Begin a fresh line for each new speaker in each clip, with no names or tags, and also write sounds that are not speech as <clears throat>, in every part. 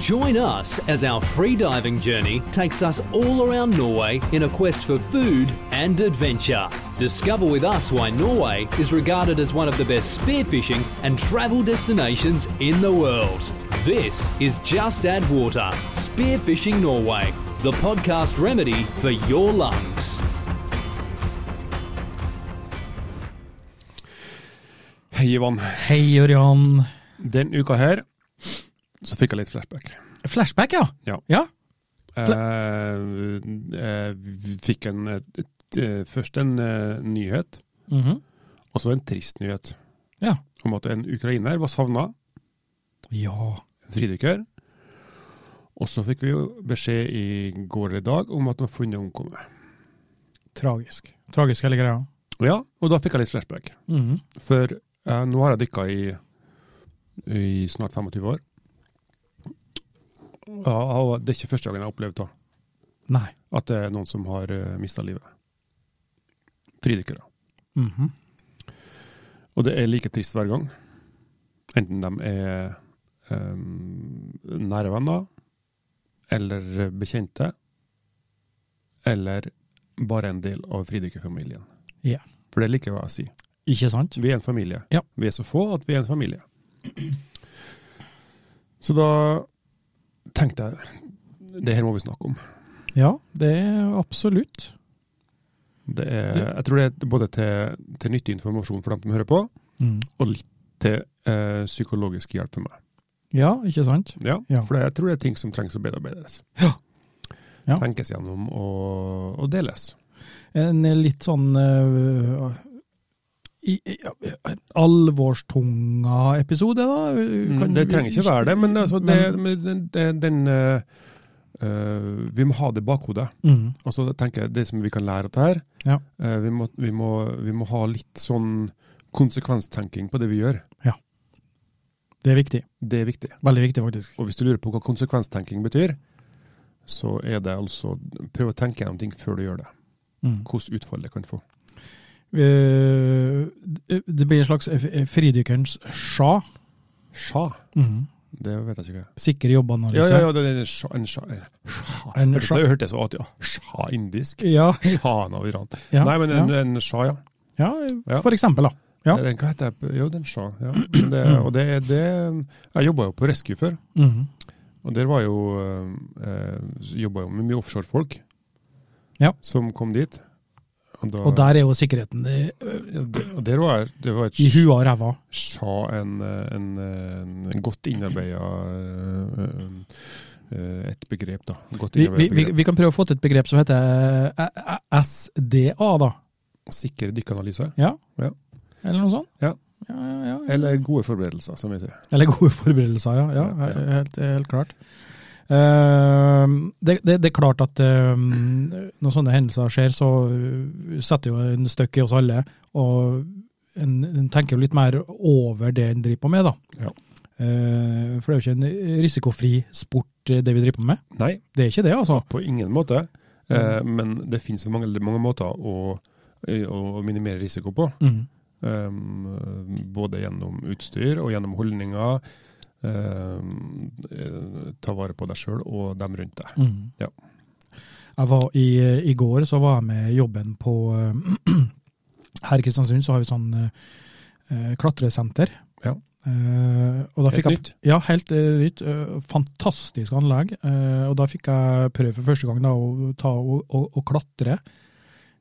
Join us as our free diving journey takes us all around Norway in a quest for food and adventure. Discover with us why Norway is regarded as one of the best spearfishing and travel destinations in the world. This is Just Add Water Spearfishing Norway, the podcast remedy for your lungs.
Hei, Ivan.
Hei, Ørjan.
Den uka her så fikk jeg litt flashback.
Flashback, ja.
Ja.
ja.
Eh, jeg fikk en, et, et, eh, først en eh, nyhet,
Mhm.
og så en trist nyhet,
ja.
om at en ukrainer var savna,
Ja.
en fridykker. Og så fikk vi jo beskjed i går eller i dag om at han var funnet omkommet.
Tragisk. Tragisk hele greia.
Ja, og da fikk jeg litt flashback.
Mhm.
For eh, nå har jeg dykka i, i snart 25 år. Ja, og det er ikke første gangen jeg har opplevd det.
Nei.
at det er noen som har uh, mista livet. Fridykkere.
Mhm.
Og det er like trist hver gang. Enten de er um, nære venner, eller eh, bekjente, eller bare en del av fridykkerfamilien.
Ja.
For det liker jeg å si.
Ikke sant?
Vi er en familie.
Ja.
Vi er så få at vi er en familie. Så da tenkte jeg det her må vi snakke om.
Ja, det er absolutt.
Det er, jeg tror det er både til, til nyttig informasjon for dem som hører på,
Mhm.
og litt til eh, psykologisk hjelp for meg.
Ja, ikke sant?
Ja,
Ja.
For det, jeg tror det er ting som trengs å bedarbeides.
Ja. Ja.
Tenkes gjennom og, og deles.
En litt sånn eh, i, i, alvorstunga episode, da? Kan
Mm, det
vi-
trenger ikke være det, men altså, det,
Men-
men den- den- den eh, eh, Vi må ha det i bakhodet.
Mhm.
Altså, jeg tenker Det som vi kan lære av det her,
Ja.
eh, vi, må, vi, må, vi må ha litt sånn konsekvenstenking på det vi gjør.
Det er viktig.
Det er viktig.
Veldig viktig, faktisk.
Og hvis du lurer på hva konsekvenstenking betyr, så er det altså prøv å tenke gjennom ting før du gjør det.
Mhm.
Hvordan utfall det kan få.
Eh, det det blir en slags eh, fridykkerens sja.
Sja,
Mhm.
det vet jeg ikke hva er.
Sikker jobbanalyse.
Ja, ja, ja, det er en sja, en sja, en sja.
En
Hørte
sja.
så- Jeg hørte så at ja, sja indisk.
Ja,
Sjan av Iran.
ja,
Nei, men en,
ja.
en sja, ja.
ja,
Ja. Mm.
for eksempel, da. Ja.
Eller en- Hva heter det? Jo, det er en sja. Ja. Men Det, og det er det Jeg jobba jo på Rescue før,
Mhm.
og der var jo eh, Jobba jo med mye offshorefolk
Ja.
som kom dit. Og, da,
Og der er jo sikkerheten i,
ja, det, og der var, det var et
i huet og ræva.
sa en, eh, en, en godt innarbeida eh, et begrep, da. Godt
Vi, vi,
innarbeidet
vi,
begrep.
vi kan prøve å få til et begrep som heter eh, eh, SDA, da.
Sikre dykkanalyse.
Ja?
Ja.
Eller noe sånt?
Ja.
Ja, ja, ja.
Eller gode forberedelser, som vi sier.
Eller gode forberedelser, ja. ja,
Ja, ja.
Helt, helt klart. Ehm, det, det, det er klart at ehm, når sånne hendelser skjer, så eh, setter jo en støkk i oss alle. Og en, en tenker jo litt mer over det en driver på med, da.
Ja.
Eh, for det er jo ikke en risikofri sport, eh, det vi driver på med.
Nei,
Det er ikke det, altså.
på ingen måte. Eh, Men det finnes så mange, mange måter å, eh, å minimere risiko på. Um, både gjennom utstyr og gjennom holdninger. Um, eh, ta vare på deg sjøl og dem rundt deg.
Mm.
Ja.
Jeg var i, eh, I går så var jeg med jobben på eh, <clears throat> Her i Kristiansund så har vi sånn eh, klatresenter.
Ja.
Eh, og da
Helt
fikk jeg,
nytt?
Ja, helt eh, nytt. eh, fantastisk anlegg. Eh, og da fikk jeg prøve for første gang da, å, ta, og- og- og klatre.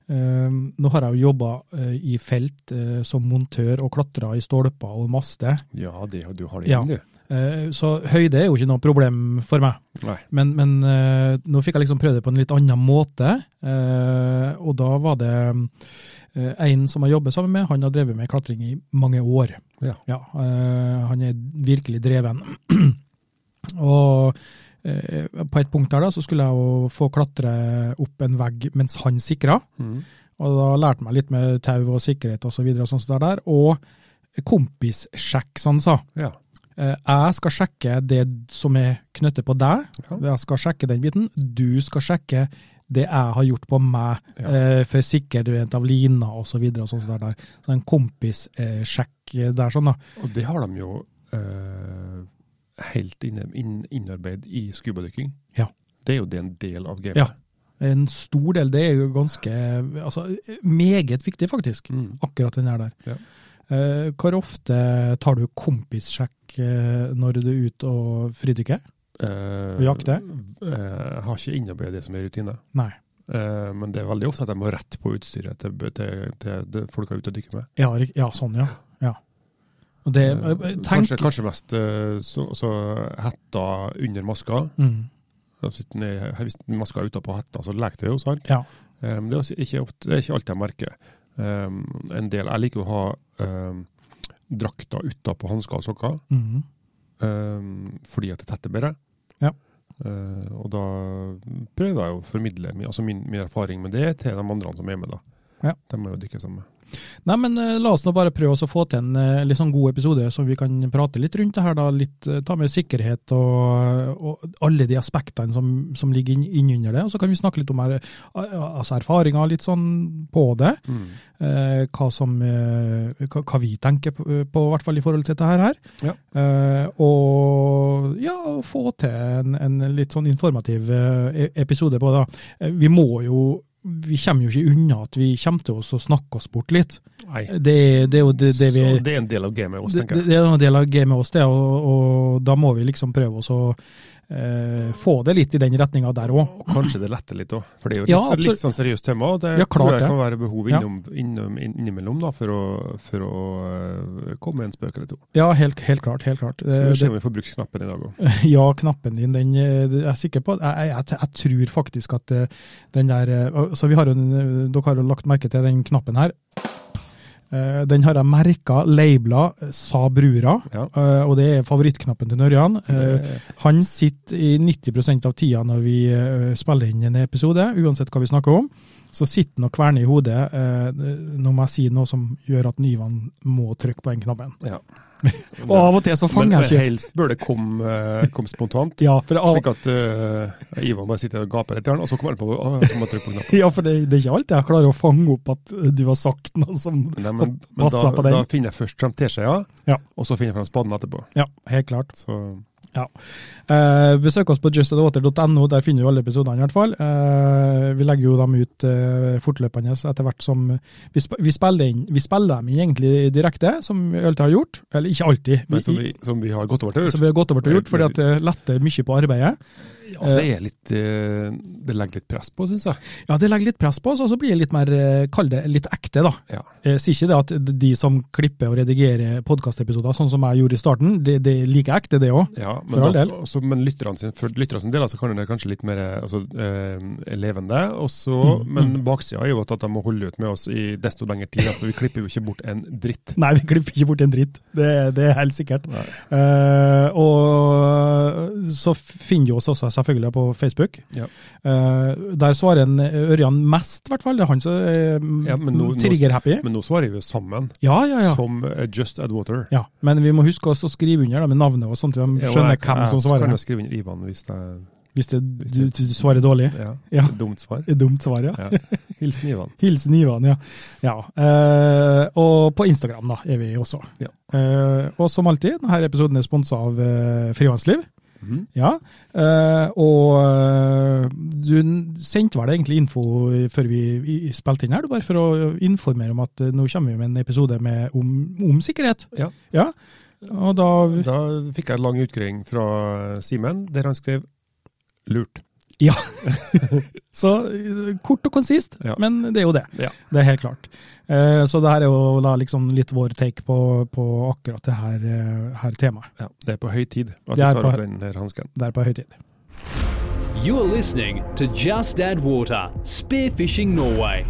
Eh, nå har jeg jo jobba eh, i felt eh, som montør og klatra i stolper og master,
Ja, det, du har det
Ja.
igjen,
eh, så høyde er jo ikke noe problem for meg.
du. Nei.
Men, men eh, nå fikk jeg liksom prøvd det på en litt annen måte. eh, og da var det eh, en som jeg jobber sammen med, han har drevet med klatring i mange år.
Ja.
eh, han er virkelig dreven. <clears throat> og eh, på et punkt der da, så skulle jeg jo få klatre opp en vegg mens han sikra.
Mm.
Og da lærte jeg meg litt med tau og sikkerhet osv. Og, så videre og sånt som det der. Og kompissjekk, som han sa.
Ja.
Eh, jeg skal sjekke det som er knyttet på deg.
Ja.
Jeg skal sjekke den biten. Du skal sjekke det jeg har gjort på meg,
Ja.
eh, for sikkerhet av lina osv. Så videre og sånn som det der. Så en kompissjekk eh, sjekk der, sånn da.
Og det har de jo eh, helt inne- inn, innarbeid i skubadykking.
Ja.
Det er jo det en del av gamet.
Ja. En stor del, det er jo ganske altså, Meget viktig, faktisk.
Mm.
Akkurat den her der.
Ja.
Eh, hvor ofte tar du kompissjekk eh, når du er ute og fridykker?
Eh,
Og jakte?
eh, Jeg har ikke innarbeidet det som er rutine.
Nei.
Eh, men det er veldig ofte at jeg må rett på utstyret til, til, til, til folk jeg er ute og dykker med.
Ja, rik- ja sånn, ja. ja. Og det,
Eh,
eh, tenk
kanskje, kanskje mest eh, så, så hetta under maska.
Mm,
Hvis den er- hvis maska er utapå hetta, så leker det jo, sant?
ja.
Eh, men det er, også ikke ofte, det er ikke alltid jeg merker. Eh, en del, jeg liker å ha um, drakta utapå hansker og sokker,
Mm,
eh, fordi at det tetter bedre.
Ja.
Eh, og da prøver jeg å formidle min, altså min, min erfaring med det til de andre som er med. da.
Ja.
De må jo dykke sammen med.
Nei, men eh, la oss da bare prøve oss å få til en eh, litt sånn god episode, så vi kan prate litt rundt det her. da, litt, eh, Ta med sikkerhet og, og alle de aspektene som, som ligger inn- innunder det. Og så kan vi snakke litt om her, eh, altså erfaringer litt sånn på det. eh, hva, som, eh, hva, hva vi tenker på, på, i hvert fall i forhold til dette her.
Ja.
Eh, og ja, å få til en, en litt sånn informativ eh, episode på det. da. Eh, Vi må jo vi kommer jo ikke unna at vi kommer til oss å snakke oss bort litt.
Nei.
Det, det er jo Eh, det, det vi
Så det er en del av gamet også,
det,
tenker jeg.
det er en del av gamet oss, det, og, og da må vi liksom prøve oss å eh, få det litt i den retninga der òg.
Og kanskje det letter litt òg, for det er jo litt,
Ja,
så- litt
absolutt.
sånn seriøst tema. Og det
Ja, klart
tror jeg
det.
kan være behov
Ja.
innom, innom, inn- innimellom da, for å, for å eh, komme med en spøk eller to.
Ja, helt, helt klart. helt klart.
Så
Eh,
vi
det-
ser om vi får bruksknappen i dag òg.
Ja, knappen din, den eh, det er jeg sikker på. at- Jeg, jeg, jeg tror faktisk at eh, den der eh, Så vi har jo, en- dere har jo lagt merke til den knappen her. Eh, Den har jeg merka, labela, sa brura.
Ja.
eh, Og det er favorittknappen til Nørjan. Eh,
Det-
Han sitter i 90 av tida når vi eh, spiller inn en episode, uansett hva vi snakker om. Så sitter han og kverner i hodet. eh, Nå må jeg si noe som gjør at Ivan må trykke på den knappen.
Ja.
Og av og til så
Men
fanger jeg ikke.
helst bør det komme, eh, komme spontant.
Ja, for det av, <laughs>
Slik at eh, Ivan bare sitter og gaper etter den, og så kommer han på å, så må jeg trykke på knappen.
Ja, for det, det er ikke alltid jeg klarer å fange opp at du har sagt noe som
Nei, men men da,
Passa på den.
da finner jeg først frem teskjea,
Ja.
og så finner jeg frem spaden etterpå.
Ja, helt klart.
Så
Eh, besøk oss på justadwater.no, der finner du alle episodene i hvert fall. Eh, vi legger jo dem ut eh, fortløpende etter hvert som vi, sp vi, spiller inn, vi spiller dem inn egentlig direkte, som vi alltid har gjort. Eller ikke alltid,
men
vi,
som vi, som vi har gått over til.
som vi har gått over til å gjort, fordi at det letter mye på arbeidet.
Ja, så er jeg litt, eh, det legger litt press på, syns jeg.
Ja, det legger litt press på oss, og så blir det litt mer, eh, kall det litt ekte, da.
Ja.
Jeg sier ikke det at de som klipper og redigerer podkastepisoder, sånn som jeg gjorde i starten, det, det er like ekte, det òg.
Ja, men
For all
da-
del.
også- men lytterne sin, for lytterne sin del så kan det kanskje litt mer eh, altså, eh, levende. og så-
Mm,
men baksida er jo at de må holde ut med oss i desto lengre tid. For vi klipper jo ikke bort en dritt.
<laughs> Nei, vi klipper ikke bort en dritt. Det, det er helt sikkert.
Nei.
Eh, og så finner du oss også selvfølgelig på Facebook.
Ja.
Eh, der svarer en eh, Ørjan mest, i hvert fall. Det er han som er mm,
Ja, men nå- nå-
trigger-happy.
Men nå svarer vi jo sammen,
Ja, ja, ja.
som eh, Just Add Water.
ja. Men vi må huske også å skrive under da, med navnet, og sånn at de
Ja, og
skjønner
jeg-
hvem som
Jeg kan jo
svarer.
skrive inn Ivan hvis det er
Hvis det,
hvis
du,
det-
du svarer dårlig.
ja,
<laughs> Ja.
et dumt svar.
Et dumt svar, ja.
Ja. Hilsen Ivan.
Hilsen Ivan, ja. ja. Eh, og på Instagram da, er vi også.
Ja.
Eh, og som alltid, denne episoden er sponsa av eh, Frihandsliv.
Mhm.
Ja, eh, og eh, du n- sendte vel egentlig info i- før vi i- spilte inn her, du, bare for å informere om at eh, nå kommer vi med en episode med, om, om sikkerhet.
Ja.
Og da
Da fikk jeg en lang utgreiing fra Simen, der han skrev lurt.
Så eh, kort og konsist,
Ja.
men det er jo det.
Ja.
Det er helt klart. Eh, så det her er jo da liksom litt vår take på, på akkurat det her, eh, her temaet.
Ja, det er på høy tid at
Det er
vi tar
på
opp
høy-
den her hansken.
Der på høytid.
You're listening to Just Add Water, Spearfishing Norway.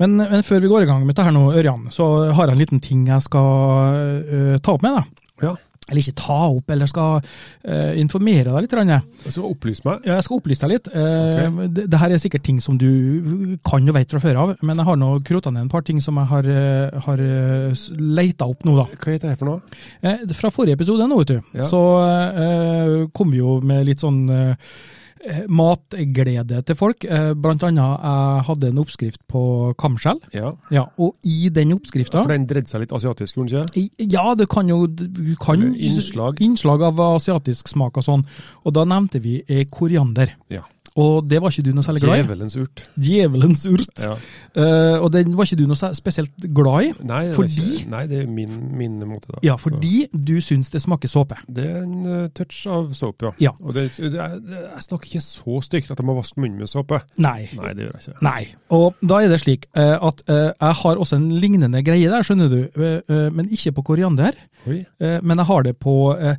Men, men før vi går i gang med det her nå, Ørjan, så har jeg en liten ting jeg skal eh, ta opp med deg.
Ja.
Eller ikke ta opp, eller skal eh, informere deg litt. Ranje.
Så opplys meg.
Ja, Jeg skal opplyse deg litt. Eh, det, det her er sikkert ting som du kan og vet fra før av, men jeg har nå krota ned en par ting som jeg har, eh, har eh, s- leita opp nå, da.
Hva heter det for noe?
Eh, Fra forrige episode nå, vet du,
Ja.
så eh, kom vi jo med litt sånn eh, eh, matglede til folk. Eh, Blant annet jeg hadde en oppskrift på kamskjell,
Ja.
ja, og i den oppskrifta
For den dreide seg litt asiatisk, gjorde den ikke?
I- Ja, det kan jo du kan,
Eller innslag.
innslag av asiatisk smak og sånn. Og da nevnte vi eh, koriander.
Ja.
Og det var ikke du noe særlig glad i?
Djevelens urt.
Djevelens urt.
Ja.
Eh, og den var ikke du noe sær- spesielt glad i?
Nei, det er
Fordi-
ikke- nei, det er min, min måte, da.
Ja,
Så
fordi du syns det smaker såpe.
Det er en eh, touch av såpe, ja.
Ja.
Og det, det er, det, jeg snakker ikke så stygt at jeg må vaske munnen med såpe.
Nei.
Nei, det gjør jeg ikke.
Nei. Og da er det slik eh, at eh, jeg har også en lignende greie der, skjønner du. Eh, eh, men ikke på koriander.
Oi.
Eh, men jeg har det på eh,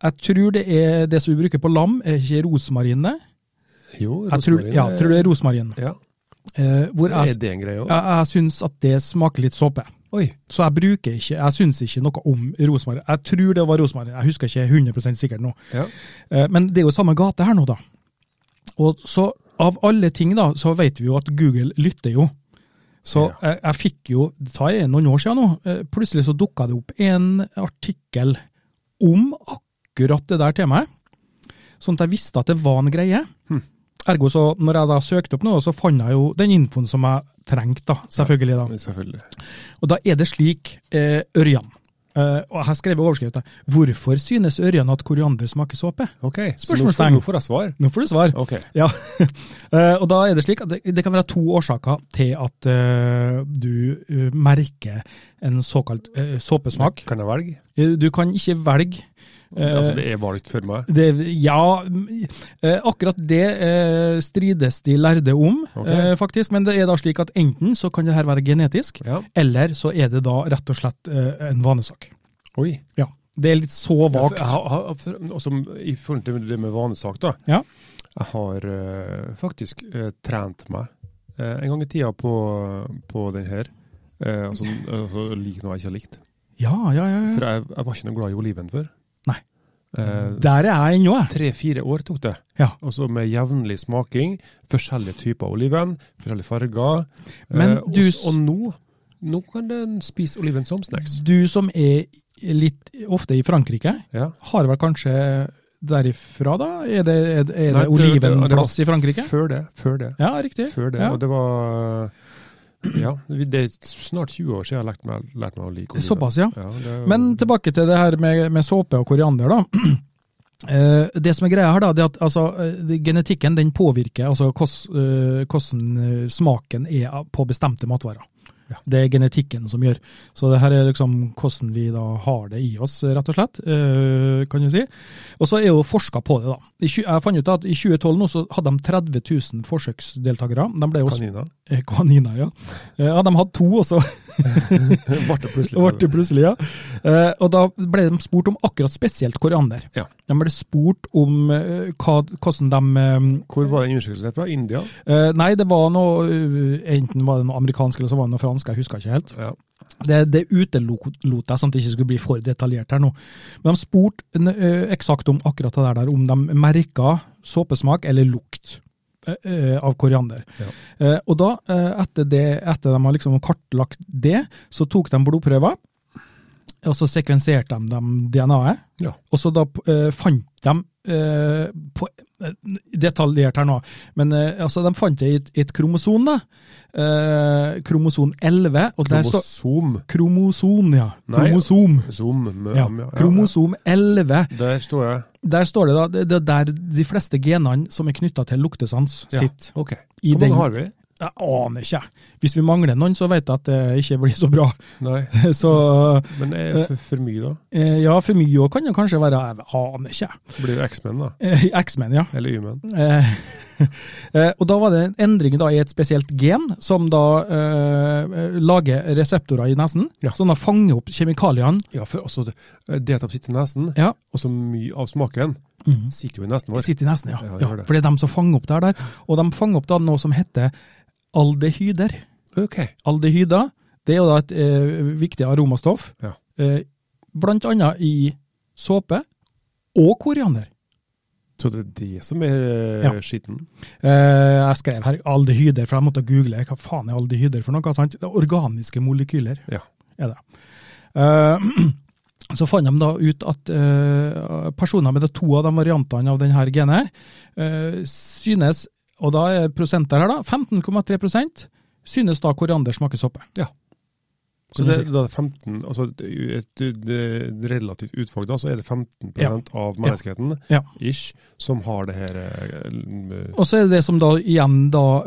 Jeg tror det er det som vi bruker på lam, er ikke rosmarinene.
Jo,
Jeg tror,
rosmarin
ja,
er-
tror det er rosmarin.
ja.
Eh, hvor jeg,
Er det en greie òg?
jeg, jeg syns at det smaker litt såpe.
Oi.
Så jeg bruker ikke, jeg syns ikke noe om rosmarin. Jeg tror det var rosmarin, jeg husker ikke 100 sikkert nå.
Ja.
Eh, Men det er jo samme gate her nå, da. Og så av alle ting, da, så vet vi jo at Google lytter jo. Så jeg, jeg fikk jo, det tar jeg noen år siden nå, eh, plutselig så dukka det opp en artikkel om akkurat det der temaet. Sånn at jeg visste at det var en greie.
Hm.
Ergo så, når jeg da søkte opp noe, så fant jeg jo den infoen som jeg trengte, da, selvfølgelig. da.
Selvfølgelig.
Og da er det slik eh, ørjan. Eh, og jeg har skrevet overskriften. 'Hvorfor synes ørjan at koriander smaker såpe?'
Ok, så nå får-
Spørsmålstegn.
Nå får jeg svar.
Nå får du svar.
Ok.
Ja, <laughs> Eh, og da er det slik at det, det kan være to årsaker til at eh, du eh, merker en såkalt eh, såpesmak.
Kan jeg velge?
Eh, Du kan ikke velge eh,
altså, det er valgt for meg.
det, ja, mm, eh, akkurat det eh, strides de lærde om,
Ok.
eh, faktisk. Men det er da slik at enten så kan det her være genetisk,
Ja.
eller så er det da rett og slett eh, en vanesak.
Oi.
Ja, Det er litt så vagt.
Jeg har- har- for- også I forhold til det med vanesak, da.
Ja.
Jeg har eh, faktisk eh, trent meg eh, en gang i tida på, på den her. Eh, altså, altså lik noe jeg ikke har likt.
Ja, ja, ja.
For
ja.
jeg, jeg var ikke noe glad i oliven før.
Nei.
Eh,
Der er jeg ennå, jeg.
Tre-fire år tok det.
Ja.
Og så med jevnlig smaking, forskjellige typer oliven, forskjellige farger. eh,
Men
og-
du s-
og nå, nå kan den spise oliven som snacks.
Du som er litt ofte i Frankrike,
Ja.
har vel kanskje derifra, da? Er det, er, det-
Nei,
er det
det- det- det var
olivenplass i Frankrike?
Før det. Før det.
Ja, riktig.
Før det.
Ja.
Og det var Ja, det er snart 20 år siden jeg har lært meg, lært meg å like oliven.
Såpass, ja.
det-
Men tilbake til det her med, med såpe og koriander, da. <clears throat> Eh, Det som er greia her, da, det er at altså, eh, det- genetikken den påvirker altså, hos- eh, hvordan eh, smaken er av- på bestemte matvarer.
Ja.
Det er genetikken som gjør. Så det her er liksom hvordan vi da har det i oss, rett og slett, eh, kan du si. Og så er jo forska på det, da. I, tjue- jeg fant ut at i 2012 nå så hadde de 30 000 forsøksdeltakere. De ble jo
Kanina.
Eh, Kaniner, ja. Eh, Ja, de hadde to, og så
Ble det plutselig.
ble det plutselig, ja. Eh, Og da ble de spurt om akkurat spesielt koriander.
Ja.
De ble spurt om eh, hva, hvordan de
Hvor var den undersøkelsen fra? India?
eh, Nei, det var noe eh, Enten var det noe amerikansk eller så var det noe fransk, jeg husker ikke helt.
Ja.
Det, det utelot jeg, sånn at det ikke skulle bli for detaljert her nå. Men de spurte n- eh, eksakt om akkurat det der, om de merka såpesmak eller lukt eh, eh, av koriander.
Ja.
Eh, Og da, eh, etter, det, etter de har liksom kartlagt det, så tok de blodprøver, og så sekvenserte de, dem DNA-et.
Ja.
Og så da eh, fant de eh, på, eh, Detaljert her nå, men eh, altså, de fant det i et, i et kromosom, da. Eh, kromosom 11. Og der så,
Kromosom.
Kromosom, ja.
Nei.
Kromosom.
Zoom. med-
Ja.
ja, ja.
Kromosom 11.
Der står jeg.
Der står det da, det det er der de fleste genene som er knytta til luktesans,
Ja.
sitter.
Ok.
I
Hvor
den-
mange har vi?
Jeg aner ikke. Hvis vi mangler noen, så vet jeg at det ikke blir så bra. <laughs>
Nei,
Så
men det er for, for mye da.
eh, ja, for mye òg kan det kanskje være. Jeg aner ikke.
Det blir jo X-Men da,
Eh, X-Men, ja.
eller Y-Men.
Eh, <laughs> eh, og da var det en endring da, i et spesielt gen, som da eh, lager reseptorer i nesen.
Ja.
Som da fanger opp kjemikaliene.
Ja, for også det, det at de Eh, sitter i nesen,
Ja.
og så mye av smaken,
Mhm.
sitter jo i nesen vår.
Sitter i nesen, ja.
Ja, det
ja,
gjør det.
for det er dem som fanger opp det her der. Og de fanger opp da noe som heter aldehyder.
Ok.
Aldehyder det er jo da et eh, viktig aromastoff,
Ja.
eh, blant annet i såpe og koriander.
Så det er det som er eh,
Ja.
skitten?
Eh, jeg skrev her aldehyder, for jeg måtte google hva faen er aldehyder for noe. sant? Det er organiske molekyler.
Ja.
er det. Eh, <clears throat> Så fant de da ut at eh, personer med de to av de variantene av denne genet eh, synes, og da er prosenter her da, 15,3 synes da koriander smaker soppe.
Ja. Så det, da er det 15, altså et, et relativt utvalg, da, så er det 15 av menneskeheten
Ja.
ish, som har det her eh,
Og så er det det som da igjen da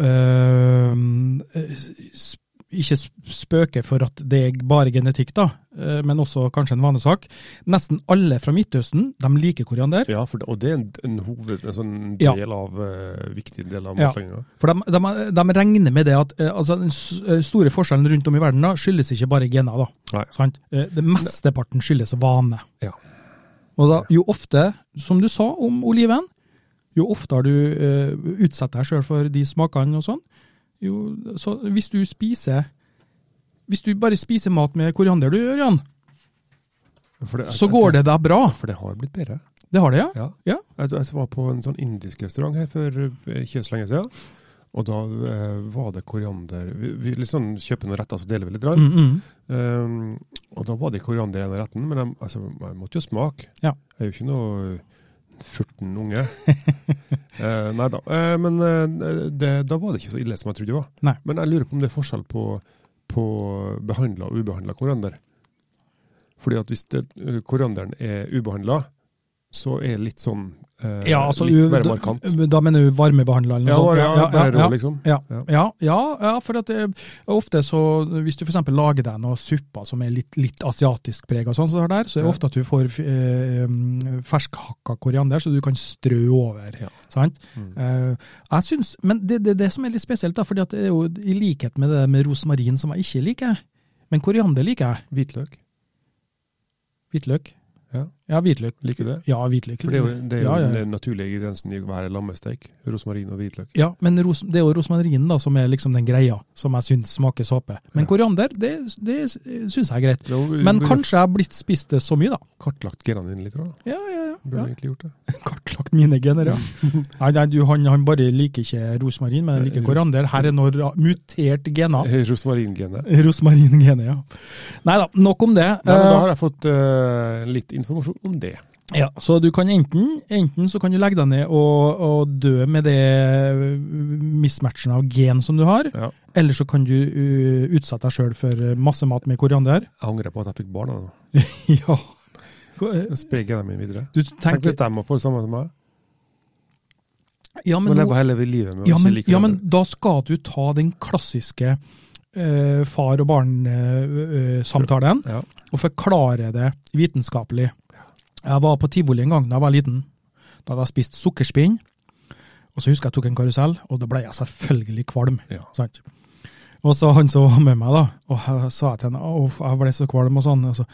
eh, s- ikke sp- spøker for at det er bare genetikk da, eh, men også kanskje en vanesak. Nesten alle fra Midtøsten, de liker koriander.
Ja, for, det- og det er en, en hoved, en sånn
Ja.
del av, eh, viktig del av
Ja.
matlaginga.
For de, de, de regner med det at eh, altså, den s- eh, store forskjellen rundt om i verden da, skyldes ikke bare gener. da.
Nei.
Sant? Eh, Det mesteparten skyldes vane.
Ja.
Og da, jo ofte, som du sa om oliven, jo oftere du eh, utsetter deg sjøl for de smakene og sånn, jo, så hvis du spiser Hvis du bare spiser mat med koriander, du, Ørjan,
For det,
så går det deg bra.
For det har blitt bedre.
Det har det, ja?
Ja.
Ja.
Jeg, jeg var på en sånn indisk restaurant her for eh, ikke så lenge siden. Og da eh, var det koriander Vi, vi liksom kjøper noen retter, så deler vi litt. grann.
Mm, mm.
Um, og da var det koriander i en av retten, men jeg, altså, jeg måtte jo smake.
Ja.
Jeg er jo ikke noe 14
<laughs>
unge. Eh, nei da. Eh, men eh, det, da var det ikke så ille som jeg trodde det var.
Nei.
Men jeg lurer på om det er forskjell på, på behandla og ubehandla koriander. Fordi at hvis det, eh, korianderen er ubehandla, så er det litt sånn eh,
ja altså,
Litt
u-
mer
da-
markant.
Da mener du varmebehandla eller
Ja,
noe sånt?
bare, ja, bare rå, liksom.
Ja,
Ja.
ja, ja, ja for at det, ofte så, hvis du for eksempel lager deg noen supper som er litt, litt asiatisk preg og sånn, så, der, så er det
Ja.
ofte at du får eh, mm, ferskhakka koriander, så du kan strø over.
Ja.
Sant?
Mm.
Eh, jeg synes, men det er det, det som er litt spesielt, da, fordi at det er jo i likhet med det med rosmarin som jeg ikke liker, men koriander liker jeg.
Hvitløk.
Hvitløk.
Ja.
Ja, hvitløk.
Liker du det?
Ja, hvitløk.
For det er jo, det er jo
Ja, ja.
den naturlige ingrediensen i hver lammesteik. Rosmarin og hvitløk.
Ja, men ros, det er jo rosmarinen da, som er liksom den greia som jeg syns smaker såpe. Men
Ja.
koriander, det, det syns jeg er greit.
Det er jo-
Men
det er jo
kanskje jeg har blitt spist det så mye, da.
kartlagt genene dine litt, da.
Ja, ja,
Burde du egentlig gjort det.
<laughs> Kartlagt mine gener, ja.
<laughs>
nei, nei du, han, han bare liker ikke rosmarin, men han liker koriander. Her er noe ra- mutert gener.
Eh, Rosmaringenet.
<laughs> Rosmaringenet, ja. Nei da, nok om det.
Nei, men da
Eh,
har jeg fått eh, litt informasjon om det.
ja, så du kan enten, enten så kan du legge deg ned og, og dø med det eh, mismatchen av gen som du har,
Ja.
eller så kan du eh, utsette deg sjøl for eh, masse mat med koriander.
Jeg
<laughs>
angrer på at jeg fikk barn. da.
ja. Ko- eh,
Jeg Sprer genene mine videre.
Du
Tenk
tenker
hvis de får det samme som meg.
ja,
Må
men nå-
leve hele livet med å
Ja
ikke
men,
like
ja, men
hverandre.
da skal du ta den klassiske eh, far og eh, barn-samtalen
Ja.
og forklare det vitenskapelig. Jeg var på tivoli en gang da jeg var liten. Da hadde jeg spist sukkerspinn. Og så husker jeg jeg tok en karusell, og da ble jeg selvfølgelig kvalm.
Ja.
Sant? Og så han som var med meg, da, og jeg sa til henne at jeg ble så kvalm og sånn. Og så,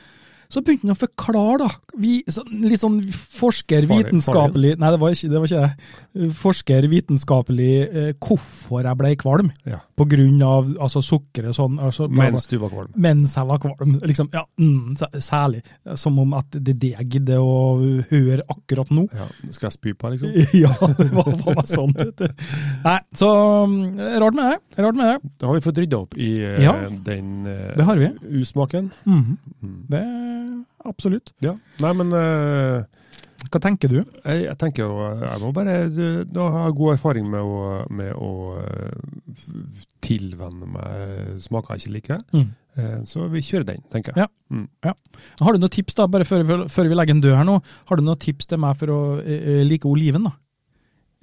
så begynte han å forklare, da. Vi, så, litt sånn forsker,
Farlig-
vitenskapelig Nei, det var ikke det. Var ikke det. Forsker, vitenskapelig, eh, hvorfor jeg ble kvalm.
Ja.
På grunn av altså, sukkeret og sånn. Altså, bla, bla.
Mens du var kvalm.
Mens jeg var kvalm. Liksom, ja, mm, sæ- særlig. Som om at det er det jeg gidder å høre akkurat nå. <laughs>
Ja. Skal jeg spy på deg, liksom?
Ja, det var faen meg sånn. vet du. Nei, så mm, rart med det. Rart med det.
Da har vi fått rydda opp i eh,
Ja.
den eh,
Det har vi.
usmaken.
Mhm.
Mm.
Det Absolutt.
Ja. Nei, men eh,
Hva tenker du?
Jeg, jeg tenker jo, jeg må bare du- nå har jeg god erfaring med å, med å eh, f- tilvenne meg smaker jeg ikke liker.
Mm.
Eh, Så vi kjører den, tenker jeg.
Ja. Har du noen tips, da, bare før, før- før vi legger en død her nå, har du noen tips til meg for å eh, eh, like oliven? da?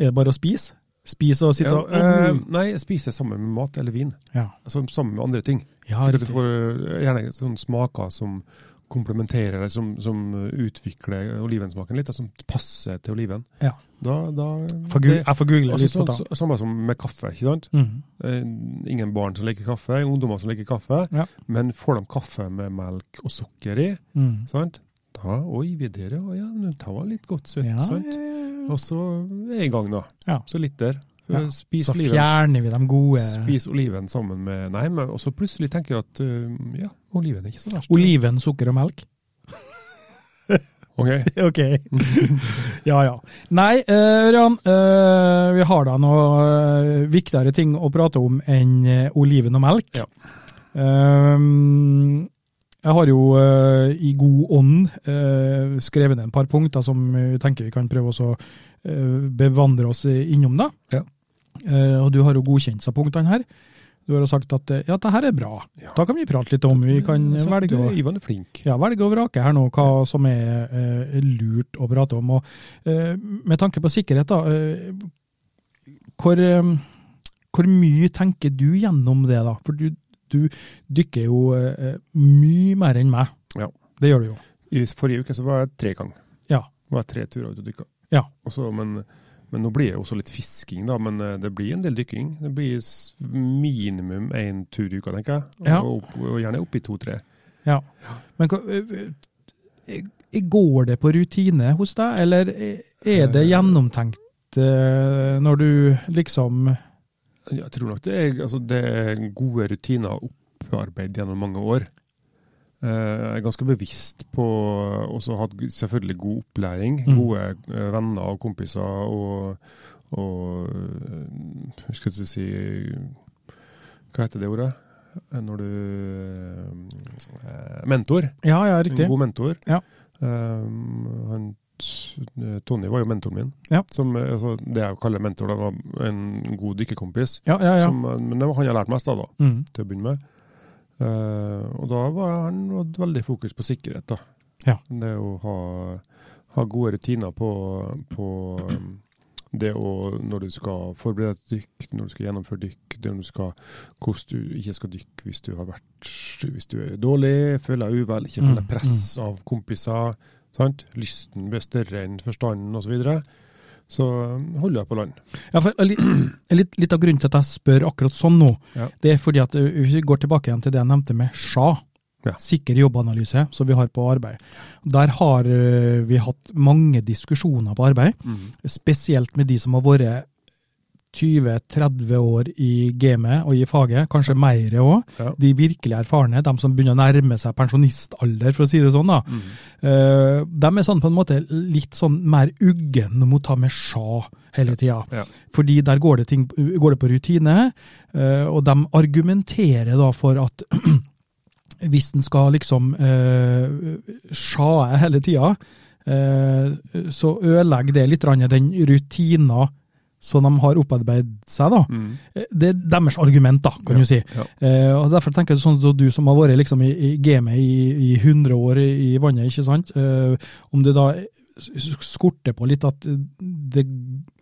Er det bare å spise? Spise og sitte
Ja,
og Mm.
eh, nei, spis det sammen med mat eller vin.
Ja,
Altså sammen med andre ting.
ja
Så du
riktig.
får eh, gjerne sånne smaker som komplementerer, eller som, som utvikler olivensmaken litt, og som passer til oliven.
Ja.
Da, da
Får gu- Jeg får google
Altså,
litt på
sånn,
det.
så- Samme som med kaffe, ikke sant?
Mhm.
Eh, Ingen barn som liker kaffe, ingen ungdommer som liker kaffe.
Ja.
Men får de kaffe med melk og sukker i,
Mhm.
sant? da Oi, vi der, ja. ja men det var litt godt søtt.
Ja,
sant?
ja, ja, ja.
Og så er jeg i gang, da.
Ja.
Så litt der. Eh,
Ja.
Spis,
Så
oliven,
fjerner vi de gode
spis oliven sammen med Nei, men og så plutselig tenker jeg at eh, ja, oliven er ikke så verst.
Oliven, sukker og melk.
Ok,
<laughs> Ok. ja, ja. Nei, eh, Ørjan, eh, vi har da noe eh, viktigere ting å prate om enn eh, oliven og melk.
Ja.
Ehm, Jeg har jo eh, i god ånd eh, skrevet ned et par punkter som vi tenker vi kan prøve å eh, bevandre oss innom. da.
Ja.
Eh, og du har jo godkjent seg punktene her. Du har jo sagt at eh, ja, det her er bra.
Ja.
Da kan vi prate litt om. Vi kan
Jeg har sagt,
velge
Eh, du,
å
Ivan er flink.
ja, velge og vrake her nå, hva som er eh, lurt å prate om. Og, eh, med tanke på sikkerhet, da. Eh, hvor, eh, hvor mye tenker du gjennom det, da? For du, du dykker jo eh, mye mer enn meg.
Ja.
Det gjør du jo.
I forrige uke så var jeg tre ganger.
Ja.
Var jeg tre turer ute og dykka.
Ja.
Og så, men, men nå blir det jo også litt fisking, da. Men eh, det blir en del dykking. Det blir s- minimum én tur i uka, tenker jeg.
Ja.
Og, opp, og gjerne opp i to-tre.
Ja. Men hva- eh, eh, går det på rutine hos deg, eller er det gjennomtenkt? eh, Når du liksom
Jeg tror nok det er, altså, det er gode rutiner opparbeidet gjennom mange år. Eh, Jeg er ganske bevisst på Og så hatt selvfølgelig god opplæring.
Mm.
Gode eh, venner og kompiser og, og eh, Hva skal jeg si Hva heter det ordet? Eh, Når du eh, Mentor.
Ja, ja,
En
riktig.
god mentor.
Ja.
Um, han, t- Tony var jo mentoren min.
Ja.
Som, eh, altså, det jeg kaller mentor, da, var en god dykkerkompis.
Ja, ja, ja.
Som, eh, Men det var han jeg lærte mest av, da,
Mm.
til å begynne med. Eh, og da var han hadde veldig fokus på sikkerhet. da.
Ja.
Det å ha, ha gode rutiner på, på um, det å når du skal forberede et dykk, når du skal gjennomføre dykk, det når du skal, hvordan du ikke skal dykke hvis du har vært hvis du er dårlig, føler deg uvel, ikke føler
Mm,
deg press av kompiser. sant? Lysten blir større enn forstanden osv. Så, videre. så um, holder jeg på land.
Ja, for li- <clears throat> litt, litt av grunnen til at jeg spør akkurat sånn nå,
Ja.
det er fordi at ø, hvis vi går tilbake igjen til det jeg nevnte med SHA,
Ja.
sikker jobbanalyse, som vi har på arbeid. Der har ø, vi hatt mange diskusjoner på arbeid, spesielt med de som har vært 20-30 år i gamet og i faget, kanskje mer òg.
Ja.
De virkelig erfarne, de som begynner å nærme seg pensjonistalder, for å si det sånn. da.
Mm.
Eh, de er sånn på en måte litt sånn mer uggen mot å ta med sja hele tida.
Ja.
Fordi der går det, ting, går det på rutine, eh, og de argumenterer da for at <clears throat> hvis en skal liksom uh, sjae hele tida, eh, så ødelegger det litt grann den rutina som de har opparbeidet seg. da.
Mm.
Eh, Det er deres argument, da, kan du si.
Ja.
Eh, og Derfor tenker jeg sånn at du som har vært liksom i, i gamet i, i 100 år i, i vannet, ikke sant? Eh, om det da s- skorter på litt at det,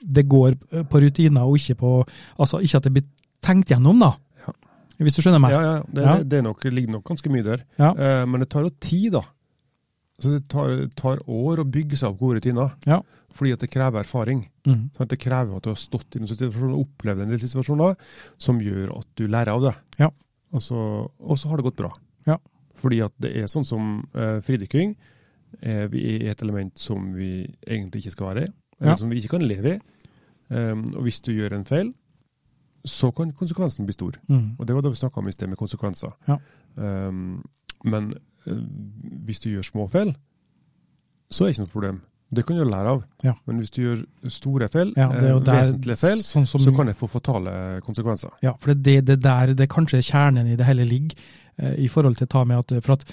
det går på rutiner og ikke på Altså ikke at det blir tenkt gjennom, da.
Ja.
Hvis du skjønner meg?
Ja, ja, det,
Ja.
det er nok, ligger nok ganske mye der.
Ja.
Eh, men det tar jo tid, da. Så det tar, tar år å bygge seg opp gode rutiner.
Ja.
Fordi at det krever erfaring.
Mm.
Sant? Det krever at du har stått i noen situasjoner og opplevd en del situasjoner som gjør at du lærer av det.
Ja.
Og så- og så har det gått bra.
Ja.
Fordi at det er sånn som eh, fridykking. Eh, vi er et element som vi egentlig ikke skal være i, eller
Ja.
som vi ikke kan leve i. Um, og hvis du gjør en feil, så kan konsekvensen bli stor.
Mm.
Og det var det vi snakka om i sted, med konsekvenser.
Ja.
Um, men eh, hvis du gjør små feil, så er det ikke noe problem. Det kan du lære av.
Ja.
Men hvis du gjør store feil,
Ja, det er jo
eh,
der-
vesentlige feil,
sånn som-
så kan det få fatale konsekvenser.
Ja, for det er det, det der det er kanskje kjernen i det hele ligger, eh, i forhold til å ta med at eh, For at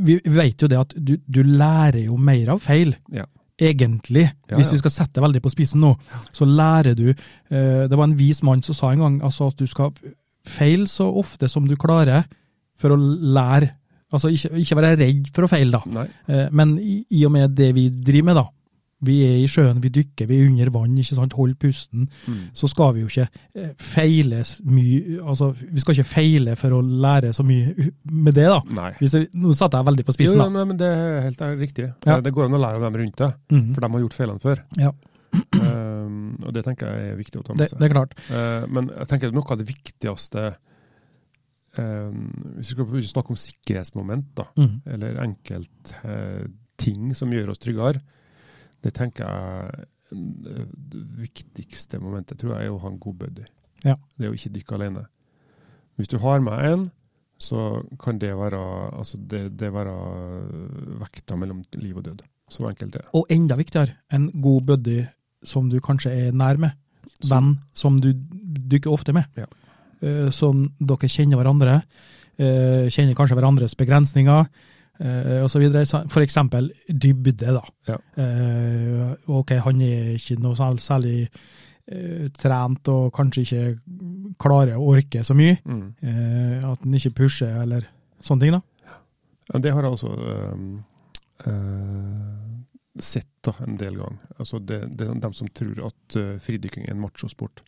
vi vet jo det at du, du lærer jo mer av feil.
Ja.
Egentlig,
Ja,
hvis
ja.
vi skal sette det veldig på spissen nå, så lærer du eh, Det var en vis mann som sa en gang altså at du skal feile så ofte som du klarer for å lære. Altså ikke, ikke være redd for å feile, da.
Nei.
Eh, Men i, i og med det vi driver med, da. Vi er i sjøen, vi dykker, vi er under vann, ikke sant. Hold pusten så skal vi jo ikke eh, feile s- mye altså, Vi skal ikke feile for å lære så mye u- med det, da.
Nei.
Hvis jeg, nå satte jeg veldig på
Jo,
spissen,
jo,
da.
nei, men det er helt er riktig.
Ja.
Eh, Det går an å lære av dem rundt deg,
Mhm.
for de har gjort feilene før. <clears throat>
Ja.
Um, og det tenker jeg er viktig å ta med
Det,
seg.
det er klart.
Eh, men jeg tenker at noe av det viktigste eh, Hvis vi skal snakke om sikkerhetsmoment, da,
Mhm.
eller enkelt eh, ting som gjør oss tryggere, det tenker jeg eh, det viktigste momentet tror jeg er å ha en god buddy.
Ja.
Det er å ikke dykke alene. Hvis du har med en, så kan det være, altså det, det være vekta mellom liv og død. Så enkelt det er.
Og enda viktigere, en god buddy som du kanskje er nær med. Venn som du dykker ofte med.
Ja.
Eh, Som dere kjenner hverandre. eh, kjenner kanskje hverandres begrensninger eh, osv. For eksempel dybde, da.
Ja.
Eh, ok, han er ikke noe særlig, særlig eh, trent og kanskje ikke klarer å orke så mye.
Mm.
Eh, at han ikke pusher eller sånne ting, da.
Ja, det har jeg også ehm, eh, sett da, en del ganger. Altså det, det er de som tror at eh, fridykking er en machosport.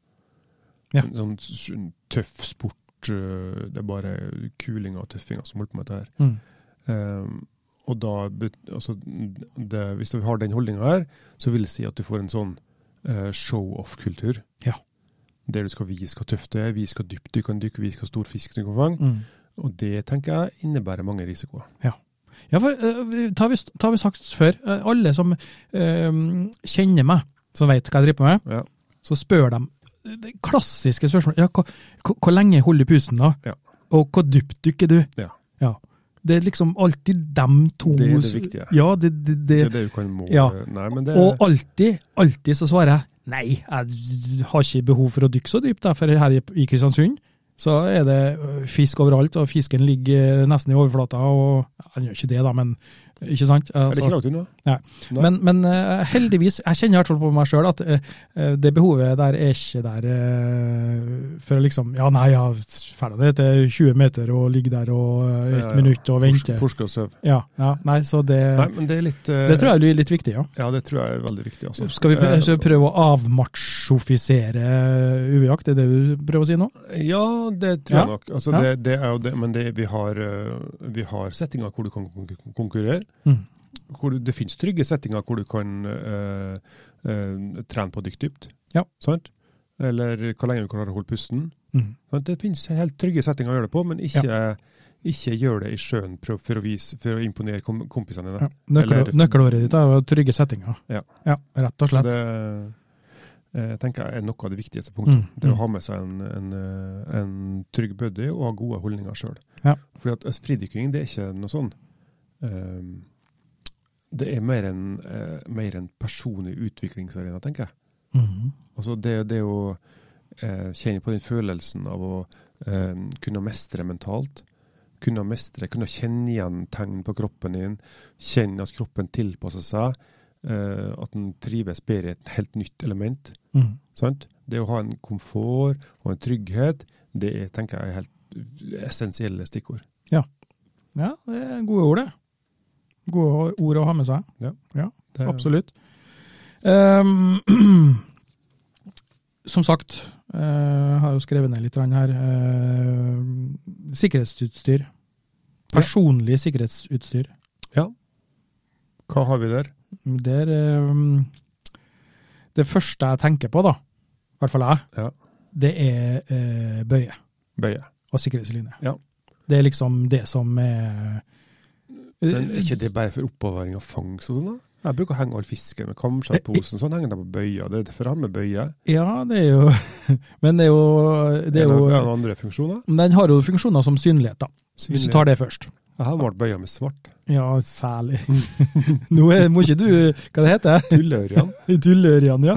Ja.
En sånn s- en tøff sport. eh, det er bare kulinger og tøffinger som holder på med dette her.
Mm.
Ehm, og da, bet- altså, det, hvis du har den holdninga her, så vil det si at du får en sånn eh, show-off-kultur.
Ja.
Der du skal vise hvor tøft det er, vise hvor dypt du kan dykke, vise hvor stor fisk du kan fange.
Mm.
Og det tenker jeg innebærer mange risikoer.
Ja, for eh, vi- det har vi, det har vi sagt før. Eh, alle som eh, kjenner meg, som vet hva jeg driver med,
Ja.
så spør de det klassiske spørsmålet ja, hvor, hvor, hvor lenge holder du pusten da?
Ja.
Og hvor dypt dykker du?
Ja.
Det er liksom alltid dem to
Det er det viktige.
Ja, det, det, det,
Det er det du kan må...
Ja.
Nei, men det
Og alltid, alltid så svarer jeg nei, jeg har ikke behov for å dykke så dypt, jeg, for her i i Kristiansund så er det ø, fisk overalt, og fisken ligger øh, nesten i overflata. og ja, Han gjør ikke det, da, men ikke sant?
er det
Altså,
ikke langt unna. Nei.
men men ø, heldigvis, jeg kjenner i hvert fall på meg sjøl at ø, ø, det behovet der er ikke der ø, for å liksom Ja, nei, jeg er ferdig til 20 meter og ligger der og ø,
Ja,
ett
ja.
minutt og
Porske,
venter.
porske og søv.
Ja, ja, nei, så det,
Nei, men det er litt eh,
det tror jeg blir litt viktig, ja.
Ja, det tror jeg er veldig viktig. Altså.
Skal
Eh,
vi prøve, så prøve å avmachofisere UV-jakt, er det du prøver å si nå?
Ja, det tror jeg
Ja.
nok. Altså,
Ja.
det, det er jo det, men det, vi, har, eh, vi har settinger hvor du kan konkur- konkurrere.
Mm.
Hvor du, det finnes trygge settinger hvor du kan eh, eh, trene på å dykke dypt.
Ja.
Sant? Eller hvor lenge du klarer å holde pusten.
Mm.
Sant? Det finnes helt trygge settinger å gjøre det på, men ikke, ikke gjør det i sjøen prøv for å, vise, for å imponere kom, kompisene dine.
Ja. Nøkkel,
Eller-
nøkkelordet ditt er jo trygge settinger.
Ja.
Rett og
Så
slett.
det eh, tenker jeg er noe av det viktigste punktet.
Mm,
Det
mm.
å ha med seg en, en, eh, en trygg buddy og ha gode holdninger sjøl.
Ja.
Fordi at altså, fridykking det er ikke noe sånn eh, Det er mer en, eh, mer en personlig utviklingsarena, tenker jeg.
Mhm.
Altså det, det å eh, kjenne på den følelsen av å eh, kunne mestre mentalt. Kunne mestre, kunne kjenne igjen tegn på kroppen din. Kjenne at kroppen tilpasser seg. Eh, at den trives bedre i et helt nytt element.
Mhm.
Sant? Det å ha en komfort og en trygghet, det er, tenker jeg er helt essensielle stikkord.
Ja, det er gode ord, det. Gode ord å ha med seg.
Det er-
Absolutt. Ehm, <clears throat> som sagt, eh, jeg har jo skrevet ned litt grann her. ehm, sikkerhetsutstyr. Personlig sikkerhetsutstyr.
Hva har vi der?
Det er eh, Det første jeg tenker på, da, i hvert fall jeg,
Ja.
det er eh, bøye
Bøye.
og sikkerhetslinje.
Ja.
Det er liksom det som er
Men er ikke det bare for oppbevaring av fangst og sånn? da? Jeg bruker å henge all fisken med kamskjettposen, sånn henger de på bøya. Det er derfor jeg har med bøye.
eh, Ja, det er jo <laughs> Men det er jo, det
det
er jo
noen andre funksjoner?
Den har jo funksjoner som synlighet, da, hvis du tar det først.
Jeg har malt bøya med svart.
Ja, særlig.
Mm.
<laughs> Nå er, må ikke du Hva det heter det? <laughs>
Tullørjan.
Eh, Tullørjan,
<laughs>
ja.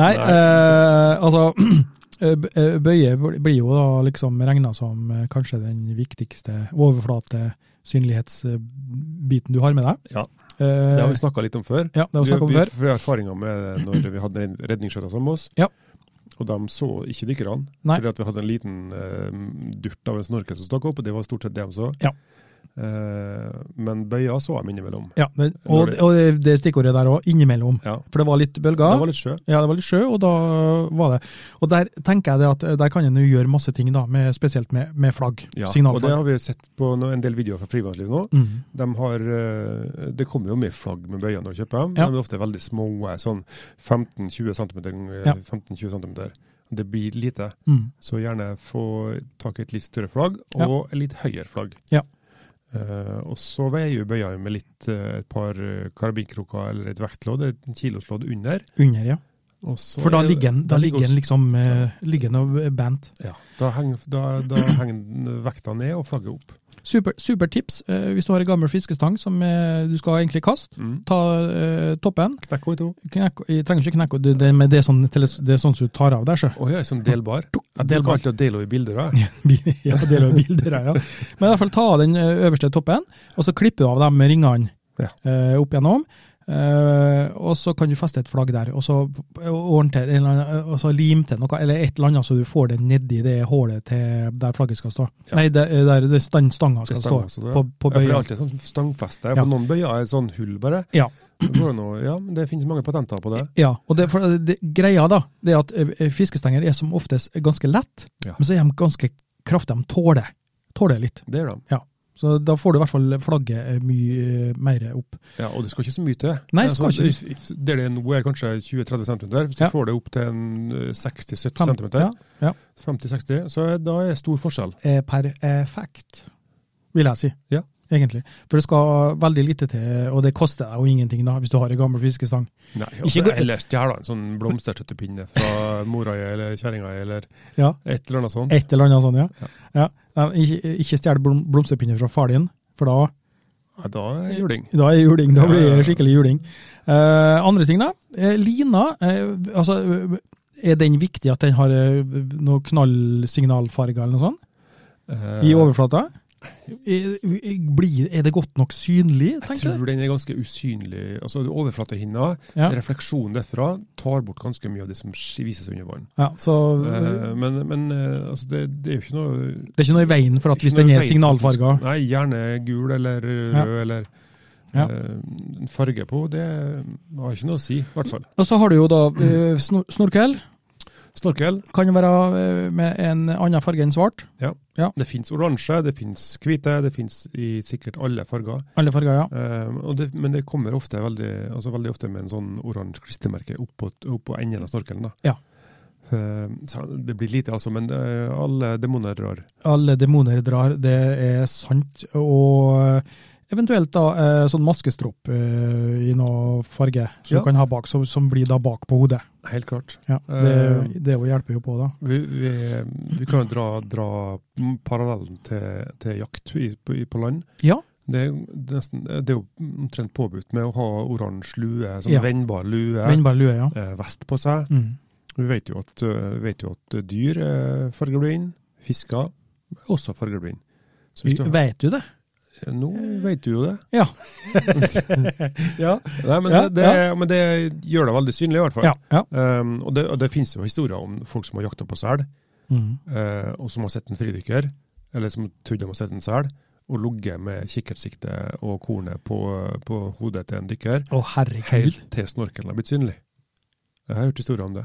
Nei,
Nei.
Eh, altså <clears throat> eh, b- eh, Bøye bl- blir jo da liksom regna som eh, kanskje den viktigste overflatesynlighetsbiten du har med deg.
Ja.
Eh,
Det har vi snakka litt om før.
ja, det har vi snakka om
vi,
før.
vi har erfaringer med det når vi hadde red- redningsskøyter sammen med oss.
Ja.
Og de så ikke dykkerne,
Nei.
fordi at vi hadde en liten eh, durt av en snorkel som stakk opp, og det var stort sett det de så.
Ja.
Eh, men bøya så de innimellom.
Ja, men, og, og det- det stikkordet der òg, innimellom.
Ja.
For det var litt bølger.
Det var litt sjø.
Ja, det var litt sjø, og da var det Og der tenker jeg det at eh, der kan en jo gjøre masse ting, da, med, spesielt med, med flagg.
Ja. Og det
Signalflagg.
har vi sett på no- en del videoer fra frivannslivet nå.
Mhm.
De har, eh, det kommer jo med flagg med bøyer når du kjøper dem.
Ja.
De er ofte veldig små, eh, sånn 15-20 cm.
Ja.
15-20 centimeter. Det blir lite.
Mhm.
Så gjerne få tak i et litt større flagg, og et litt høyere flagg.
Ja.
Eh, og så veier jo bøya med litt, eh, et par eh, karabinkroker eller et vektlodd, et kiloslodd under.
Under, ja.
Og så
For da
er det-
ligger den, da ligger den liksom eh, ligger den og bent. <clears throat>
Ja, da henger, da, da henger den- vekta eh, ned og flagget opp.
Super, super tips eh, hvis du har en gammel fiskestang som eh, du skal egentlig kaste.
Mm.
Ta eh, toppen.
Knekk henne i to.
Knekk, jeg trenger ikke knekke det, det, men det, er sånn, teles- det er sånn som du tar av der, så.
Å ja, sånn delbar. Jeg
delbar.
bruker alltid å dele henne i bilder. da.
<laughs> ja, del av bilder, ja. Men i hvert fall ta av den eh, øverste toppen, og så klipper du av dem med ringene
Ja.
eh, opp gjennom. Eh, og så kan du feste et flagg der, og så ordne til en eller annen, eh, og så lim til noe, eller et eller annet, så du får det nedi det hullet til der flagget skal stå.
Ja.
Nei, der, der det stand, stanga skal
Det
stå.
stemmer også, det.
På, på
Ja, for det er
bøya.
alltid sånn stangfeste.
Ja.
På noen bøyer er det sånn hull, bare.
Ja.
Det, går jo nå- ja, men det finnes mange patenter på det.
Ja, og det, for det, greia da, det er at eh, fiskestenger er som oftest ganske lett,
Ja.
men så er de ganske kraftige, de tåler, tåler litt.
Det er de.
Så da får du i hvert fall flagget eh, mye eh, mer opp.
Ja, og det skal ikke så mye til.
Nei, det skal
Altså,
ikke.
hvis- Der det er nå er kanskje 20-30 cm. Hvis du
Ja.
får det opp til en, eh, 60-70
Fem-
cm,
ja, ja.
50-60, så er, da er det stor forskjell.
eh, per effekt, vil jeg si.
Ja.
Egentlig. For det skal veldig lite til, og det koster deg jo ingenting da, hvis du har en gammel fiskestang.
Nei,
Ikke
altså,
gå-
Eller stjel en sånn blomsterstøttepinne fra mora di eller kjerringa di, eller
Ja. Eh.
et eller annet sånt.
Et eller annet sånt, ja. ja. Nei, Ikke, ikke stjel blom, blomsterpinner fra far din, for da,
Ja, da er det juling.
da er det juling. Da
Ja,
blir
ja, ja.
det skikkelig juling. Eh, andre ting, da. Eh, lina, eh, altså er den viktig at den har eh, noe knallsignalfarger eller noe sånt?
Eh,
I overflata? Eh, blir- Er det godt nok synlig,
Jeg
tenker du?
Eh, tror den er ganske usynlig. Altså, Overflatehinna,
Ja.
refleksjonen derfra, tar bort ganske mye av det som sk- viser seg under vann.
Ja, så
Eh,
Mhm.
Men, men eh, altså, det, det er jo ikke noe
Det er ikke noe i veien for at hvis
Ikke
den
noe
er
rent
signalfarga
faktisk. Nei, gjerne gul eller
Ja.
rød eller
Ja.
eh, en farge på. Det har ikke noe å si, i hvert fall.
Og så har du jo da eh, snor snorkel.
Snorkel.
Kan jo være eh, med en annen farge enn svart.
Det fins oransje, det fins hvite, det fins i sikkert alle farger.
Alle farger, ja.
Eh, og det, men det kommer ofte veldig, altså veldig ofte med en sånn oransje klistremerke oppå opp enden av snorkelen. da.
Ja.
Eh, så det blir lite, altså, men det, alle demoner drar.
Alle demoner drar, det er sant. Og eh, eventuelt da eh, sånn maskestrop eh, i noe farge som
Ja.
du kan ha bak, som, som blir da bak på hodet.
Helt klart.
Ja, det, det jo hjelper jo på, da.
Vi, vi, vi kan jo dra, dra parallellen til, til jakt i, på, i- på land.
Ja.
Det, er jo nesten, det er jo omtrent påbudt med å ha oransje lue, sånn
Ja.
brennbar lue,
Vennbar lue, ja.
eh, vest på seg.
Mm.
Vi vet jo at, eh, vet jo at dyr er fargeblind, fisker er også fargeblind. Så hvis du, har- Eh,
Vet du det?
nå vet du jo
<laughs>
det.
Ja. ja.
Nei, men,
Ja,
det, det, men det gjør det veldig synlig i hvert fall.
ja. ja.
Um, og, det, og det finnes jo historier om folk som har jakta på sel.
Mm.
eh, og som har sett en fridykker, eller som trodde de har sett en sel, og ligget med kikkertsikte og kornet på, på hodet til en dykker,
Å, herregud.
helt til snorkelen har blitt synlig. Jeg har hørt historier om det.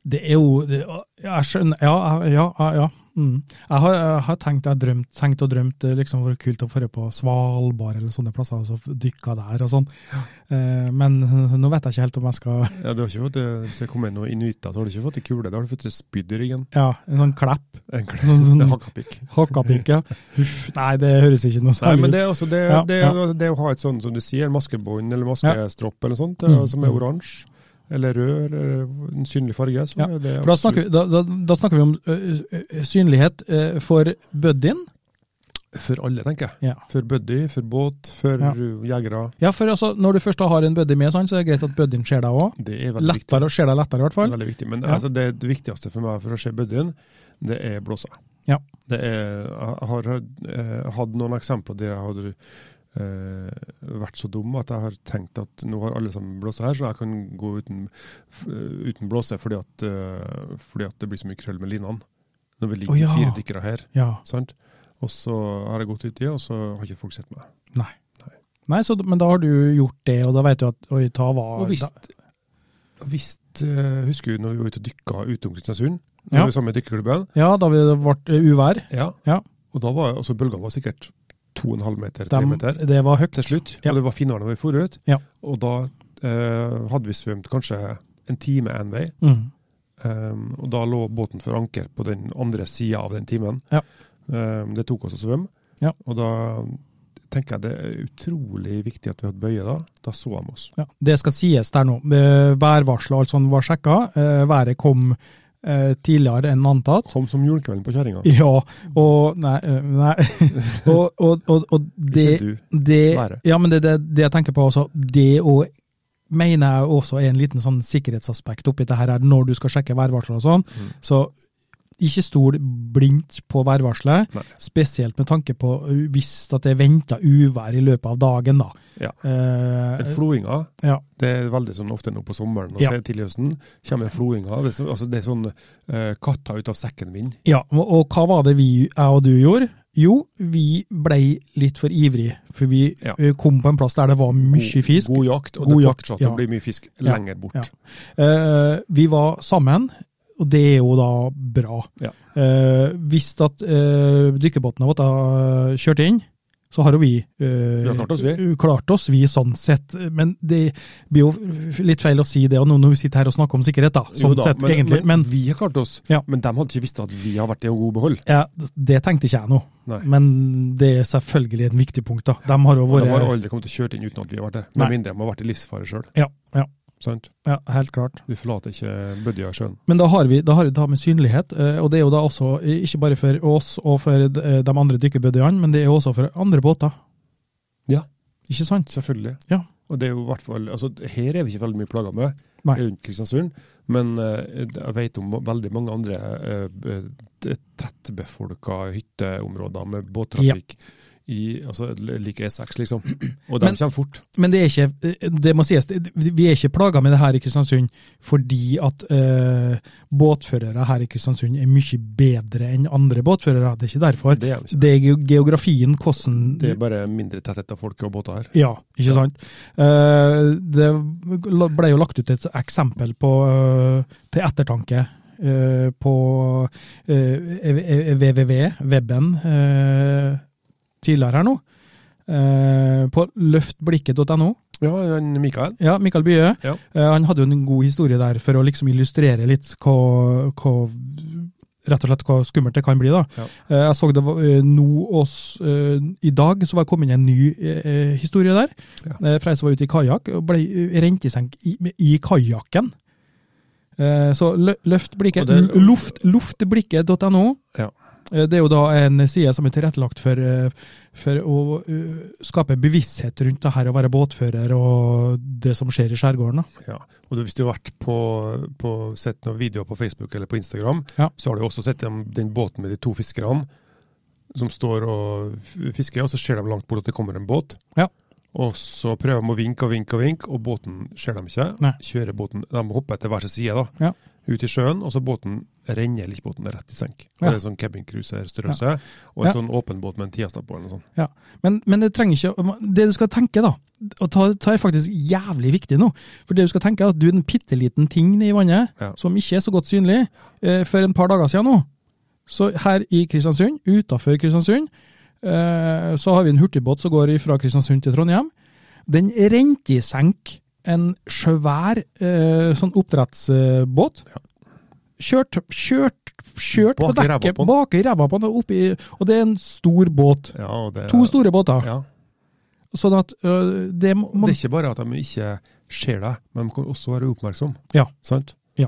Det er jo det, ja, Jeg skjønner Ja, ja, ja. ja. Mm. Jeg, har, jeg har tenkt jeg har drømt, tenkt og drømt det liksom vært kult å dra på Svalbard eller sånne plasser, altså dykka der og sånn. Eh, men <laughs> nå vet jeg ikke helt om jeg skal
Ja, du har ikke fått, eh, Hvis det kommer noen inuitter, så har du ikke fått ei kule, da har du fått et spydd i ryggen.
Ja, en sånn klepp.
En kle-
Sånn,
Det er
sånn
hakkapikk.
hakkapike. Uff, nei, det høres ikke noe
Nei,
særlig
men
ut.
det er også det,
Ja,
det,
ja.
det å ha et sånn som du sier, maskebånd eller
Ja.
maskestropp eller noe sånt,
Mm,
eh, som er
mm.
oransje eller rød eller en synlig farge, så
Ja,
er det
For da snakker, vi, da, da, da snakker vi om ø, ø, ø, synlighet ø, for buddyen.
For alle, tenker jeg.
Ja.
For buddy, for båt, for
Ja.
eh, jegere.
Ja, for altså, når du først da har en buddy med, sånn, så er det greit at buddyen ser deg òg.
Det er veldig viktig.
Lettere, ser deg lettere, i hvert fall.
Veldig viktig. Men
Ja.
altså, det, det viktigste for meg for å se buddyen, det er blåsa.
Ja.
Det er, jeg har eh, hatt noen eksempler der jeg har eh, vært så dum at jeg har tenkt at nå har alle sammen blåsa her, så jeg kan gå uten, f- uten blåse fordi at, eh, fordi at det blir så mye krøll med linene. Når vi ligger
Å, ja.
fire dykkere her,
Ja.
sant? og så har jeg gått uti, og så har ikke folk sett meg.
Nei, så, men da har du gjort det, og da vet du at oi, ta var
Og hvis, hvis eh, Husker du når vi var ute og dykka ute om Kristiansund? Når
Ja.
vi var sammen med dykkerklubben?
Ja, da vi- det ble eh, uvær.
Ja.
Ja.
Og da var altså, bølgene var sikkert 2,5 meter, 3
Dem-
meter
det var høyt.
til slutt.
Ja.
Og det var finere når vi for ut.
Ja.
Og da eh, hadde vi svømt kanskje en time en vei,
Mm.
em, og da lå båten for anker på den andre sida av den timen.
Ja.
Em, det tok oss å svømme.
Ja.
Og da tenker jeg det er utrolig viktig at vi hadde bøye da. Da så de oss.
altså, Ja. Det skal sies der nå. Eh, Værvarselet og alt sånt var sjekka. Eh, Været kom eh, tidligere enn antatt.
Som som julekvelden på kjerringa.
Ja, og Nei. eh, nei. <laughs> og, og, og, og
Ikke
det,
du.
det
Være.
Ja, men det, det, det jeg tenker på også, det å mener jeg også er en liten sånn sikkerhetsaspekt oppi det her, er når du skal sjekke værvarsler og sånn.
Mm.
Så ikke stol blindt på værvarselet,
Nei.
spesielt med tanke på uh, hvis at det er venta uvær i løpet av dagen, da.
Ja.
Eh,
Den floinga,
ja.
det er veldig sånn ofte nå på sommeren og
Ja.
se- tidlig i høsten, kommer den floinga. Det er, så, altså, det er sånn eh, katta ut av sekken-vind.
ja, og, og hva var det vi, jeg og du gjorde? Jo, vi blei litt for ivrig, for vi
Ja.
eh, kom på en plass der det var mye fisk.
God jakt, og
God
det er
jakt,
fortsatt
ja.
å bli mye fisk
Ja,
lenger bort.
ja. Eh, vi var sammen, og det er jo da bra.
Ja.
Eh, hvis at uh, dykkerbåten vår eh, kjørte inn, så har jo vi, eh,
Vi har klart oss, vi.
klart oss, vi, sånn sett. Men det blir jo litt feil å si det og nå når vi sitter her og snakker om sikkerhet, da. Sånn
Jo da,
sett, egentlig. Men,
vi har klart oss.
Ja.
Men de hadde ikke visst at vi har vært i god behold.
ja, det tenkte ikke jeg nå.
Nei.
Men det er selvfølgelig en viktig punkt, da. De har jo
Og de har
vært
aldri kommet til å kjøre inn uten at vi har vært der.
Nei.
Med mindre de har vært i livsfare sjøl.
ja, ja,
Sant?
ja, helt klart.
Du forlater ikke Bødja sjøen.
Men da har vi da har vi det her med synlighet, eh, og det er jo da også eh, ikke bare for oss og for d- eh, de andre dykkerbøddene, men det er jo også for andre båter.
Ja.
Ikke sant?
Selvfølgelig.
Ja.
Og det er jo i hvert fall altså, Her er vi ikke veldig mye plaga med,
Nei.
rundt Kristiansund, men eh, jeg vet om veldig mange andre eh, eh, t- tettbefolka hytteområder med båttrafikk. I, altså, like E6, liksom. Og de
Men-
kommer fort.
Men det er ikke, eh, det må sies, det- vi er ikke plaga med det her i Kristiansund fordi at eh, båtførere her i Kristiansund er mye bedre enn andre båtførere. Det er ikke derfor.
Det er, de ikke.
Det er ge- geografien, hvordan
det er bare mindre tetthet av folk og båter her.
Ja, ikke sant? Eh, det ble jo lagt ut et eksempel på, eh, til ettertanke eh, på eh, www, webben, eh, tidligere her nå. eh, på løftblikket.no.
Ja, han Mikael.
Ja, Mikael Bye.
Ja.
eh, han hadde jo en god historie der for å liksom illustrere litt hva, hva Rett og slett hva skummelt det kan bli. da.
Ja.
Eh, Jeg så det var, eh, nå oss, eh, I dag så var jeg kommet inn i en ny eh, eh, historie der.
Ja.
Eh, Fra ei som var ute i kajakk, og ble eh, rent i senk i, med- i kajakken. Eh, Så lø- løft blikket.
Og det-
l- Luft, luftblikket.no.
Ja.
Eh, Det er jo da en side som er tilrettelagt for, eh, for å eh, skape bevissthet rundt det her å være båtfører og det som skjer i skjærgården. da.
Ja, og du, Hvis du har vært på, på sett noen videoer på Facebook eller på Instagram,
Ja.
så har du også sett den, den båten med de to fiskerne som står og f- fisker, og så ser de langt bort at det kommer en båt.
Ja.
Og så prøver de å vinke og vinke og vinke, og båten ser dem ikke.
Nei.
Kjører båten, De hopper etter hver sin side da,
Ja.
ut i sjøen, og så båten renner likkbåten rett i senk. Og
Ja.
Det er sånn cabincruiser-størrelse, og en
Ja.
sånn åpen båt med en tiastapp på. eller noe sånt.
Men, men det trenger ikke Det du skal tenke, da, og ta, ta er faktisk jævlig viktig nå. For det du skal tenke, er at du er en bitte liten ting nede i vannet
Ja.
som ikke er så godt synlig. Eh, for en par dager siden nå, så her i Kristiansund, utafor Kristiansund, eh, så har vi en hurtigbåt som går fra Kristiansund til Trondheim. Den rente i senk en svær eh, sånn oppdrettsbåt. Kjørt, kjørt, kjørt på
Bak i ræva
dekket,
på den.
bak i ræva på den, og oppi, og det er en stor båt.
Ja, og det,
To store båter.
Eh, Ja.
Sånn at øh, det må
Det
man,
er ikke bare at de ikke ser deg, men de kan også være oppmerksom.
Ja.
Sant?
Ja.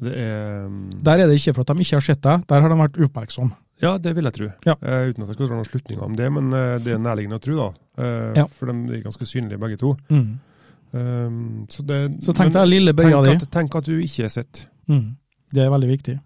Det er, um,
Der er det ikke for at de ikke har sett deg, der har de vært oppmerksom.
ja, det vil jeg tro.
Ja.
Eh, uten at jeg skal dra noen slutninger om det, men eh, det er nærliggende å tro, da. Eh,
Ja.
For de er ganske synlige, begge to. Eh, så det,
Så tenk
Mm. men
deg lille bøya
tenk
di.
at, tenk at du ikke er sett.
Mm. Det er veldig viktig.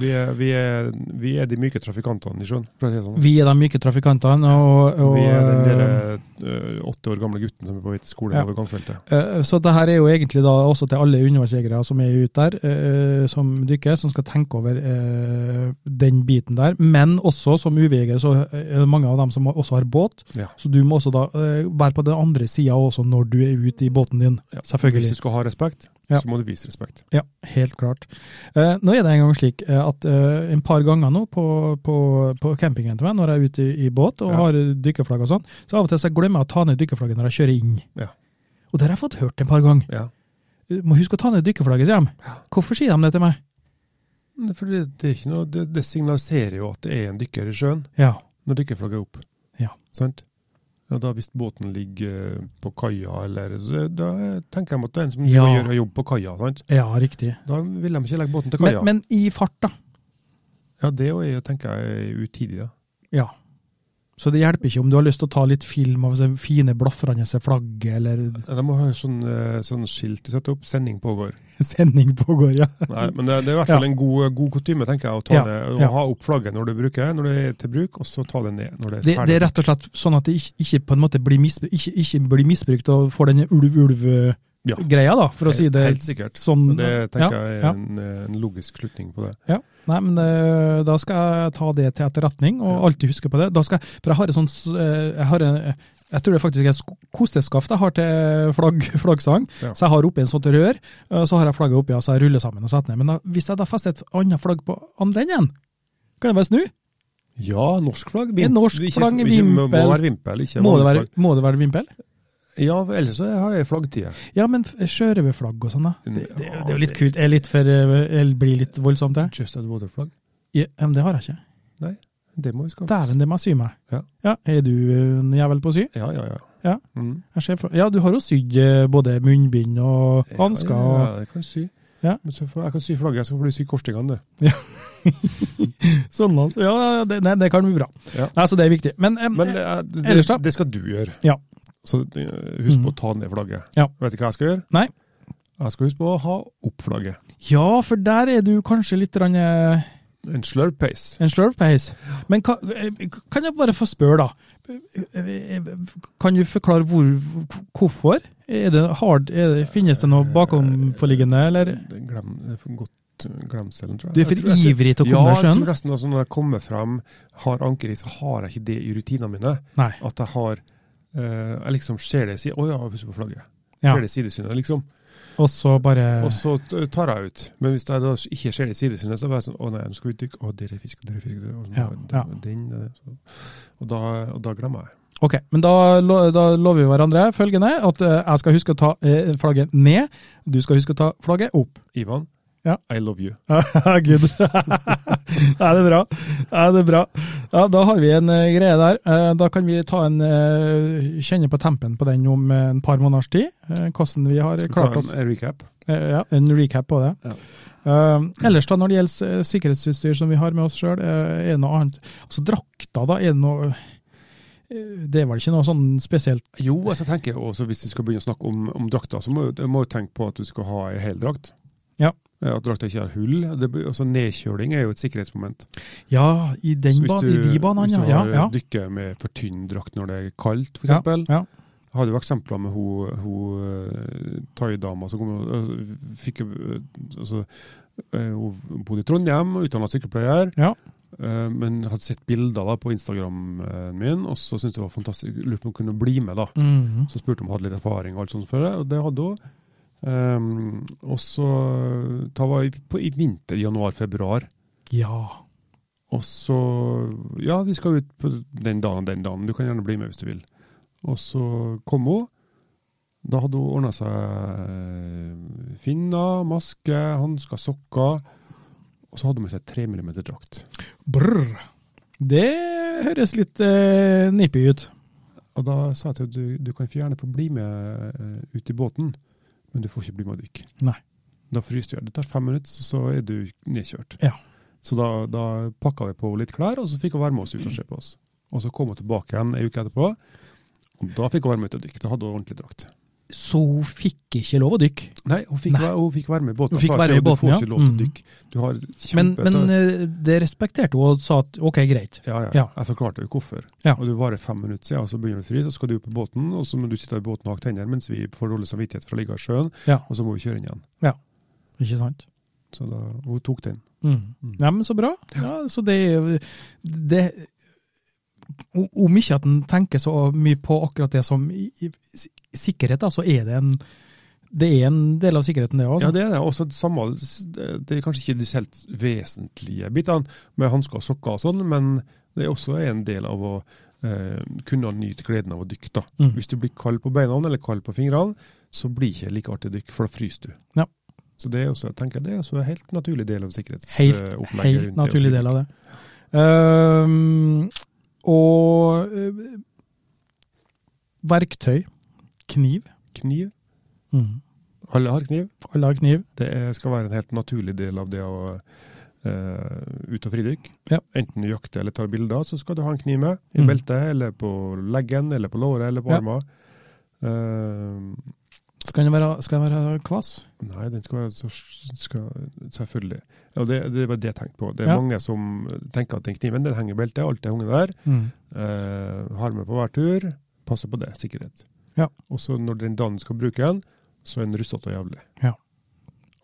Vi er, vi er, vi er de myke trafikantene i sjøen, for å si det sånn.
Vi er de myke trafikantene, og, og
Vi er den der eh, åtte år gamle gutten som er på vei til skolen
Ja.
over gangfeltet.
Eh, Så det her er jo egentlig da også til alle undervannsjegere som er ute der, eh, som dykker, som skal tenke over eh, den biten der. Men også som UV-jeger, så er det mange av dem som også har båt.
Ja.
Så du må også da eh, være på den andre sida også når du er ute i båten din.
Ja. Hvis
Selvfølgelig.
du skal ha respekt,
Ja.
så må du vise respekt.
Ja, helt klart. Eh, nå er det en gang slik eh, at eh, en par ganger nå på, på, på campingen til meg, når jeg er ute i, i båt og
Ja.
har eh, dykkerflagg og sånn, så av og til så glemmer jeg å ta ned dykkerflagget når jeg kjører inn.
Ja.
Og det har jeg fått hørt en par ganger.
Ja.
Eh, Må huske å ta ned dykkerflagget, sier de. Hvorfor sier de det til meg?
Nei, For det, det, er ikke noe, det, det signaliserer jo at det er en dykker i sjøen
Ja.
når dykkerflagget er opp.
Ja.
Sant? Ja, da Hvis båten ligger eh, på kaia, eller så, Da tenker jeg at det er en som
Ja.
gjør jobb på kaia. sant?
Ja, riktig.
Da vil de ikke legge båten til
Men,
kaia.
men i fart, da.
ja, det er jo, tenker jeg er utidig, da.
Ja. Så det hjelper ikke om du har lyst til å ta litt film av det fine, blafrende flagget, eller
Ja, De må ha sånn, eh, sånn skilt de setter opp. 'Sending pågår'.
sending pågår, ja.
Nei, men det, det er i hvert fall
Ja.
en god, god kutyme, tenker jeg, å ta
Ja,
det, å
ja.
ha opp flagget når du bruker når det er til bruk, og så ta det ned når det er
Det,
ferdig.
det er rett og slett sånn at det ikke, ikke på en måte blir, misbru ikke, ikke blir misbrukt og får denne
Ja.
ulv-ulv-greia, da, for å
Helt-
si det
helt sikkert.
sånn.
Og det tenker
ja,
jeg er
ja.
en, eh, en logisk slutning på det.
Nei, men eh, da skal jeg ta det til etterretning, og
Ja.
alltid huske på det. Da skal, jeg- for jeg har et sånt s- eh, jeg, har en, jeg tror det faktisk er sk- kosteskaft jeg har til flagg, <laughs> flaggsang.
Ja.
Så jeg har oppi en sånt rør, eh, så har jeg flagget oppi, og så jeg ruller sammen og setter ned. Men da, hvis jeg da fester et annet flagg på andre enden, kan jeg bare snu?
Ja, norsk flagg.
En norsk
ikke-
flagg,
ikke- Må
vimpel.
være vimpel, ikke
Må det
vanlig
være, må det være vimpel?
flagg. Ja, ellers så har jeg flaggtida.
Ja, men f- sjørøverflagg og sånn, da.
Ja,
Det, det, det er jo litt kult. Er litt for, eh, eller blir litt voldsomt, det?
Just at water-flagg.
Ja, men det har jeg ikke.
Det må vi skaffe.
Dæven, det må jeg sy meg.
Ja.
Er du eh, en jævel på å sy?
Ja, ja, ja.
Ja.
Mm.
Jeg ser for... Ja, du har jo sydd eh, både munnbind og hansker.
Ja, ja,
og-
ja, jeg kan sy.
Ja. Mm.
Men så får, jeg kan sy flagget, så får du sy korstingene, du.
Sånn, altså. Ja, det, nei, det kan bli bra.
Ja.
Nei, så det er viktig. Men, em,
Men eh, det,
ellers da?
det, det skal du gjøre.
Ja.
Så eh, husk på
Mhm.
å ta ned flagget.
Ja.
Vet du hva jeg skal gjøre?
Nei.
Jeg skal huske på å ha opp flagget.
ja, for der er du kanskje litt grann, eh,
En slurp pace.
en slurvpeis. Men ka, eh, kan jeg bare få spørre, da? Eh, eh, Kan du forklare hvor, hvorfor? Er det hard, er det, finnes det noe bakomforliggende, eller?
Det glem, det er for godt eh, glemselen, tror jeg.
Du er
Jeg tror
for
jeg-
ivrig til å
Ja,
komme deg
jeg
sjøen?
tror nesten altså når jeg kommer frem, har anker i, så har jeg ikke det i rutinene mine.
Nei.
At jeg har eh, Jeg liksom ser det i siden Å ja, husk på flagget.
Ja. Eh.
Ser det i sidesynet, liksom.
Og så bare
Og så t- tar jeg ut. Men hvis jeg da ikke ser det i sidesynet, så er jeg sånn Å nei, nå skal vi dykke. Å, der er fisk, der er fisk. Der. er- Og, så,
Ja,
den,
ja.
Den, eh, så. Og, da, og da glemmer jeg.
Ok, men da, lo- da lover vi hverandre følgende, at eh, jeg skal huske å ta eh, flagget ned, du skal huske å ta flagget opp.
Ivan,
Ja. <laughs>
I love you.
Gud. Nei, det er bra. Nei, det er bra. Ja, da har vi en eh, greie der. Eh, da kan vi ta en, eh, kjenne på tempen på den om eh, en par måneders tid, eh, hvordan vi har
Skal vi ta
klart
en
oss.
eh, recap?
Eh, ja, en recap på det.
Ja.
Eh, ellers da, når det gjelder eh, sikkerhetsutstyr som vi har med oss sjøl, er det noe annet? Altså drakta, da, er det noe eh, Det er vel ikke noe sånn spesielt
Jo, altså jeg tenker også hvis vi skal begynne å snakke om, om drakta, så må du må jo tenke på at du skal ha ei heldrakt.
Ja.
Eh, At drakta ikke har hull. Det, blir- altså Nedkjøling er jo et sikkerhetsmoment.
Ja, i, den
Så hvis
ba
du-
i de banene,
Hvis
ja.
du
ja,
har
ja.
dykker med for tynn drakt når det er kaldt, f.eks.
Ja,
eksempel
ja.
Jeg hadde jo eksempler med hun, hun eh, thaidama som kom, og, eh, fikk eh, altså, eh, Hun bodde i Trondheim, utdanna sykepleier.
Ja.
eh, Men hadde sett bilder da på Instagram-en min, og så syntes jeg det var fantastisk. Lurte på om hun kunne bli med, da.
Mhm.
Så spurte hun om hun hadde litt erfaring og alt sånt før det, og det hadde hun. Ehm, og så da var jeg på, i vinter, januar-februar.
ja.
Og så Ja, vi skal ut på den dagen og den dagen. Du kan gjerne bli med hvis du vil. Og så kom hun. Da hadde hun ordna seg eh, finner, maske, hansker, sokker. Og så hadde hun med seg 3 mm drakt.
Brr. Det høres litt eh, nippig ut.
Og da sa jeg til henne du, du kan gjerne få bli med eh, ut i båten, men du får ikke bli med å dykke.
Nei.
Da fryser du. i hjel. Det tar fem minutter, så- så er du nedkjørt.
Ja.
Så da, da pakka vi på litt klær, og så fikk hun være med oss ut og se på oss. Og så kom hun tilbake igjen ei uke etterpå, og da fikk hun være med ut og dykke. Da hadde hun ordentlig drakt.
Så hun fikk ikke lov å dykke.
Nei, hun fikk,
Nei.
Være, hun fikk være med i båten.
Hun fikk
Jeg sa til
være med i
henne,
båten,
Du
ja.
får ikke lov til å
Mm.
dykke. Du har kjempe...
Men, men eh, det respekterte hun og sa at ok, greit.
Ja, ja.
Ja.
Jeg forklarte jo hvorfor.
Ja.
Og det varer fem minutter siden, og så begynner det å fryse, og så skal du opp i båten, og så må du sitte i båten og hakke tenner mens vi får dårlig samvittighet for å ligge i sjøen,
Ja.
og så må vi kjøre inn igjen.
Ikke sant?
Så da, hun tok den.
Mm.
Mm.
Nei, men så bra. Ja, så det er jo- det o- Om ikke at en tenker så mye på akkurat det som i, i, s- sikkerhet, da, så er det en det er en del av sikkerheten, det òg.
Ja, Altså, det er det. Også det samme, det er kanskje ikke de helt vesentlige bitene med hansker og sokker og sånn, men det er også en del av å eh, kunne nyte gleden av å dykke. da.
Mm.
Hvis du blir kald på beina eller kald på fingrene, så blir det ikke like artig å dykke, for da fryser du.
Ja.
Så det er også, jeg tenker, det er også en helt naturlig del av
Helt-
sikkerhetsopplegget.
Helt naturlig del av det. Ehm, og eh, Verktøy. Kniv.
Kniv.
Mm.
Alle har kniv.
Alle har kniv.
Det er, skal være en helt naturlig del av det å eh, ut og fridykk.
Ja.
Enten du jakter eller tar bilder, så skal du ha en kniv med. I
Mm.
beltet, eller på leggen, eller på låret, eller på
Ja.
armen. Eh,
Skal den være, skal den være kvass?
Nei, den skal være så skal, Selvfølgelig. Ja, det, det var det jeg tenkte på. Det er
Ja.
mange som tenker at den kniven den henger i beltet, alt er hunget der.
Mm.
Eh, har med på hver tur. Passer på det, sikkerhet.
Ja.
Og så når den dagen skal bruke den, så er den rustete og jævlig.
Ja.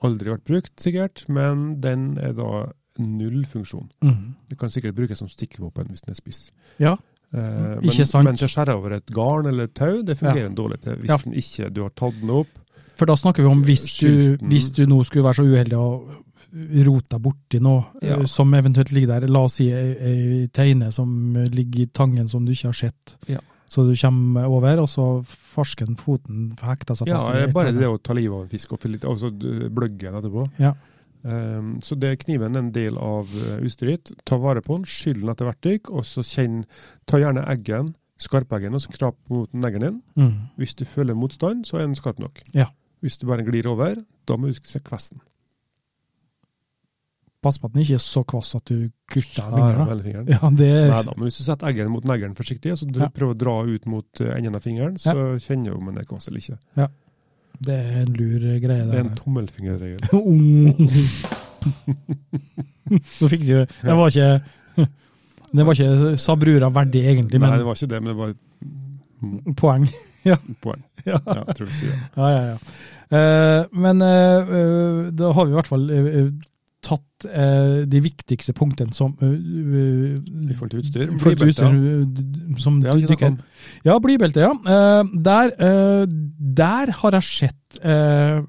Aldri vært brukt, sikkert, men den er da null funksjon.
Mm.
Den kan sikkert brukes som stikkvåpen hvis den er spiss.
Ja.
Eh,
Mm, Ikke
men,
sant.
Men til å skjære over et garn eller et tau, det fungerer dårlig til hvis
Ja.
den ikke du har tatt den opp.
For da snakker vi om hvis du,
Skylten.
hvis du nå skulle være så uheldig å rote borti noe
Ja.
eh, som eventuelt ligger der, la oss si ei, ei teine som ligger i tangen som du ikke har sett.
Ja.
Så du kommer over, og så farsker den foten hekter seg
Ja,
fast. i et
bare
eller
det å
annet.
ta livet av en fisk og fylle litt, altså d- bløgge den etterpå.
Ja.
Ehm, så det er kniven en del av eh, utstyret ditt. Ta vare på den, skyll den etter hvert dykk, og så kjenn Ta gjerne eggen, skarpeggen, og skrap mot neglen din.
Mm.
Hvis du føler motstand, så er den skarp nok.
Ja.
Hvis du bare glir over, da må du huske kvesten.
Pass på at den ikke er så kvass at du kutter
Skjære
av
med
fingrene.
hele fingeren.
Ja, det er
Neida, men hvis du setter eggen mot neglen forsiktig, og så dr-
Ja.
prøver å dra ut mot eh, enden av fingeren, så kjenner du om den er kvass eller ikke.
Det er en lur greie.
Det er
der.
<laughs> en tommelfingerregel.
Nå fikk du Det var ikke Det var ikke sabrura verdig, egentlig,
Nei,
men
det var ikke det, men det var et mm,
poeng. <laughs>
poeng. Ja,
Ja,
jeg tror du sier det.
ja, ja. ja. Eh, men eh, eh, da har vi i hvert fall eh, eh, tatt eh, de viktigste punktene som eh, eh,
I forhold til utstyr.
i forhold til
Blybelte,
utstyr, eh, d- som
Det har vi ikke snakket
dykker.
om.
Ja, blybelte, ja. Eh, der, eh, der har jeg sett eh,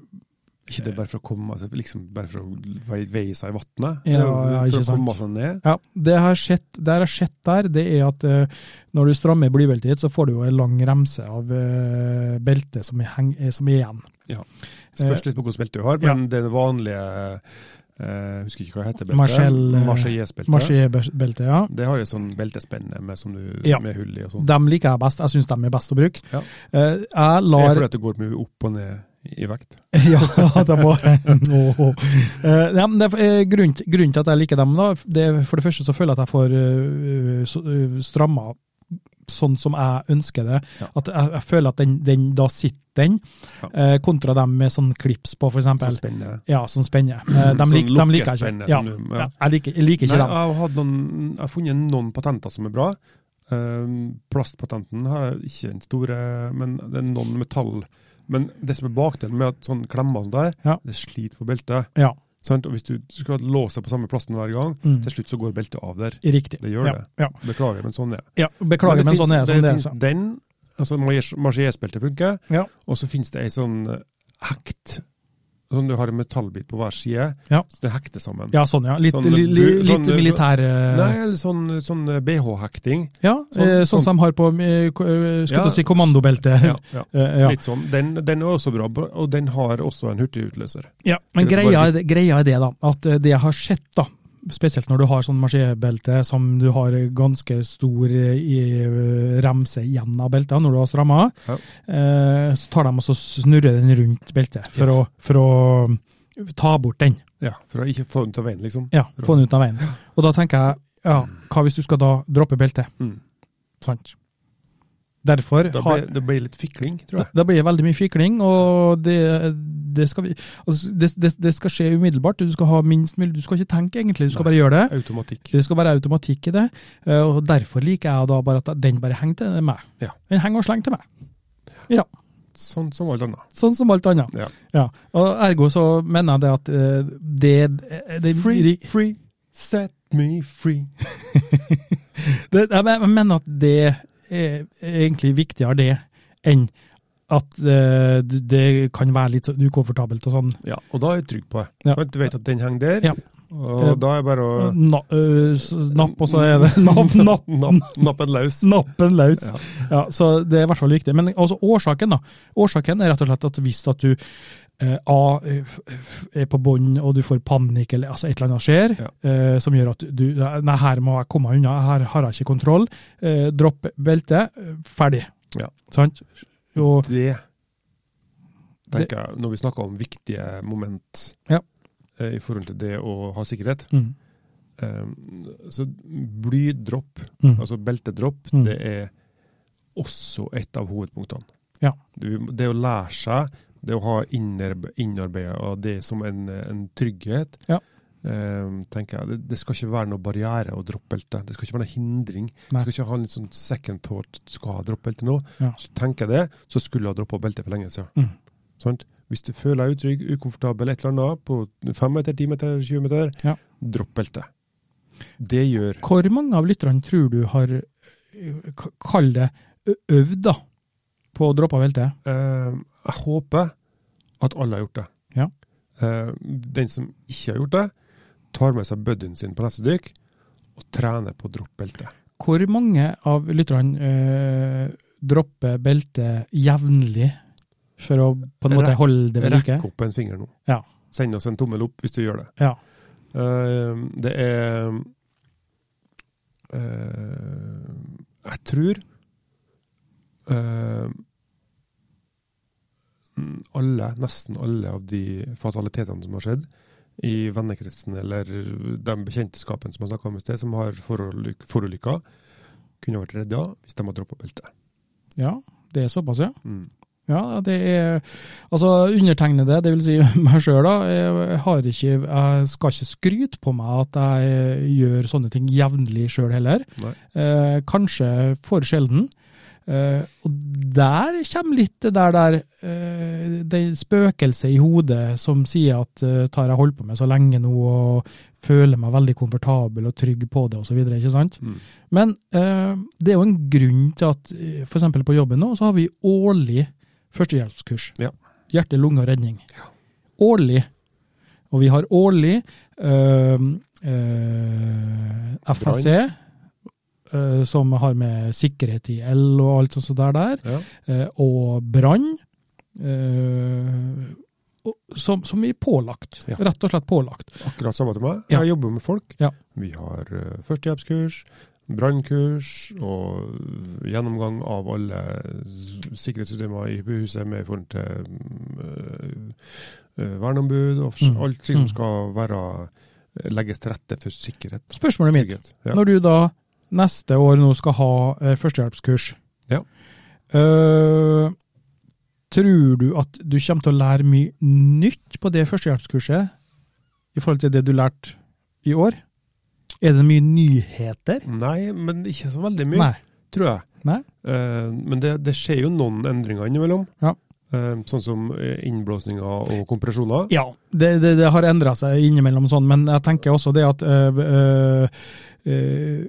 Ikke det bare for å komme, altså, liksom bare for å vei- veie seg i vannet.
Ja, ja,
For
ikke
å
sant.
komme seg ned.
Ja, det har skjedd, det har skjedd der, det er at eh, når du strammer blybeltet ditt, så får du jo en lang remse av uh, beltet som er, heng, eh, som er igjen. Eh,
Spørs litt på hvilket belte du har, men det vanlige eh, Husker ikke hva det heter. beltet.
Marcel, eh,
Marseillais-beltet.
Marché-beltet, ja.
Det har jo sånn beltespenne med, som du,
Ja.
med hull i og sånn.
De liker jeg best, jeg syns de er best å bruke.
Ja.
Eh, jeg
Det er
lar
fordi at det går mye opp og ned i vekt.
<laughs> Ja, de må Åh. Eh, ja, men det er, eh, grunnen, til- grunnen til at jeg liker dem, da, det er for det første så føler jeg at jeg får eh, så- eh, stramma sånn som jeg ønsker det.
Ja.
At jeg, jeg føler at den, den da sitter den,
Ja.
eh, kontra dem med sånn klips på, for
Så
eksempel.
spennende.
Ja, sånn spenner.
<clears throat>
Eh, de,
Sånn
lik, de liker jeg
lukkespenne
ikke. Ja,
som du- ja.
ja, jeg liker, jeg liker
Nei,
ikke
jeg
dem.
har, hatt noen, jeg har funnet noen patenter som er bra. Ehm, plastpatenten har jeg ikke den store, men det er noen metall. Men det som er bakdelen med at sånne klemmer og sånt der,
Ja.
det sliter på beltet.
Ja.
Sant? Og hvis du skulle ha låst deg på samme plassen hver gang,
Mm.
til slutt så går beltet av der.
Riktig.
Det gjør
ja,
det.
Ja.
Beklager, men sånn er det.
ja, beklager, men,
det
sånn
finnes-
er det. Sånn det, er,
finnes
så.
Den, altså marsjésbeltet funker,
Ja.
og så finnes det ei sånn hekt, sånn du har en metallbit på hver side,
Ja.
så det hekter sammen.
ja, sånn, ja. Litt,
Sånn-
li, li,
sånn-
litt militær eh,
Nei, eller sånn, sånn BH-hekting.
Ja,
sånn-
eh, sånn,
sånn.
som de har på eh, ko- eh, skulle
Ja.
du si kommandobelte.
Ja, ja.
<laughs> Eh, ja.
Litt sånn. Den, den er også bra, og den har også en hurtigutløser.
Ja, men
Det er
greia
bare
er, det- greia er det, da. At eh, det jeg har sett, da. Spesielt når du har sånn marsjebelte som du har ganske stor eh, i- remse igjen av beltet når du har stramma,
Ja.
eh, så tar de og så snurrer den rundt beltet for, å, for å eh, ta bort den.
Ja, For å ikke få den til å veie, liksom.
Ja, Få den ut av veien. Og da tenker jeg, ja, hva hvis du skal da droppe beltet?
Mm.
Sant? Derfor
Da
har
blir det blir litt fikling, tror jeg.
da blir det veldig mye fikling, og det, det, skal, vi, altså det, det, det skal skje umiddelbart. Du skal ha minst mulig, du skal ikke tenke egentlig, du skal
Nei.
bare gjøre det.
Automatikk.
Det skal være automatikk i det, eh, og derfor liker jeg da bare at den bare henger til meg.
Ja.
Den henger og slenger til meg,
Sånn som alt annet.
sånn som alt annet.
Ja.
Og ergo så mener jeg det at eh, det, det,
Free, free, set me free.
det jeg men- Jeg mener at det er egentlig viktigere det enn at eh, du- det kan være litt sånn ukomfortabelt og sånn.
Ja, og da er jeg trygg på det.
Ja.
Sant? Du vet at den henger der,
Ja.
og da er det bare å
Na, øh, s- napp, og så er
<laughs>
det <laughs> napp, napp,
napp, nappe den løs.
nappen løs.
Ja.
Ja, så det er i hvert fall viktig. Men altså årsaken, da. Årsaken er rett og slett at hvis at du eh, A er på bånn, og du får panikk, eller altså et eller annet skjer eh, som gjør at du Nei, her må jeg komme unna, her har jeg ikke kontroll. Eh, dropp beltet, eh, ferdig.
Ja.
Sant? Og
det tenker jeg, når vi snakker om viktige moment
Ja.
eh, i forhold til det å ha sikkerhet,
mm,
eh, så blydropp,
mm,
altså beltedropp,
Mm.
det er også et av hovedpunktene.
Ja.
Du, det å lære seg, det å ha innarbeida og det som en, en trygghet,
Ja.
eh, tenker jeg, det, det skal ikke være noe barriere å droppe belte. Det skal ikke være noe hindring. Du
Nei.
skal ikke ha en litt sånn second thought, du skal ha droppe belte nå.
Ja.
Så tenker jeg det, så skulle jeg ha droppa beltet for lenge siden.
mm,
Sant? Hvis du føler deg utrygg, ukomfortabel, et eller annet, på 5 meter, 10 meter, 20 meter,
Ja.
dropp beltet. Det gjør
Hvor mange av lytterne tror du har, eh, k- kall det, ø- øvd da, på å droppe belte?
eh, Jeg håper at alle har gjort det.
Ja.
Eh, den som ikke har gjort det, tar med seg buddyen sin på neste dykk og trener på å droppe beltet.
Hvor mange av lytterne eh, dropper belte jevnlig for å på en måte
Rekk-
holde det ved
Rekk
like?
opp en finger nå.
Ja.
Send oss en tommel opp hvis du gjør det.
Ja.
Eh, det er eh, Jeg tror eh, mm, alle, nesten alle av de fatalitetene som har skjedd i vennekretsen eller de bekjenteskapene som jeg snakka om i sted, som har forulyk- forulykka, kunne ha vært redda hvis de hadde droppa beltet.
Ja, det er såpass, ja.
Mm.
Ja, det er Altså, undertegnede, det vil si <laughs> meg sjøl, da. Jeg, har ikke, jeg skal ikke skryte på meg at jeg eh, gjør sånne ting jevnlig sjøl heller.
Nei.
Eh, kanskje for sjelden. Eh, og der kommer litt det der, der eh, det spøkelset i hodet som sier at eh, tar jeg holdt på med så lenge nå og føler meg veldig komfortabel og trygg på det osv., ikke sant?
Mm.
Men eh, det er jo en grunn til at eh, for eksempel på jobben nå, så har vi årlig førstehjelpskurs.
Ja.
Hjerte, lunge og redning. Årlig. Og vi har årlig eh, eh, FSC, eh, som har med sikkerhet i el og alt sånt der der,
Ja.
eh, og brann. eh, og- som, som vi er pålagt.
Ja.
Rett og slett pålagt.
Akkurat samme til meg.
Ja.
Jeg jobber med folk.
Ja.
Vi har eh, førstehjelpskurs, brannkurs og gjennomgang av alle s- sikkerhetssystemer i huset med i forhold til mm, eh, eh, verneombud og fors-
Mm.
alt som
Mm.
skal være eh, legges til rette for sikkerhet.
Spørsmålet mitt
Trygghet. Ja.
Når du da neste år nå skal ha eh, førstehjelpskurs,
Ja.
eh, tror du at du kommer til å lære mye nytt på det førstehjelpskurset i forhold til det du lærte i år? Er det mye nyheter?
Nei, men ikke så veldig mye,
Nei.
tror jeg.
Nei.
Eh, men det, det skjer jo noen endringer innimellom.
Ja.
Eh, sånn som eh, innblåsninger og kompresjoner.
Ja, det, det, det har endra seg innimellom sånn, men jeg tenker også det at eh, eh, eh,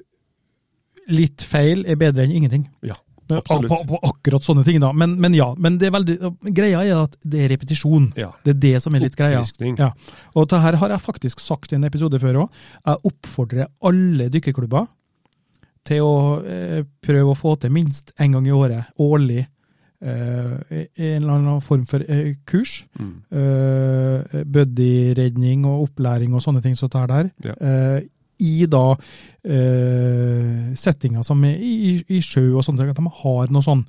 litt feil er bedre enn ingenting.
Ja,
Eh,
absolutt.
På, på akkurat sånne ting, da. Men, men ja. Men det er veldig, greia er at det er repetisjon.
Ja.
Det er det som er litt greia.
Oppfriskning.
Ja. Og det her har jeg faktisk sagt i en episode før òg. Jeg oppfordrer alle dykkerklubber til å eh, prøve å få til minst én gang i året, årlig, eh, en eller annen form for eh, kurs.
Mm.
Eh, buddy-redning og opplæring og sånne ting som det er der.
Ja.
Eh, I da eh, settinger som er i, i, i sjø og sånne ting, at de har noe sånn,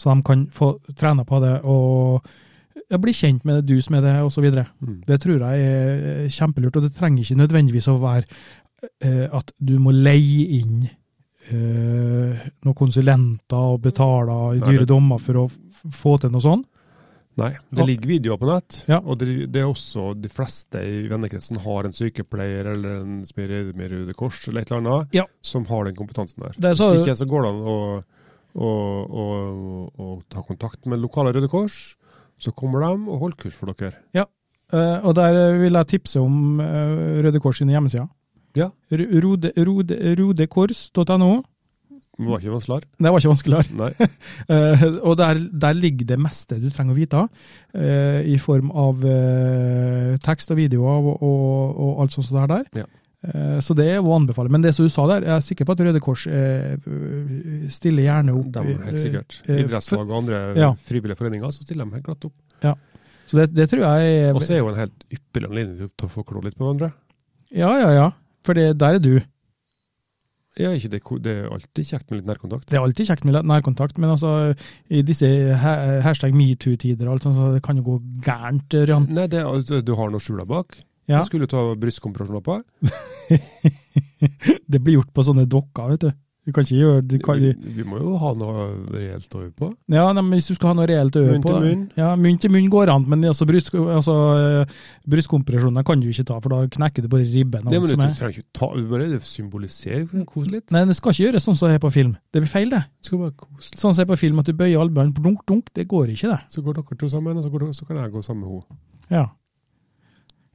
så de kan få trene på det og ja, bli kjent med det, du som er det, osv.
Mm.
Det tror jeg er eh, kjempelurt, og det trenger ikke nødvendigvis å være eh, at du må leie inn eh, noen konsulenter og betale i
Nei,
dyre
det-
dommer for å f- få til noe sånt.
Nei, det
Ja.
ligger videoer på nett,
Ja.
og det, det er også de fleste i vennekretsen har en sykepleier eller en spirituell med Røde Kors eller et eller annet
Ja.
som har den kompetansen der.
Det er så-
Hvis ikke så går det an å, å, å, å ta kontakt med lokale Røde Kors, så kommer de og holder kurs for dere.
Eh, og der eh, vil jeg tipse om eh, Røde Kors sine hjemmesider.
Ja.
Ru- Rode- Rode- Rodekors.no.
Det var ikke vanskeligere.
Det var ikke vanskelig.
Nei.
<laughs> Eh, og der, der ligger det meste du trenger å vite, eh, i form av eh, tekst og videoer og, og, og alt sånt som det er der.
Ja.
Eh, så det er å anbefale. Men det som du sa der, jeg er sikker på at Røde Kors eh, stiller gjerne opp.
De, helt
eh,
sikkert.
eh, eh,
Idrettslag og andre
Ja.
frivillige foreninger, så stiller de helt glatt opp.
Eh, Så det, det tror jeg er
Og så er jo en helt ypperlig anledning til å få klå litt på hverandre.
Ja, ja, ja. For det, der er du.
Ja, ikke det, ko- det er alltid kjekt med litt nærkontakt.
Det er alltid kjekt med nærkontakt, men altså, i disse ha- hashtag metoo-tider og alt sånt, så det kan jo gå gærent, Ørjan.
Nei, det er, altså, du har noe skjula bak.
Ja,
Jeg skulle ta brystkompresjonslapper.
det blir gjort på sånne dokker, vet du. Du kan ikke gjøre du kan,
Vi, vi må jo ha noe reelt å øve på.
Ja, nei, men Hvis du skal ha noe reelt å øve
Munn
på
til
da.
munn.
Ja, munn til munn går an, men altså, bryst, altså, eh, brystkompresjoner kan du ikke ta, for da knekker du bare ribben. og
Nei, men
alt
du
som er.
trenger ikke ta, du bare symbolisere, kos litt.
Nei, det skal ikke gjøres sånn som det er på film. Det blir feil, det.
Det skal bare kose litt.
Sånn som det er på film, at du bøyer albuen, dunk, dunk, det går ikke, det.
Så går dere to sammen, og så, går, dere- så kan jeg gå sammen med henne.
Ja.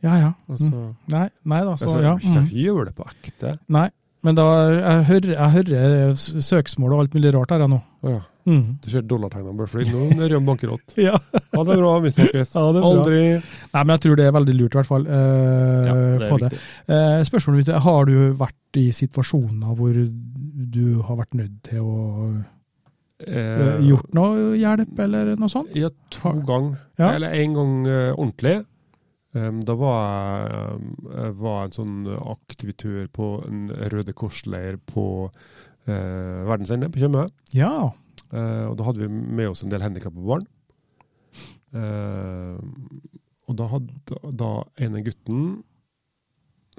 Ja, ja.
Og
Mm.
så,
Nei, nei da, så
altså,
ja.
hvis
Mm.
jeg gjør det på ekte.
Nei, men da, jeg hører, jeg hører s- søksmål og alt mulig rart her jeg nå.
Å ja,
Mm.
du ser dollartegnene bare fly. Nå er Røm bankerott.
<laughs> Ja.
Ha det bra, vi snakkes.
Ja, det er bra.
Aldri.
Nei, men jeg tror det er veldig lurt i hvert fall. eh, på det. Eh, spørsmålet mitt er, har du vært i situasjoner hvor du har vært nødt til å eh,
Eh,
gjort noe hjelp, eller noe sånt?
ja, to ganger.
Ja.
Eller en gang eh, ordentlig. Em, da var jeg, em, jeg var en sånn aktivitør på en Røde Kors-leir på eh, verdensende på Tjøme.
Ja.
Eh, og da hadde vi med oss en del handikappa barn. Eh, og da hadde da ene gutten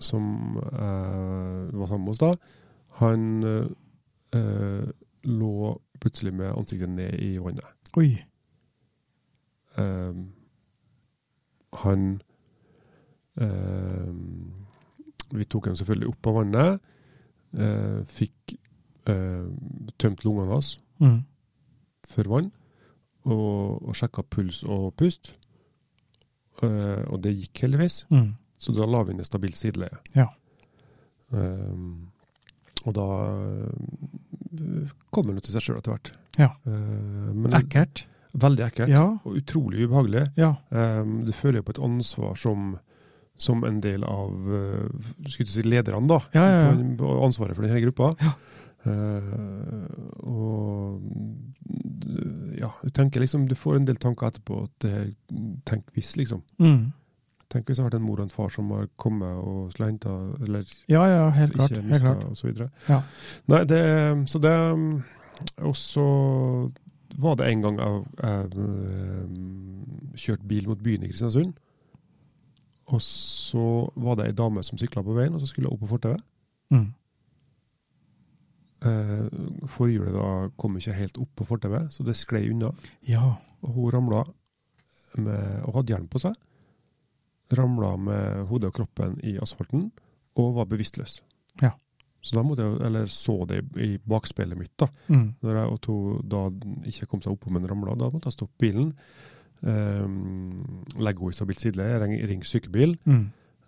som eh, var sammen med oss da, han eh, eh, lå plutselig med ansiktet ned i vannet.
Oi.
Ehm, han ehm, Vi tok ham selvfølgelig opp av vannet. eh, fikk ehm, tømt lungene hans
Mm.
for vann. Og, og sjekka puls og pust. Eh, og det gikk heldigvis.
Mm.
Så da la vi inn et stabilt sideleie.
Ja.
Ehm, og da eh, kom han jo til seg sjøl etter hvert.
Ja.
Eh, men
Ekkelt.
veldig ekkelt.
Ja.
Og utrolig ubehagelig.
Ja.
Um, du føler jo på et ansvar som, som en del av uh, skulle du si lederne, da.
Ja, ja, ja.
På en- på Ansvaret for denne gruppa. Uh, og du- ja, du tenker liksom Du får en del tanker etterpå at det her, Tenk hvis, liksom.
Mm.
Tenk hvis det har vært en mor og en far som har kommet og skulle hente Eller
ja, ja, helt klart.
ikke
Helt
mista,
klart.
osv.
Ja.
Nei, det Så det um, Og så var det en gang jeg, jeg um, kjørte bil mot byen i Kristiansund. Og så var det ei dame som sykla på veien, og så skulle hun opp på fortauet.
Mm.
Eh, Forhjulet da kom ikke helt opp på fortauet, så det sklei unna.
Ja.
Og hun ramla med, og hadde hjelm på seg. Ramla med hodet og kroppen i asfalten og var bevisstløs.
Ja.
Så da måtte jeg, eller så det i i bakspeilet mitt, da.
Mm.
Når jeg, og to, da ikke kom seg oppå, men ramla. Da måtte jeg stoppe bilen. ehm, legge henne i stabilt sideleie, ring, ring sykebil.
Mm.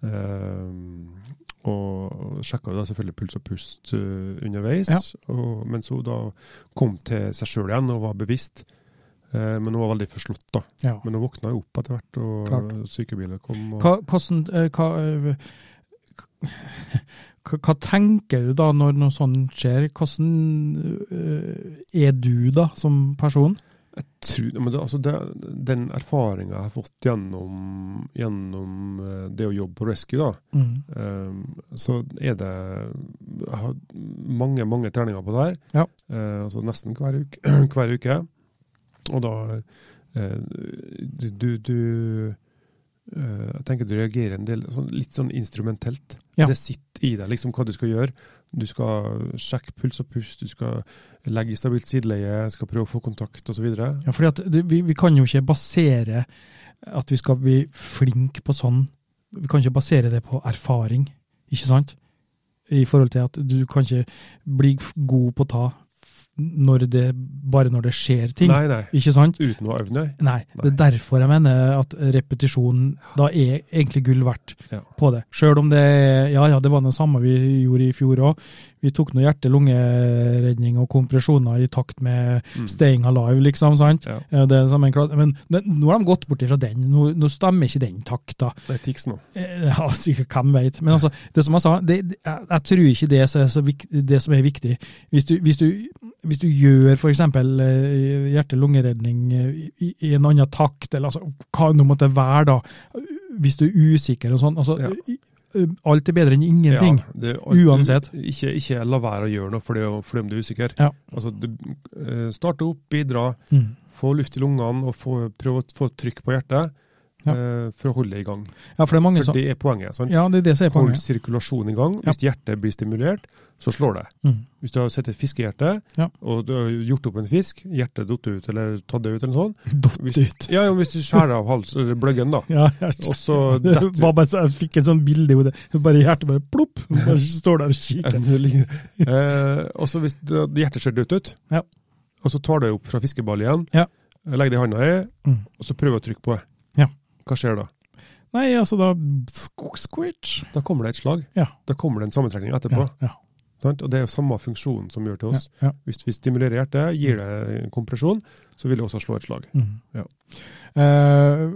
ehm, og sjekka jo da selvfølgelig puls og pust eh, underveis. Og, mens hun da kom til seg sjøl igjen og var bevisst. Eh, men hun var veldig forslått, da.
ja.
Men hun våkna jo opp etter hvert, og
Klart.
sykebiler kom. Og,
Hva, hvordan, eh, hva, eh, <laughs> hva, hva tenker du da når noe sånt skjer? Hvordan eh, er du da som person?
Tru- men det, altså det, den erfaringa jeg har fått gjennom, gjennom eh, det å jobbe på Rescue, da,
Mm.
eh, så er det Jeg har mange, mange treninger på det her.
Ja.
Eh, altså nesten hver uke. <clears throat> hver uke. Og da eh, Du, du eh, Jeg tenker du reagerer en del sånn, litt sånn instrumentelt.
Ja.
Det sitter i deg liksom hva du skal gjøre. Du skal sjekke puls og pust, du skal legge i stabilt sideleie, skal prøve å få kontakt osv.
Ja, fordi at det, vi, vi kan jo ikke basere at vi skal bli flinke på sånn Vi kan ikke basere det på erfaring, ikke sant? I forhold til at du kan ikke bli f- god på å ta f- når det, bare når det skjer ting.
Nei, nei.
Ikke sant?
Uten å øve, nei.
Nei, det er derfor jeg mener at repetisjonen da er egentlig gull verdt
Ja.
på det. Sjøl om det Ja ja, det var det samme vi gjorde i fjor òg. Vi tok nå hjerte-lungeredning og kompresjoner i takt med
Mm.
staying alive, liksom. sant?
Ja.
Eh, Det er det samme en klasse. Men det- nå har de gått bort ifra den. Nå, nå stemmer ikke den takta.
Det er tics nå.
Eh, <laughs> Ja, altså, hvem veit. Men altså, det som jeg sa, det, det- jeg, jeg tror ikke det som er, så vik, det som er viktig. Hvis du, hvis du, hvis du gjør f.eks. hjerte-lungeredning i, i- i en annen takt, eller altså, hva nå måtte det være, da. Hvis du er usikker og sånn. Altså,
Ja.
i- eh, alt er bedre enn ingenting.
Ja, det, er alt-
Uansett.
Ikke, ikke la være å gjøre noe fordi, fordi om du er usikker.
Ja.
Altså, du, eh, starte opp, bidra,
Mm.
få luft i lungene og få, prøve å få trykk på hjertet
Ja.
eh, for å holde det i gang.
Ja, for det er mange
For
som
det er poenget. sant?
Ja, det er det som er
Hold
poenget.
sirkulasjonen i gang.
Ja.
Hvis hjertet blir stimulert, så slår det. <laughs>
Mm.
Hvis du har sett et fiskehjerte,
Ja.
og du har gjort opp en fisk, hjertet datt ut eller tatt det ut eller sånn
Dott
Hvis-
ut.
Ja, ja, hvis du skjærer av hals, eller bløggen, da.
Ja, jeg,
Og så
<laughs> det
detter
var bare, så- jeg fikk et sånn bilde i hodet. Bare hjertet bare plopp! Bare står der og kikker.
Eh, og så hvis du- hjertet ser dødt ut,
Ja.
og så tar du opp fra fiskeballet igjen,
Ja.
legger det i handa i,
Mm.
og så prøver å trykke på det.
Ja.
Hva skjer da?
Nei, altså da sk- Squish.
Da kommer det et slag.
Ja.
Da kommer det en sammentrekning etterpå.
Ja, ja,
Sant? Og det er jo samme funksjonen som gjør til
ja,
oss.
ja.
Hvis vi stimulerer hjertet, gir det kompresjon, så vil det også slå et slag.
Mm.
Ja.
Eh,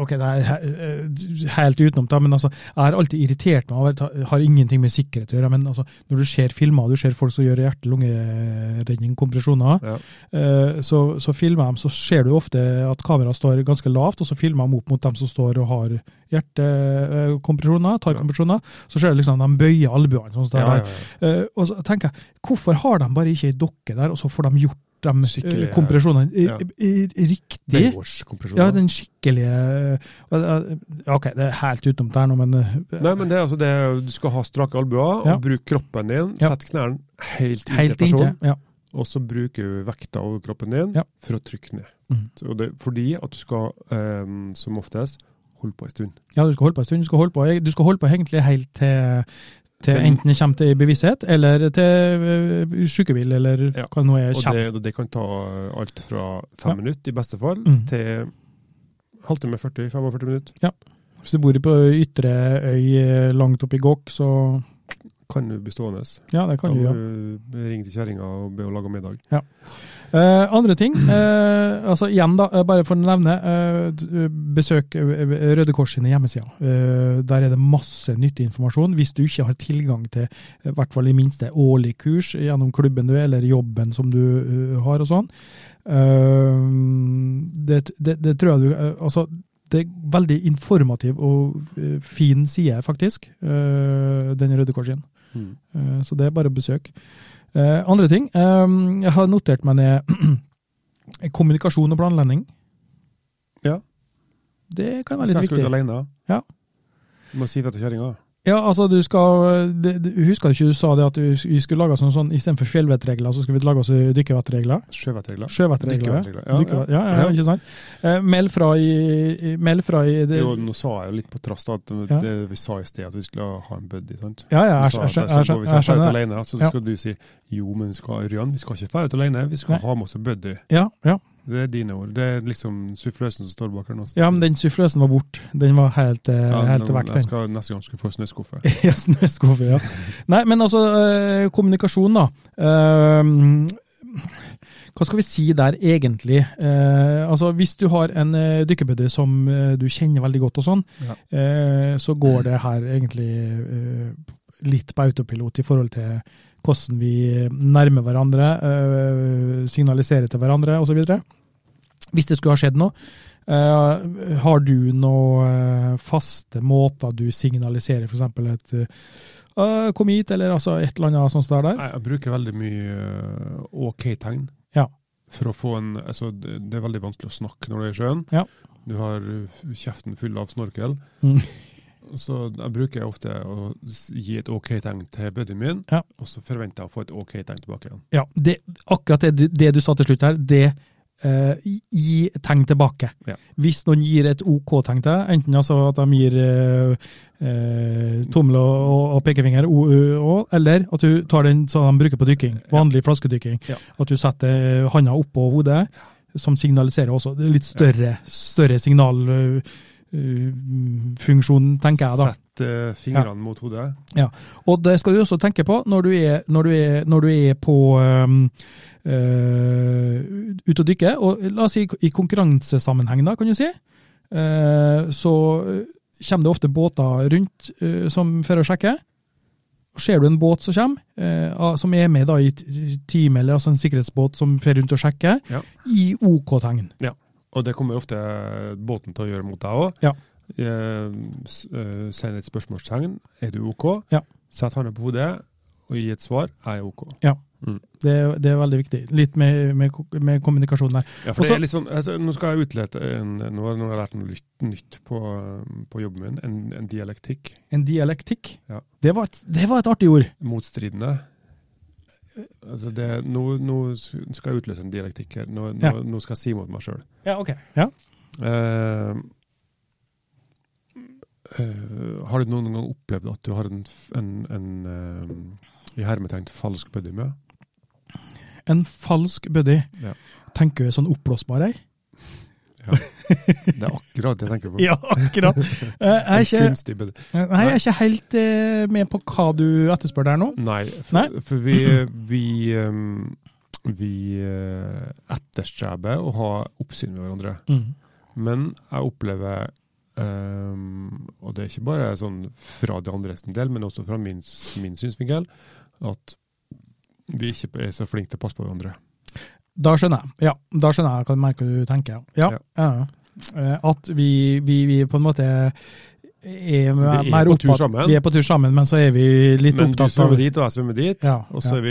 ok, det er he- eh, helt utenom det, men altså, jeg har alltid irritert meg over det har ingenting med sikkerhet å gjøre, men altså, når du ser filmer, du ser folk som gjør hjerte-lungeredning, kompresjoner,
Ja.
eh, så, så filmer de, så ser du ofte at kameraet står ganske lavt, og så filmer de opp mot dem som står og har hjertekompresjoner, tar
Ja.
kompresjoner, så ser du liksom de bøyer albuene. Sånn, som det
Ja,
er.
ja, ja.
Eh, og så tenker jeg, hvorfor har de bare ikke ei dokke der, og så får de gjort de
Skikkelig,
eh, kompresjonene i-
ja.
i- i- riktig?
Baywatch-kompresjon.
Ja, den skikkelige eh, eh, Ok, det er helt utenom der nå, men eh,
Nei, men det er altså det Du skal ha strake albuer,
Ja.
og bruke kroppen din.
Ja.
Sett knærne helt inntil
helt inntil.
personen,
Ja.
og så bruker du vekta over kroppen din
Ja.
for å trykke ned.
Mm.
Så det, fordi at du skal, eh, som oftest, holde på en stund.
ja, du skal holde på en stund. Du skal holde på, du skal holde på egentlig helt til, til
Til-
enten det kommer til bevissthet, eller til eh, sykebil, eller
Ja.
hva nå er
Og
kommer.
det, og det kan ta eh, alt fra fem
Ja.
minutter, i beste fall,
Mm.
til halvtime 40-45 minutter.
Hvis du bor på ytre øy eh, langt oppe i Gokk, så
Kan du bli stående.
Ja, det
Da
kan du
må
gjøre.
du ringe til kjerringa og be henne lage middag.
Eh, andre ting, eh, altså igjen da, eh, bare for å nevne, eh, d- eh, besøk eh, Røde Kors sine hjemmesider. Eh, der er det masse nyttig informasjon, hvis du ikke har tilgang til, eh, i hvert fall i minste, årlig kurs gjennom klubben du er, eller jobben som du eh, har og sånn. Eh, det, det, det tror jeg du, eh, altså, det er veldig informativ og eh, fin side faktisk, eh, den Røde Kors sin.
Mm.
Eh, Så det er bare besøk. Eh, Andre ting. eh, Jeg har notert meg ned <clears throat> kommunikasjon og planlegging.
Ja.
Det kan være
Hvis
litt
jeg skal ut
viktig.
alene,
Ja.
må si det til kjerringa.
Ja, altså du skal, det- det- Husker du ikke du sa det at vi vi skulle lage sånn, sånn istedenfor fjellvettregler, så skulle vi lage oss dykkervettregler?
Sjøvettregler.
Sjøvettregler.
Dykkervettregler,
Ja,
ja,
ja. ja,
ja.
ikke sant? Eh, Meld fra i, i- meld fra i det,
Jo, nå sa jeg jo litt på trass da, at det,
Ja.
det vi sa i sted at vi skulle ha en buddy, sant?
Ja, ja,
Så
jeg-
sa
jeg-
at
jeg-
hvis
jeg- jeg
jeg skal ut
skjønner det.
alene, så
Ja.
skal du si jo, men skal, Ørjan, vi skal ikke fære ut alene, vi skal
Nei.
ha med oss en buddy.
Ja, ja.
Det er dine ord. Det er liksom suffløsen som står bak her nå.
ja, men den suffløsen var borte. Den var helt, eh,
Ja,
helt
nå-
vekk, den.
jeg skal, neste gang skal vi få snøskuffe.
<laughs> Ja, snøskuffer, ja. Nei, men altså, eh, kommunikasjon, da. Ehm, hva skal vi si der, egentlig? Eh, altså, Hvis du har en eh, dykkebuddy som eh, du kjenner veldig godt, og sånn,
Ja.
eh, så går det her egentlig eh, litt på autopilot i forhold til hvordan vi nærmer hverandre, eh, signaliserer til hverandre osv. Hvis det skulle ha skjedd noe, Eh, har du noen faste måter du signaliserer, f.eks. et eh, 'kom hit', eller altså et eller annet sånt der? der?
Nei, Jeg bruker veldig mye eh, OK-tegn.
Ja.
For å få en, altså Det det er veldig vanskelig å snakke når du er i sjøen.
Ja.
Du har eh, f- kjeften full av snorkel.
Mm.
Så jeg bruker ofte å s- gi et OK-tegn til buddyen min,
Ja.
og så forventer jeg å få et OK-tegn tilbake igjen.
Ja, det, akkurat det, det du sa til slutt her, det eh, gi tegn tilbake.
Ja.
Hvis noen gir et OK-tegn til deg, enten altså at de gir eh, eh, tommel og, og, og pekefinger, o, ø, å, eller at du tar den som de bruker på dykking, vanlig flaskedykking,
Ja.
at du setter eh, handa oppå hodet, som signaliserer også det er litt større, større signalfunksjon, tenker jeg da.
Sett eh, fingrene mot hodet.
Og det skal du også tenke på når du er, når du er, når du er på øhm, øh, ute og dykker. Og la oss si i konkurransesammenheng, da, kan du si. øh, så øh, kommer det ofte båter rundt øh, som fører og sjekker. Og Ser du en båt som kommer, øh, ah, som er med da i t- time, eller altså en sikkerhetsbåt som fører rundt og sjekker,
Ja.
gi OK-tegn.
Og det kommer ofte båten til å gjøre mot deg òg.
Ja.
eh, s- eh, send et spørsmålstegn. Er du OK?
Ja.
Sett hånda på hodet og gi et svar. Jeg er OK.
Det, er- det er veldig viktig. Litt med, med, ko- med kommunikasjon der.
Ja, for
Og så-
det er litt sånn, altså, nå skal jeg utlete en, nå, har- nå har jeg lært noe nytt, nytt på, eh, på jobben min. En, en dialektikk.
En dialektikk.
Ja.
Det, var et, det var et artig ord.
Motstridende. Altså det, nå, nå skal jeg utløse en dialektikk her. Nå, nå,
Ja.
nå skal jeg si mot meg sjøl.
Ja, ok. Ja.
Eh, eh, har du noen gang opplevd at du har en, f- en, en eh, i hermetegn falsk buddy med?
En falsk buddy.
Ja.
Tenker du sånn oppblåsbar ei?
<laughs> Det er akkurat det jeg tenker på.
<laughs> Ja, akkurat. Eh,
En
Jeg er ikke,
kunstig buddy.
nei, jeg er ikke helt eh, med på hva du etterspør der nå.
Nei, for,
Nei?
for vi, vi, ehm, vi eh, etterstreber å ha oppsyn med hverandre. Men jeg opplever, ehm, og det er ikke bare sånn fra de andres sin del, men også fra min, s- min synsvinkel, at vi ikke er så flinke til å passe på hverandre.
Da skjønner jeg. Ja, da skjønner jeg hva du merker du tenker. Ja.
Ja.
ja. ja. Eh, At vi, vi, vi på en måte er,
er
mer
på tur
opptatt-
sammen.
Vi er på tur sammen, men så er vi litt
Men du
opptatt av
svømmer dit, og jeg svømmer dit,
Ja,
og så
ja.
er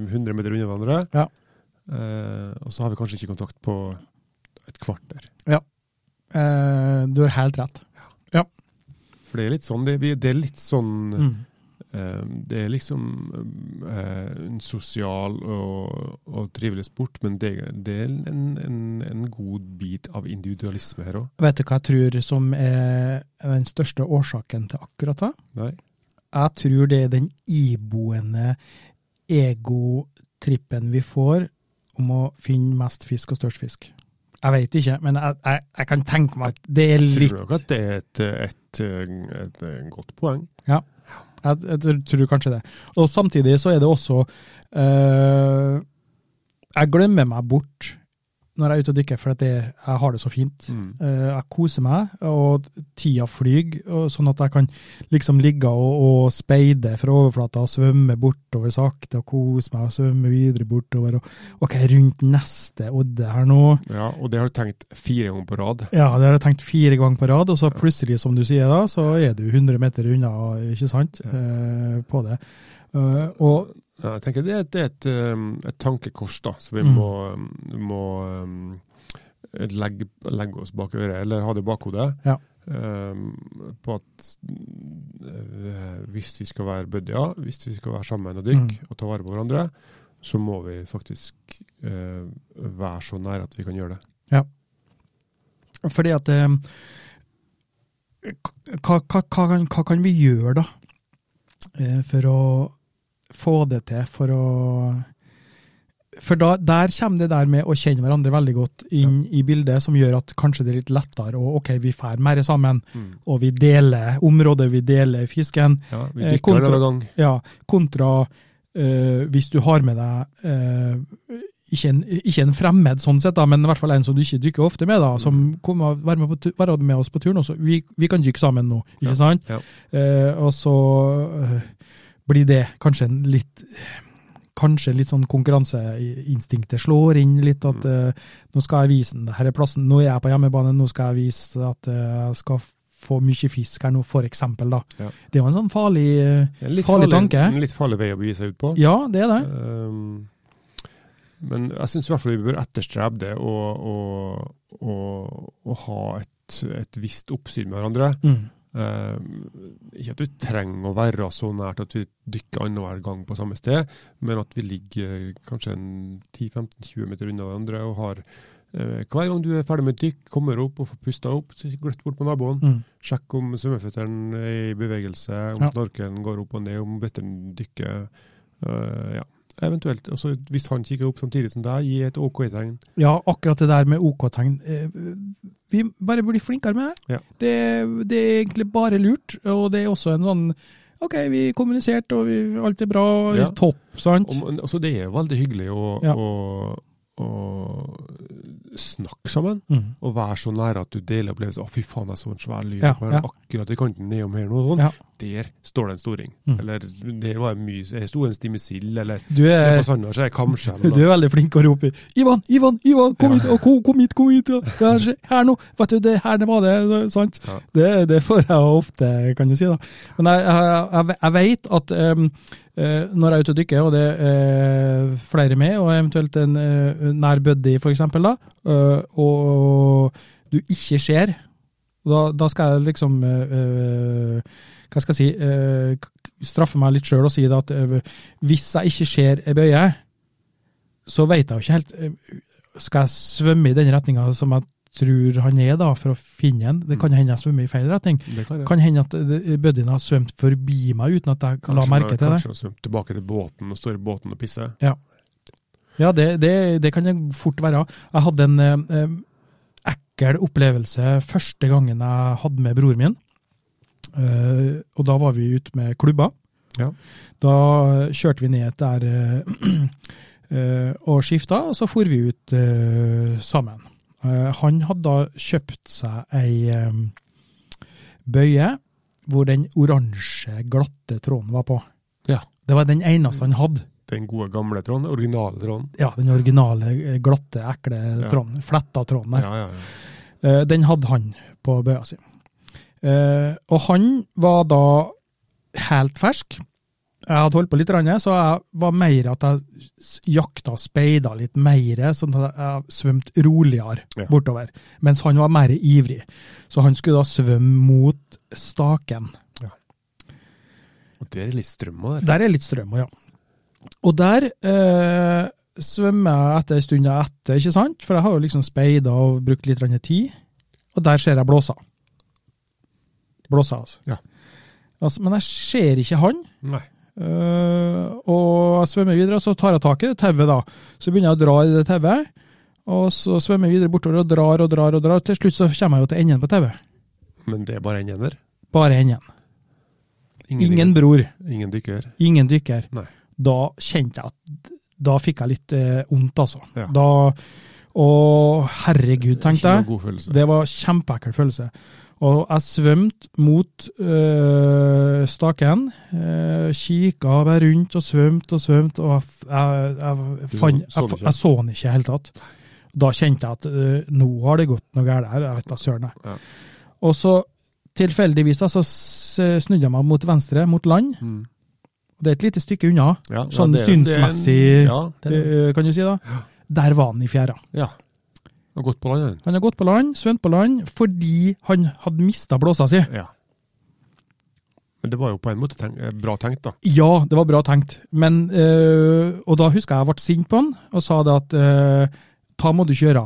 vi 100 meter unna hverandre.
Ja.
Eh, og så har vi kanskje ikke kontakt på et kvarter.
Eh, Du har helt rett.
For det er litt sånn, det, vi- det er litt sånn
Mm.
Eh, Det er liksom eh, en sosial og, og trivelig sport, men det, det er en, en, en god bit av individualisme her òg.
Vet du hva jeg tror som er den største årsaken til akkurat det?
Nei.
Jeg tror det er den iboende egotrippen vi får om å finne mest fisk og størst fisk. Jeg vet ikke, men jeg, jeg, jeg kan tenke meg at det er
Tror
litt
du nok at det er et, et, et, et godt poeng?
Jeg, jeg tror kanskje det. Og samtidig så er det også eh, Jeg glemmer meg bort når jeg er ute og dykker, for at det, jeg har det så fint. Eh, Jeg koser meg, og tida flyr, og sånn at jeg kan liksom ligge og, og speide fra overflata og svømme bortover sakte, og kose meg og svømme videre bortover. Og OK, rundt neste odde her nå.
Ja, og det har du tenkt fire ganger på rad.
Ja, det har jeg tenkt fire ganger på rad, og så plutselig, som du sier da, så er du 100 meter unna, ikke sant,
Ja.
eh, på det. Eh, og
Ja, Jeg tenker det er et, det er et, um, et tankekors da, som vi
Mm.
må, um, må um, legge, legge oss bak øret, eller ha det i bakhodet.
Ja.
Um, på at uh, hvis vi skal være buddier, hvis vi skal være sammen og dykke
Mm.
og ta vare på hverandre, så må vi faktisk uh, være så nære at vi kan gjøre det.
fordi at eh, hva, hva, hva, kan- hva kan vi gjøre da, eh, for å få det til, for å for da, der kommer det der med å kjenne hverandre veldig godt inn i bildet, som gjør at kanskje det er litt lettere, og ok, vi fær mer sammen, og vi deler området, vi deler fisken,
Ja, vi
Eh,
dykker
kontra-
en annen gang.
Ja, kontra eh, hvis du har med deg eh, ikke, en, ikke en fremmed sånn sett, da, men i hvert fall en som du ikke dykker ofte med, da, som
Mm.
kommer og være med, på, tu- være med oss på turen. Også. Vi, vi kan dykke sammen nå, ikke
Ja,
sant?
ja.
Eh, og så eh, blir det kanskje en litt Kanskje litt sånn konkurranseinstinktet slår inn litt at
Mm.
eh, nå skal jeg vise den, her er plassen, nå er jeg på hjemmebane, nå skal jeg vise at eh, jeg skal få mye fisk her nå, for eksempel da.
Ja.
Det er jo en sånn farlig eh,
En litt
Farlig tanke.
En litt farlig vei å begi seg ut på.
ja, det er det.
Um, men jeg syns i hvert fall vi bør etterstrebe det å, å, å, å ha et, et visst oppsyn med hverandre.
Mm.
Um, ikke at vi trenger å være så nært at vi dykker annenhver gang på samme sted, men at vi ligger kanskje en 10-15-20 meter unna hverandre og har eh, hver gang du er ferdig med et dykk, kommer opp og får pusta opp, så gløtt bort på naboen.
Mm.
Sjekk om svømmeføttene er i bevegelse, om
Ja.
snorkelen går opp og ned, om bøttene dykker. øh, ja, eventuelt. Og så hvis han kikker opp samtidig som deg, gi et OK-tegn.
Ja, akkurat det der med OK-tegn. eh, Vi bare blir flinkere med det.
Ja.
det. Det er egentlig bare lurt, og det er også en sånn OK, vi kommuniserte, og vi, alt er bra,
Ja.
topp, sant?
Om- Altså, det er jo veldig hyggelig å,
Ja.
å, og snakke sammen.
Mm.
Og være så nære at du deler opplevelsen. 'Å, fy faen, jeg så en svær lyr
Ja,
bare
ja.
akkurat i kanten nedom her nå.' Sånn.
Ja.
Der står det en storing.
Mm.
Eller 'der var en mys', her sto en stimisild, eller
Du
Nede
er,
på Sandnes er det kamskjell.
<laughs> du er veldig flink å rope 'Ivan, Ivan, Ivan, kom hit, og kom, kom hit, kom hit!' Og, det her, skje- her nå, vet du, det her det var det, sant?
Ja.
Det, det får jeg ofte, kan du si. da. Men jeg, jeg, jeg- jeg vet at em, eh, når jeg er ute og dykker, og det er flere med, og eventuelt en eh, nær buddy for eksempel, da, eh, og du ikke ser, da, da skal jeg liksom eh, eh, Hva skal jeg si eh, k- Straffe meg litt sjøl og si det at eh, hvis jeg ikke ser ei bøye, så veit jeg jo ikke helt eh, Skal jeg svømme i den retninga som jeg tror han er, da, for å finne den? Det
Mm.
kan hende jeg svømmer i feil retning.
Det kan jeg.
Kan hende at eh, buddyen har svømt forbi meg uten at jeg la merke til det.
Kanskje han svømte tilbake til båten og står i båten og pisser.
Ja, det, det, det kan det fort være. Jeg hadde en eh, eh, ekkel opplevelse første gangen jeg hadde med broren min. Eh, og da var vi ute med klubba.
Ja.
Da eh, kjørte vi ned der eh, eh, og skifta, og så for vi ut eh, sammen. Eh, han hadde da kjøpt seg ei eh, bøye hvor den oransje, glatte tråden var på.
Ja.
Det var den eneste han hadde.
Den gode gamle tråden, originale tråden.
Ja, den originale, eh, glatte, ekle
Ja.
tråden. Fletta tråden der.
Ja, ja, ja.
Eh, Den hadde han på bøya si. Eh, Og han var da helt fersk. Jeg hadde holdt på litt, grann, så jeg var mer at jeg s- jakta og speida litt mer, sånn at jeg svømte roligere
Ja.
bortover. Mens han var mer ivrig. Så han skulle da svømme mot staken.
Og der er litt strømmer der.
Der er litt strøm, ja. Og der eh, svømmer jeg etter en stund etter, ikke sant? For jeg har jo liksom speida og brukt litt grann tid. Og der ser jeg blåsa. Blåsa, altså.
Ja.
altså. Men jeg ser ikke han.
Nei.
Eh, og jeg svømmer videre, og så tar jeg tak i det tauet, da. Så begynner jeg å dra i det tauet, og så svømmer jeg videre bortover og drar og drar og drar. Til slutt så kommer jeg jo til enden på tauet.
Men det er bare en ender.
Bare enden. Ingen bror,
ingen dykker.
ingen dykker.
Nei.
da kjente jeg at da fikk jeg litt eh, vondt, altså.
Ja.
Da, og herregud, tenkte
Ikke
jeg.
noen god følelse.
Det var kjempeekkel følelse. Og jeg svømte mot øh, staken. Øh, kikka meg rundt og svømte og svømte, og jeg, f- jeg, jeg,
Du så-
fann-
så den
jeg, f-
ikke?
jeg så den ikke i det hele tatt. Da kjente jeg at øh, nå har det gått noe galt her. Jeg vet da søren. jeg.
Ja.
Og så tilfeldigvis da, så s- snudde jeg meg mot venstre, mot land.
Mm.
Det er et lite stykke unna.
Ja,
Sånn
det er- det er en-
synsmessig-
Ja, det er,
Eh, kan du si da. Der var han i fjæra.
ja. Og godt på land,
Han har gått på land, svømt på land, fordi han hadde mista blåsa si.
den. Ja. Men det var jo på en måte tenk, eh, bra tenkt, da.
Ja, det var bra tenkt, men eh, Og da husker jeg jeg ble sint på han, og sa det at eh, Ta må du kjøre.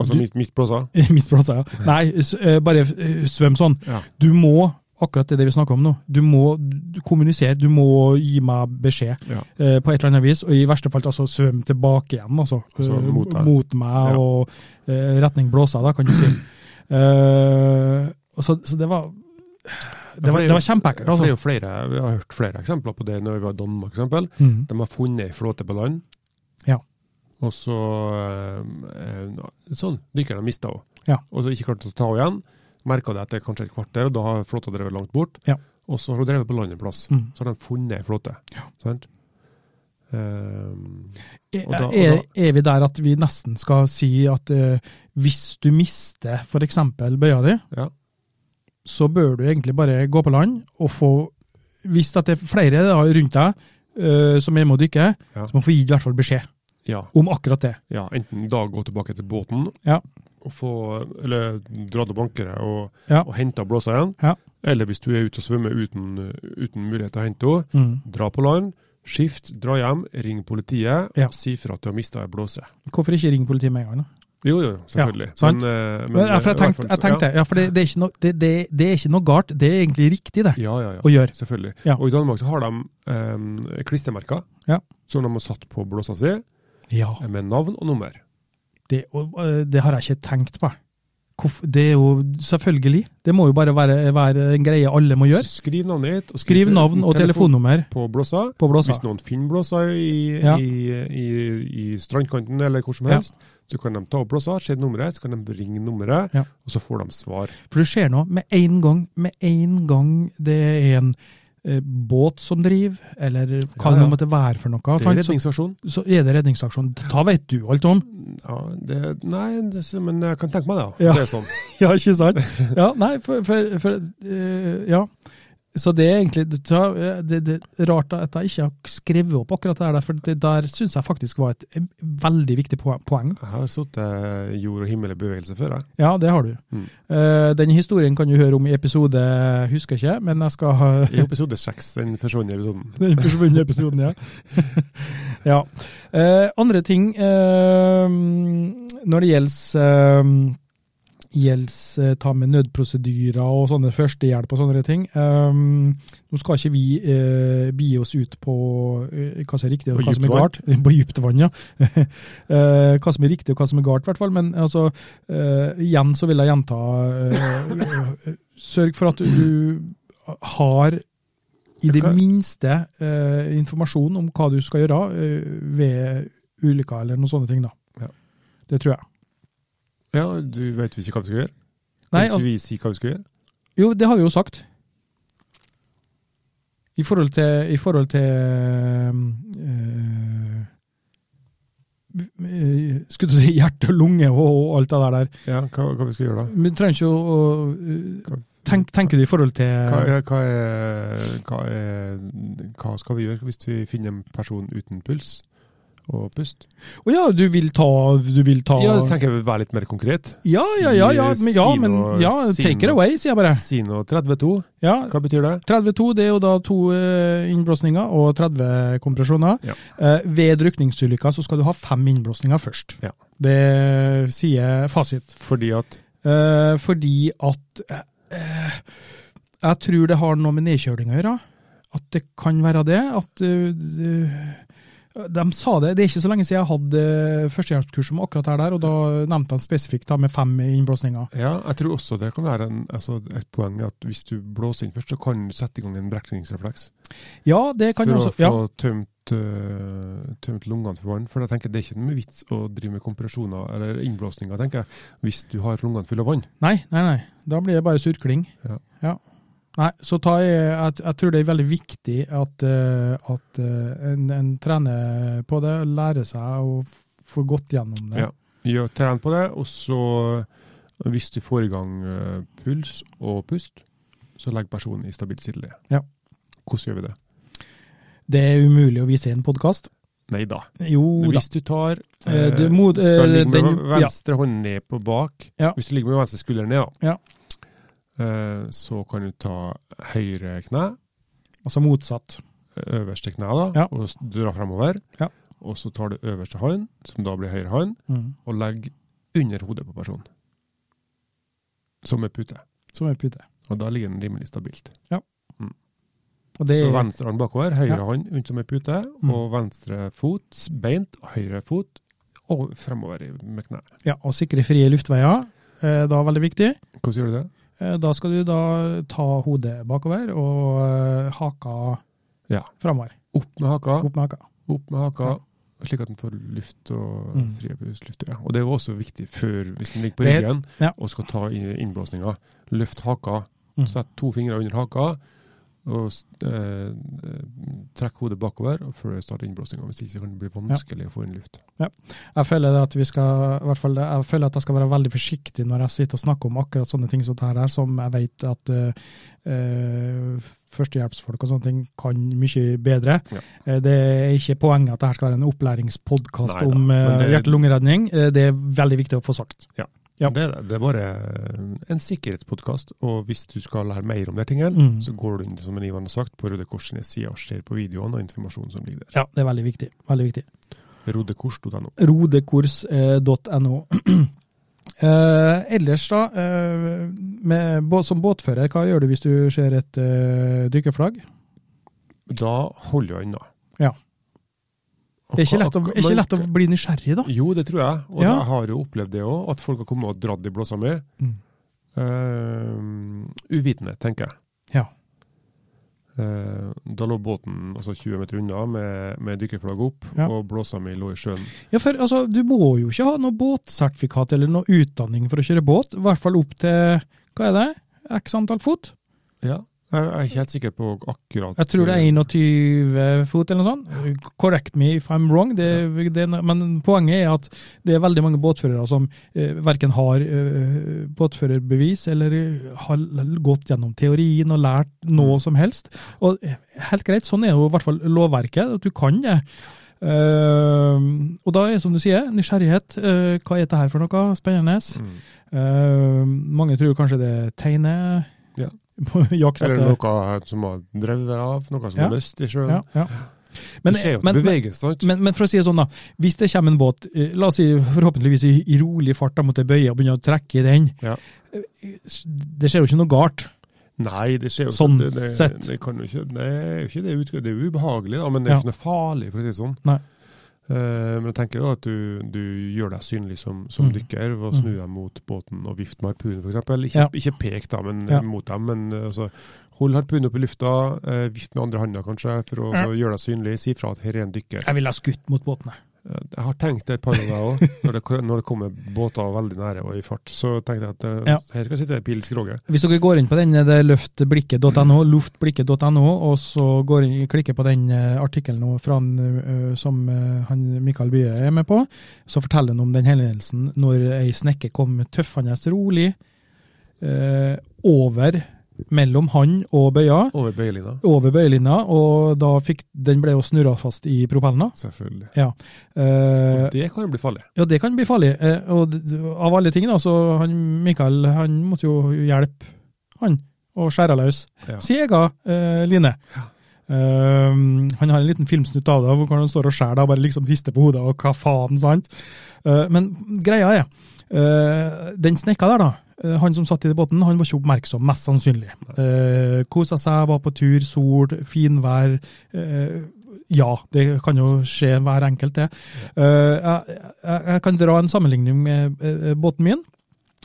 Altså
Du-
mist, mist blåsa.
Mist blåsa, ja. Nei, s- eh, bare eh, svøm sånn.
Ja.
Du må Akkurat det vi snakker om nå. Du må du- kommunisere, du må gi meg beskjed
Ja.
eh, på et eller annet vis. Og i verste fall altså svøm tilbake igjen, altså.
Altså,
Eh,
mot deg.
meg
Ja.
og eh, retning blåsa, da, kan du
<clears throat>
si. Eh, og så, så det var Det var, det var
For
kjempeekkelt,
det er
altså.
jo flere, Vi har hørt flere eksempler på det når vi var i Danmark, for eksempel.
Mm.
De har funnet ei flåte på land.
Ja.
Og så eh, Sånn. Dykkerne mista henne.
Ja.
Og så ikke klarte å ta henne igjen. Merka det etter kanskje et kvarter, og da har flåta drevet langt bort.
Ja.
Og så har hun drevet på land en plass.
Mm.
Så har de funnet ei flåte.
Ja.
Sant? Eh, og da- og
Er, er vi der at vi nesten skal si at eh, hvis du mister f.eks. bøya di,
ja.
så bør du egentlig bare gå på land og få Hvis at det er flere da, rundt deg eh, som er med å dykke,
Ja.
så må du få gi i hvert fall beskjed
Ja,
om akkurat det.
ja, enten da gå tilbake til båten
Ja.
og få, eller dra til bankeret og,
Ja.
og hente blåsa igjen.
Ja.
Eller hvis du er ute og svømmer uten, uten mulighet til å hente henne, Dra på land, skift, dra hjem, ring politiet
Ja.
og si fra at du har mista ei blåse.
Hvorfor ikke ringe politiet med en gang? da?
Jo, jo, selvfølgelig.
Ja, sant.
men, eh, men,
Men,
eh,
ja, for jeg
i hvert
tenkte,
fall
jeg
så-
tenkte ja, for det, det, er ikke noe, det, det, det er ikke noe galt, det er egentlig riktig det,
Ja, ja, ja.
å gjøre.
Selvfølgelig.
Ja.
Og i Danmark så har de eh, klistremerker
Ja.
som de har satt på blåsa si, eh,
Ja.
med navn og nummer.
Det, og, øh, det har jeg ikke tenkt på. Hvorf- Det er jo selvfølgelig. Det må jo bare være, være en greie alle må gjøre.
Skriv navnet ditt. og
Skriv navn og telefonnummer
På blåsa.
på blåsa.
Hvis noen finner blåsa i,
Ja.
i, i, i strandkanten eller hvor som
Ja.
helst, så kan de ta opp blåsa, se nummeret, så kan de ringe nummeret,
Ja.
og så får de svar.
For det skjer noe med en gang. Med en gang det er en eh, båt som driver, eller hva
Ja,
det
ja.
nå måtte være for noe,
Det er
sant? så,
redningsstasjon.
så er det redningsaksjon. Da vet du alt om.
Ja, det, nei, det, men jeg kan tenke meg det. Ja.
Ja.
Det er sånn.
<laughs> Ja, ikke sant? Ja, nei, for, for, for eh, Ja. Så det er egentlig det, det, det er rart at jeg ikke har skrevet opp akkurat det her, for det der syns jeg faktisk var et veldig viktig poe- poeng.
Jeg har sittet eh, jord og himmel i bevegelse før, jeg.
Ja, det har du.
Mm.
Eh, den historien kan du høre om i episode, husker ikke, men jeg skal ha
I episode seks, den forsvunne episoden.
<laughs> den forsvunne episoden, ja. <laughs> ja. Eh, andre ting eh, når det gjelder eh, gjelds, eh, ta med nødprosedyrer og sånne førstehjelp og sånne ting. Eh, nå skal ikke vi eh, begi oss ut på eh, hva som er riktig og
På
hva som er galt. <laughs>
dypt
På dypt vann, ja. eh, hva som er riktig og hva som er galt, i hvert fall. Men altså, eh, igjen så vil jeg gjenta eh, <laughs> eh, Sørg for at du har i det
Hva-
minste eh, informasjon om hva du skal gjøre eh, ved ulykker eller noen sånne ting. da.
Ja.
Det tror jeg.
Ja, du vet vi ikke hva vi skal gjøre? Kan
Nei, altså,
ikke vi si hva vi skal gjøre?
Jo, det har vi jo sagt. I forhold til, i forhold til eh, eh, Skulle du si hjerte og lunge og, og alt det der der.
Ja, hva, hva vi skal gjøre da?
Men du trenger ikke å å, eh, tenk, Tenker du i forhold
Hva,
til
ja, hva, er, hva, er, hva skal vi gjøre hvis vi finner en person uten puls og pust?
Å ja, du vil ta Du vil ta
Ja, så tenker jeg vi være litt mer konkret.
ja, ja, ja, ja,
Si-
men, ja,
si
men
noe-
ja,
si
Take it
noe.
away, sier jeg bare.
Si noe 32.
Ja,
Hva betyr det?
32 det er jo da to eh, innblåsninger og 30 kompresjoner.
Ja.
Eh, Ved drukningsulykker så skal du ha fem innblåsninger først.
Ja.
Det sier fasit.
Fordi at
Eh, Fordi at eh, eh, Jeg tror det har noe med nedkjøling å gjøre. At det kan være det. At eh, det- de sa det, det er ikke så lenge siden jeg hadde eh, førstehjelpskurs om akkurat her der, og da nevnte de spesifikt da med fem innblåsninger.
Ja, jeg tror også det kan være en, altså et poeng at hvis du blåser inn først, så kan du sette i gang en brekningsrefleks.
Ja, det kan
for
jo også
å få
ja.
tømt, øh, tømt lungene for vann. For jeg tenker det er ikke noe vits å drive med kompresjoner eller innblåsninger, tenker jeg, hvis du har lungene fulle av vann.
Nei, nei, nei. Da blir det bare surkling.
Ja.
Nei, så tar jeg, jeg, jeg tror det er veldig viktig at, eh, at eh, en, en trener på det, lærer seg å f- få gått gjennom det.
Ja. Gjør, tren på det, og så øh, hvis du får i gang øh, puls og pust, så legg personen i stabilt sideleie.
Ja.
Hvordan gjør vi det?
Det er umulig å vise i en podkast.
Nei da.
Jo da.
Hvis du tar
Eh,
øh,
du mot-
skal
eh,
ligge med
den- ja.
venstre hånd ned på bak,
Ja.
hvis du ligger med venstre skulder ned, da,
Ja.
eh, så kan du ta høyre kne,
Altså motsatt.
øverste kne da,
Ja.
og s- dra fremover.
Ja.
Og så tar du øverste hånd, som da blir høyre hånd,
Mm.
og legger under hodet på personen. Som en pute.
Som en pute.
Og da ligger den rimelig stabilt.
Og det
Så
er
venstre hånd bakover, høyre
Ja.
hånd rundt som en pute,
Mm.
og venstre fot beint, og høyre fot og fremover i- med kne.
ja, å sikre frie luftveier. eh, Da er veldig viktig.
Hvordan gjør du det?
Eh, Da skal du da ta hodet bakover og eh, haka
Ja.
framover.
Opp med haka,
Opp med haka.
opp med haka,
Ja.
slik at den får luft og
Mm.
frie luft. Ja. Og det er jo også viktig før, hvis den ligger på
Det-
ryggen
ja.
og skal ta i- innblåsninga. Løft haka,
Mm.
sett to fingre under haka, og s- eh, trekk hodet bakover og før du starter innblåsninga. Hvis ikke kan det bli vanskelig å få inn luft.
Jeg føler det at vi skal, i hvert fall, jeg føler at jeg skal være veldig forsiktig når jeg sitter og snakker om akkurat sånne ting som det her, er, som jeg vet at eh, eh, førstehjelpsfolk og sånne ting kan mye bedre.
Ja.
Eh, det er ikke poenget at dette skal være en opplæringspodkast
Neida,
om
men
uh,
det-
hjerte-lungeredning. Eh, det er veldig viktig å få sagt. Ja.
Det, er det. det er bare en sikkerhetspodkast, og hvis du skal lære mer om de tingene,
Mm.
så går du inn som Ivan har sagt, på Røde Kors sine sider og ser på videoene og informasjonen som ligger der.
Ja, det er veldig viktig. Veldig viktig.
Rodekors.no.
rodekurs.no. <clears throat> Eh, ellers, da, eh, med, bå- som båtfører, hva gjør du hvis du ser et eh, dykkerflagg?
Da holder jeg unna.
Ja. Det er ikke lett å, er ikke lett å bli nysgjerrig, da.
Jo, det tror jeg. Og
Ja.
jeg har jo opplevd det òg, at folk har kommet og dratt i blåsa mi.
Mm.
Eh, uvitende, tenker jeg.
Ja.
Eh, da lå båten altså 20 meter unna med, med dykkerflagg opp,
Ja.
og blåsa mi lå i sjøen.
Ja, for altså, du må jo ikke ha noe båtsertifikat eller noe utdanning for å kjøre båt, i hvert fall opp til, hva er det, x antall fot?
Ja. Jeg, jeg er ikke helt sikker på akkurat
Jeg tror det er 21 fot eller noe sånt. Correct me if I'm wrong, det, det, men poenget er at det er veldig mange båtførere som eh, verken har eh, båtførerbevis eller eh, har gått gjennom teorien og lært
Mm.
noe som helst. Og eh, helt greit, sånn er jo i hvert fall lovverket, at du kan det. Eh, og da er som du sier, nysgjerrighet. eh, hva er dette her for noe spennende?
Mm.
Eh, mange tror kanskje det er tegne... <laughs>
Ja.
Jakt
Eller
etter-
noe som har drevet av, noe som
Ja.
har lyst i sjøen.
ja, ja. Men,
det skjer jo at
men,
det beveges, sant?
men, men for å si det sånn, da. Hvis det kommer en båt, eh, la oss si forhåpentligvis i, i rolig fart, da måtte jeg bøye og begynne å trekke i den.
Ja.
Eh, Det skjer jo ikke noe galt.
Nei, det skjer jo
Sånn
det, det,
sett.
Det, kan jo ikke, det er jo ikke det ut- Det er jo ubehagelig, da, men det er
Ja.
ikke noe farlig, for å si det sånn.
Nei.
Eh, men jeg tenker jo at du, du gjør deg synlig som, som
Mm.
dykker ved å
Mm.
snu deg mot båten og vifte med harpunen, f.eks. Ikke,
Ja.
ikke pek da, men,
Ja.
mot dem, men eh, altså, hold harpunen opp i lufta, eh, vift med andre handa kanskje, for å
Ja.
så gjøre deg synlig. Si fra at her er en dykker.
Jeg ville ha skutt mot båtene.
Eh, Jeg har tenkt det et par ganger
<laughs>
òg, når, det- når det kommer båter veldig nære og i fart. Så tenkte jeg at eh,
Ja.
her skal sitte ei pil i skroget.
Hvis dere går inn på den eh, det er løftblikket.no, luftblikket.no, og så går inn, klikker på den eh, artikkelen nå fra han, eh, som eh, han Mikael Bye er med på, så forteller han om den hendelsen når ei snekke kom tøffende rolig eh, over mellom han og bøya.
Over bøyelina,
over bøyelinja, og da fikk, den ble jo snurra fast i propellen. da.
selvfølgelig.
Eh,
Og det kan jo bli farlig.
ja, det kan bli farlig. Eh, og d- av alle ting, da, så han Mikael han måtte jo hjelpe han og skjære løs
Ja.
sin egen eh, line. Eh, han har en liten filmsnutt av det, hvor han står og skjærer det og bare liksom rister på hodet og hva faen, sant. Eh, men greia er, eh, den snekka der, da. eh, Han som satt i båten, han var ikke oppmerksom, mest sannsynlig. Uh, kosa seg, var på tur, sol, finvær. eh, ja, det kan jo skje hver enkelt, det. Eh, jeg, jeg, jeg kan dra en sammenligning med eh, eh, båten min.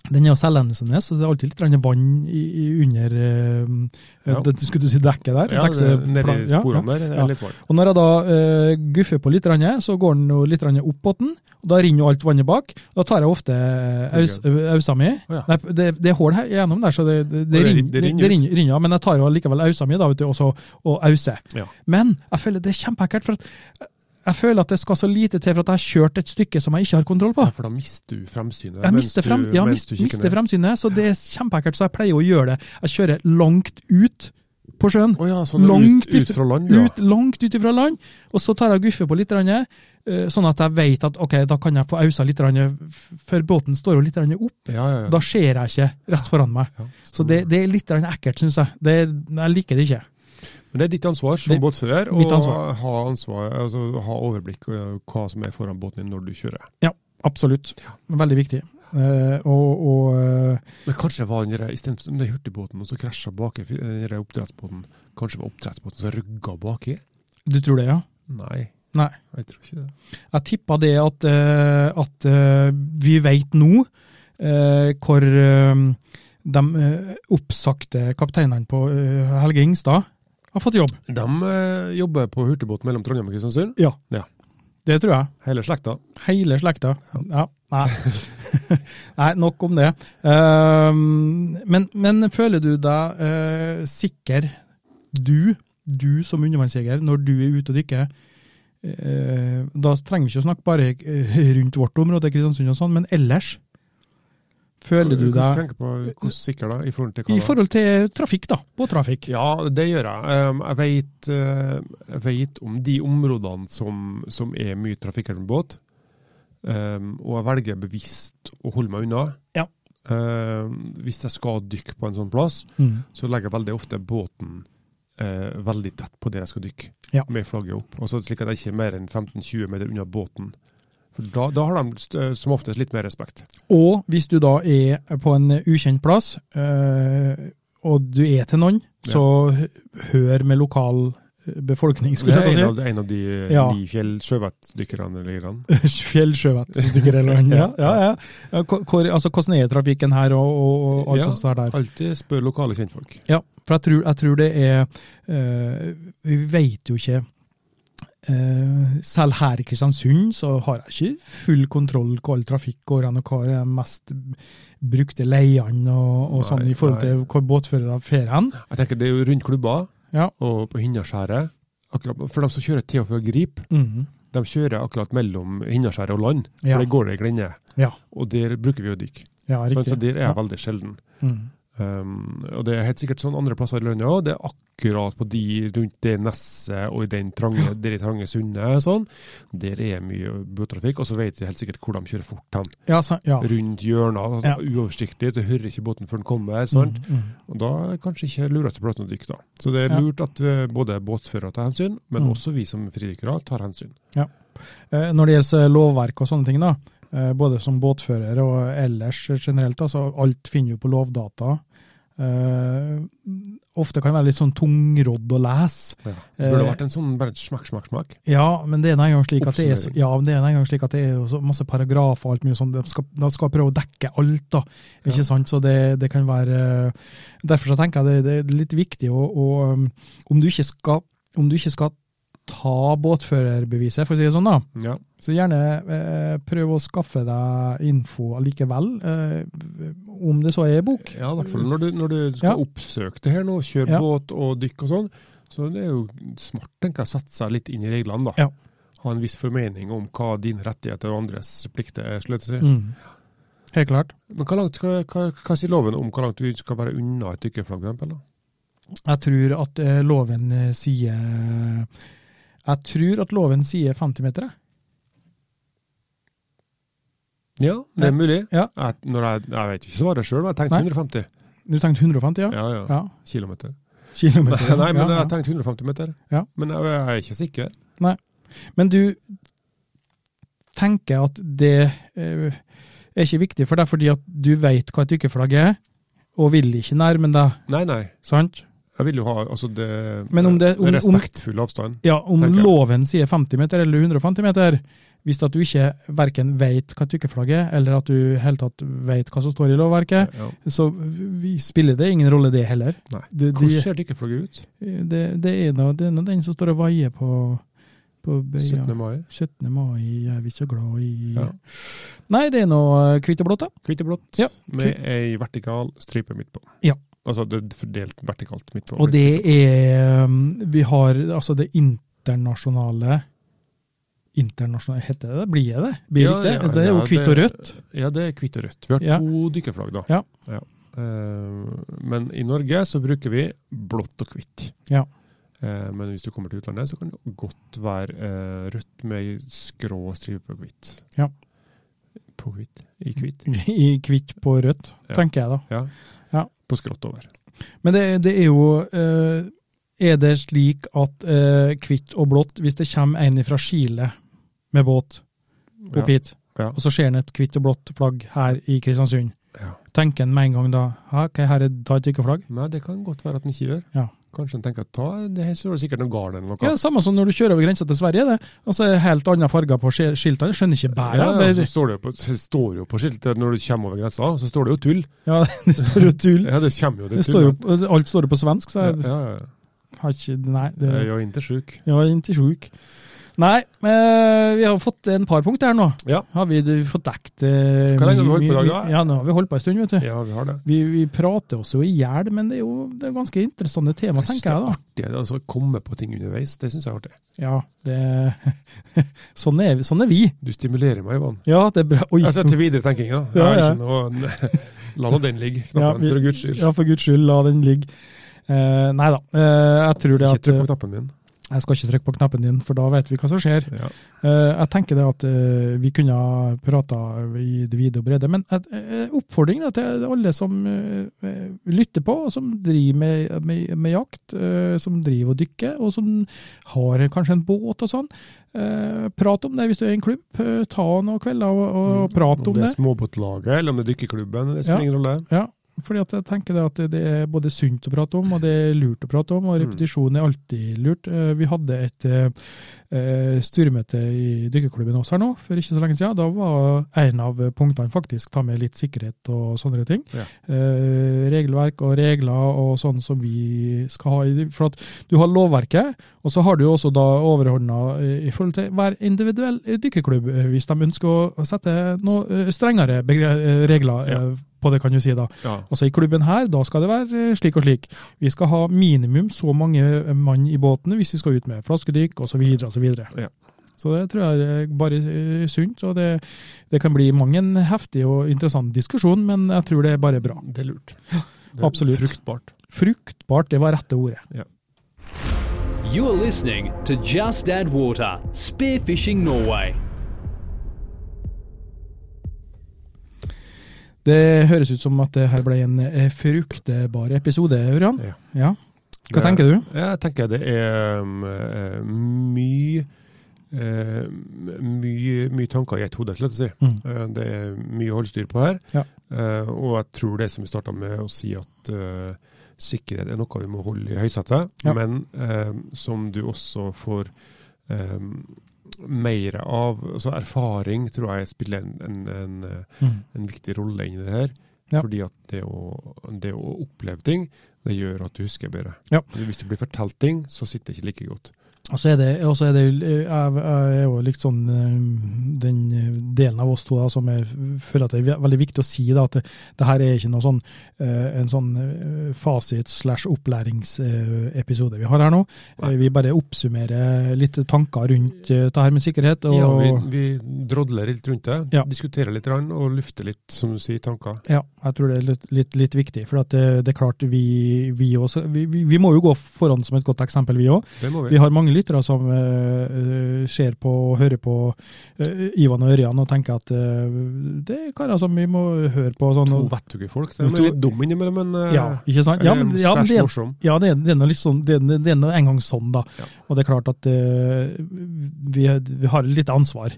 Den er jo selvhendelsende, så det er alltid litt grann vann i, i under eh,
Ja.
det, Skulle du si dekket der?
Ja,
Dekkse-
det- nede
plan-
i
ja, ja.
sporene der. Det
ja.
er litt varmt.
Og når jeg da eh, guffer på litt, grann, så går den jo litt grann opp båten. og Da renner jo alt vannet bak. Da tar jeg ofte eh, aus- ausa mi.
Å ja.
Nei, det, det er hull her gjennom der, så det, det, det,
det
rinner,
rin- det rinner ut.
rinner- rinner, ja, men jeg tar jo likevel ausa mi da, vet du, og, så, og auser.
Ja.
Men jeg føler det er kjempeekkelt, for at jeg føler at det skal så lite til for at jeg har kjørt et stykke som jeg ikke har kontroll på.
Ja, for da mister du fremsynet.
Ah. Jeg
mens
mister,
du-
frem, ja,
mens
mist,
du kikker
mister
ned.
fremsynet, så det er kjempeekkelt, så jeg pleier å gjøre det. Jeg kjører langt ut på sjøen.
Å ja, sånn
Langt
ut, ut
ut-
fra land, ja.
Ut, langt ut ifra land, og så tar jeg og guffer på litt, grann, eh, sånn at jeg vet at ok, da kan jeg få ausa litt, grann, f- for båten står jo litt grann opp.
ja, ja, ja.
Da ser jeg ikke rett foran meg.
ja.
Så det, det er litt grann ekkelt, syns jeg. Det, er- jeg liker det ikke.
Men det er ditt ansvar som
Det-
båtfører å
mitt ansvar.
ha, ansvar, altså, ha overblikk over hva som er foran båten din når du kjører.
Absolutt. Veldig viktig. Eh, og og eh,
Men kanskje var den der, i stedet for den der hurtigbåten, og så krasja baki den der oppdrettsbåten. Kanskje det var oppdrettsbåten som rygga baki?
du tror det, ja?
Nei,
Nei.
jeg tror ikke det.
Jeg tippa det at, eh, at eh, vi veit nå eh, hvor eh, de eh, oppsagte kapteinene på eh, Helge Ingstad har fått jobb.
De eh, jobber på hurtigbåten mellom Trondheim og Kristiansund,
Det tror jeg.
hele slekta.
Hele slekta. Ja. Nei. <laughs> Nei, nok om det. Ehm, men, men føler du deg eh, sikker, du, du som undervannsjeger, når du er ute og dykker? eh, da trenger vi ikke å snakke bare eh, rundt vårt område, Kristiansund og sånn, men ellers? Føler du
Kan
deg
tenke på Hvor sikker da, i forhold til hva
I
da?
forhold til trafikk, da. Båttrafikk.
Ja, det gjør jeg. Um, Jeg vet, eh, jeg vet om de områdene som, som er mye trafikkert med båt, um, og jeg velger bevisst å holde meg unna.
Ja.
Um, Hvis jeg skal dykke på en sånn plass,
Mm.
så legger jeg veldig ofte båten eh, veldig tett på der jeg skal dykke,
Ja.
med flagget opp. Og så slik at jeg ikke er mer enn 15-20 meter unna båten. For da, da har de st- som oftest litt mer respekt.
Og hvis du da er på en ukjent plass, eh, og du er til noen, så hø- hør med lokal befolkning,
Det
skulle
er
jeg
en
til å
av, det er en av de eh,
Ja.
ni fjellsjøvettdykkerne eller grann.
si. <laughs> Fjellsjøvettstykker eller noe. Ja, ja, ja. ja. hvor- Hvor, altså, hvordan er trafikken her, og, og, og alt
Ja.
sånt der?
Alltid spør lokale kjentfolk.
Ja, for jeg tror, jeg tror det er eh, Vi vet jo ikke eh, Selv her i Kristiansund så har jeg ikke full kontroll på all trafikk går hen, og hva er de mest brukte leiene og, og sånn
Nei,
i forhold til hvor båtførere fer hen.
Jeg tenker Det er jo rundt klubba
Ja.
og på Hinnaskjæret. akkurat- For de som kjører til og fra Grip,
Mhm.
de kjører akkurat mellom Hinnaskjæret og land. For
Ja.
der går det ei glenne,
ja.
og der bruker vi å dykke.
Ja,
Sånn,
riktig.
så der er jeg
ja.
veldig sjelden.
Mhm.
Um, og det er helt sikkert sånn andre plasser i landet òg. Det er akkurat på de rundt det nesset og i den trange, der i trange sundet og sånn. Der er mye båttrafikk, og så vet jeg helt sikkert hvor de kjører fort hen.
ja, så, ja.
Rundt hjørnet, altså,
Ja.
uoversiktlig, så hører ikke båten før den kommer. sant?
Mhm, mhm.
Og da er kanskje ikke lureste plassen å dykke, da. Så det er
Ja.
lurt at eh, både båtførere tar hensyn, men
Mm.
også vi som fridykkere tar hensyn.
Eh, Når det gjelder lovverk og sånne ting, da, eh, både som båtfører og ellers generelt, altså alt finner jo på lovdata. Eh, ofte kan det være litt sånn tungrodd å lese.
Det burde
Eh,
vært en sånn bare smakk, smakk, smakk.
Ja, men det er nå engang slik at det er, så- ja, men det er nå engang slik at det er jo så masse paragrafer og alt mye sånn. De skal, de skal prøve å dekke alt, da. Ikke
Ja.
sant? Så det, det kan være eh, Derfor så tenker jeg det, det er litt viktig å, å um, om, du ikke skal, om du ikke skal ta båtførerbeviset, for å si det sånn, da.
Ja.
Så gjerne eh, prøv å skaffe deg info allikevel, eh, om det så er i bok.
Ja, i hvert fall når du, når du skal
Ja.
oppsøke det her nå, kjøre
Ja.
båt og dykke og sånn, så det er jo smart tenker jeg, å sette seg litt inn i reglene. da.
Ja.
Ha en viss formening om hva dine rettigheter og andres plikter er. skulle jeg til å si.
Mm. Helt klart.
Men hva, langt, hva, hva, hva sier loven om hvor langt du skal være unna et dykkerflagg? for eksempel, da?
Jeg tror at eh, loven eh, sier Jeg tror at loven sier 50 meter, jeg.
Ja, det er mulig.
Ja.
Jeg, når jeg, jeg vet ikke svaret sjøl, men jeg tenkte
Nei.
150.
Du tenkte 150, ja?
Ja, ja.
Ja.
Kilometer.
Kilometer.
<laughs> Nei, men
ja, ja.
jeg tenkte 150 meter.
Ja.
Men jeg, jeg er ikke sikker.
Men du tenker at det eh, er ikke viktig for deg, fordi at du veit hva et dykkerflagg er, og vil ikke nærme deg,
Nei, nei.
sant?
Jeg vil jo ha altså det,
Men om det- om- om-
respektfull avstand.
Ja, om
Tenker jeg.
loven sier 50 meter eller 150 meter, hvis at du ikke verken vet hva tykkeflagget er, eller at du i det hele tatt vet hva som står i lovverket,
Ja.
så vi spiller det ingen rolle det heller.
Nei.
Det,
Hvordan
det,
ser dykkerflagget ut?
det, det er nå det er nå den som står og vaier på, på bøya.
17. mai.
17. mai er vi så glad i
Ja.
Nei, det er nå hvitt og blått, da.
Hvitt og blått,
Ja,
med ei vertikal stripe midt på.
Ja.
Altså det er fordelt vertikalt midt på.
Og det er um, Vi har altså det internasjonale Internasjonale, heter det det? Blir det det? Blir
Ja,
ikke det?
ja,
det er jo
ja,
hvitt
det-
og rødt.
Ja, det er hvitt og rødt. Vi har
Ja.
to dykkerflagg, da.
Ja.
Eh, men i Norge så bruker vi blått og hvitt.
Ja.
Eh, men hvis du kommer til utlandet, så kan det godt være eh, rødt med skrå stripe på hvitt.
Ja.
På hvitt. I hvitt.
<laughs> I kvitt på rødt,
Ja.
tenker jeg da.
Ja.
Ja.
På skrått over.
Men det, det er jo eh, Er det slik at eh, kvitt og blått, hvis det kommer en fra Chile med båt opp
Ja.
hit,
Ja.
og så ser han et kvitt og blått flagg her i Kristiansund,
Ja.
tenker han med en gang da «Hæ, ok, her er da et dykkeflagg?
Nei, det kan godt være at den ikke gjør.
Ja.
Kanskje den tenker at ta, det her står det sikkert noe garn eller noe.
Ja, det er samme som når du kjører over grensa til Sverige. det. Altså, det er Helt andre farger på skil- skiltene. Jeg Skjønner ikke bæra.
Ja,
Ja,
så
det,
står det, jo på, så står det jo på skiltet når du kommer over grensa, så står det jo tull.
ja, det står jo tull.
Ja, altså, <laughs> det kommer jo det,
Det står jo, alt står jo på svensk, så
ja,
jeg
ja, ja.
har ikke Nei.
Jeg
Det,
er jo inntil Eh, sjuk.
<laughs> Ja, inntil sjuk. Nei, men vi har fått en par punkt her nå.
Ja.
Har vi d- fått dekt eh,
Hvor lenge har vi holdt på i dag,
mye-
da?
Ja, nå har vi holdt på en stund, vet du.
Ja, vi har det.
Vi, vi prater oss jo i hjel, men det er jo det er ganske interessante tema,
Jeg synes
tenker jeg da.
Det er altså å komme på ting underveis, det syns jeg er artig.
Ja, det, <laughs> sånn, er vi, sånn er vi.
Du stimulerer meg, Ivan.
Ja, det er bra. Oi.
Altså til videre tenking, da.
Ja,
Jeg har
ja.
ikke noe, <laughs> la nå den ligge,
Ja,
knappen,
vi-
for guds skyld.
Ja, for guds skyld, la den ligge. Eh, nei da, eh, jeg tror det
Ikke
at
trykk på knappen min.
Jeg skal ikke trykke på knappen din, for da vet vi hva som skjer.
Ja.
Eh, Jeg tenker det at eh, vi kunne ha prata i det vide og brede, men et- eh, oppfordring da til alle som eh, eh, lytter på, og som driver med, med, med jakt, eh, som driver og dykker, og som har kanskje en båt og sånn. eh, Prat om det hvis du er i en klubb. Eh, Ta noen kvelder og, og prat om
Mm. Om det
det.
er småbåtlaget, eller om det er dykkerklubben, det spiller
Ja.
ingen rolle.
Ja, fordi at jeg tenker det at det er både sunt å prate om, og det er lurt å prate om, og
Mm.
repetisjon er alltid lurt. Eh, Vi hadde et eh, eh, styremøte i dykkerklubben også her nå, for ikke så lenge siden. Da var en av punktene faktisk ta med litt sikkerhet og sånne ting.
Ja.
Eh, regelverk og regler og sånn som vi skal ha. i det. For at du har lovverket, og så har du jo også da overordna eh, i forhold til hver individuell eh, dykkerklubb, eh, hvis de ønsker å- å sette noe eh, strengere begre eh, regler
Ja.
eh, på det, kan du si da.
Ja.
Altså I klubben her, da skal det være eh, slik og slik. Vi skal ha minimum så mange eh, mann i båtene hvis vi skal ut med flaskedykk osv. osv.
Ja.
Så det tror jeg er bare eh, sunt, og det, det kan bli mang en heftig og interessant diskusjon, men jeg tror det er bare bra.
Det er lurt. Det
absolutt.
Fruktbart.
Fruktbart, det var rette ordet.
You're listening to Just Add Water Spearfishing Norway.
Det høres ut som at det her ble en eh, fruktbar episode, Ørjan.
Ja.
Ja. Hva
Det-
tenker du?
Ja, Jeg tenker det er um, eh, mye eh, mye, mye tanker i ett hode, skulle jeg til å si.
Mm.
Eh, Det er mye å holde styr på her.
Ja.
Eh, og jeg tror det som vi starta med å si, at eh, sikkerhet er noe vi må holde i høysetet.
Ja.
Men eh, som du også får eh, mer av altså Erfaring tror jeg spiller en, en, en, eh,
Mm.
en viktig rolle inn i det her.
Ja.
Fordi at det å, det å oppleve ting, det gjør at du husker bedre.
Ja.
Hvis det blir fortalt ting, så sitter det ikke like godt.
Og så er det, og så er det eh, jeg, jeg er jo litt sånn eh, den delen av oss to da, som jeg føler at det er veldig viktig å si da, at det, det her er ikke noe sånn, eh, en sånn eh, fasit slash opplæringsepisode vi har her nå.
Nei.
Eh, Vi bare oppsummerer litt tanker rundt eh, det her med sikkerhet. Og,
Ja, vi, vi drodler litt rundt det,
Ja.
diskuterer litt grann, og lufter litt, som du sier, tanker.
Ja, jeg tror det er litt, litt, litt viktig. For at eh, det, det er klart, vi, vi, også, vi, vi vi må jo gå foran som et godt eksempel, vi òg.
Det må vi.
Vi har mange lyttere som eh, eh, ser på og hører på eh, Ivan og Ørjan og tenker at eh, det er karer som vi må høre på. og Sånn,
To
og,
vettuge folk. De
To-
er litt dumme innimellom, men eh,
ja, ikke sant? Ja, men,
eller
ja, men
slash
det, er-
morsom.
ja, det er, det er nå litt sånn, det er, det er nå engang sånn, da.
Ja.
Og det er klart at eh, vi, vi har litt ansvar.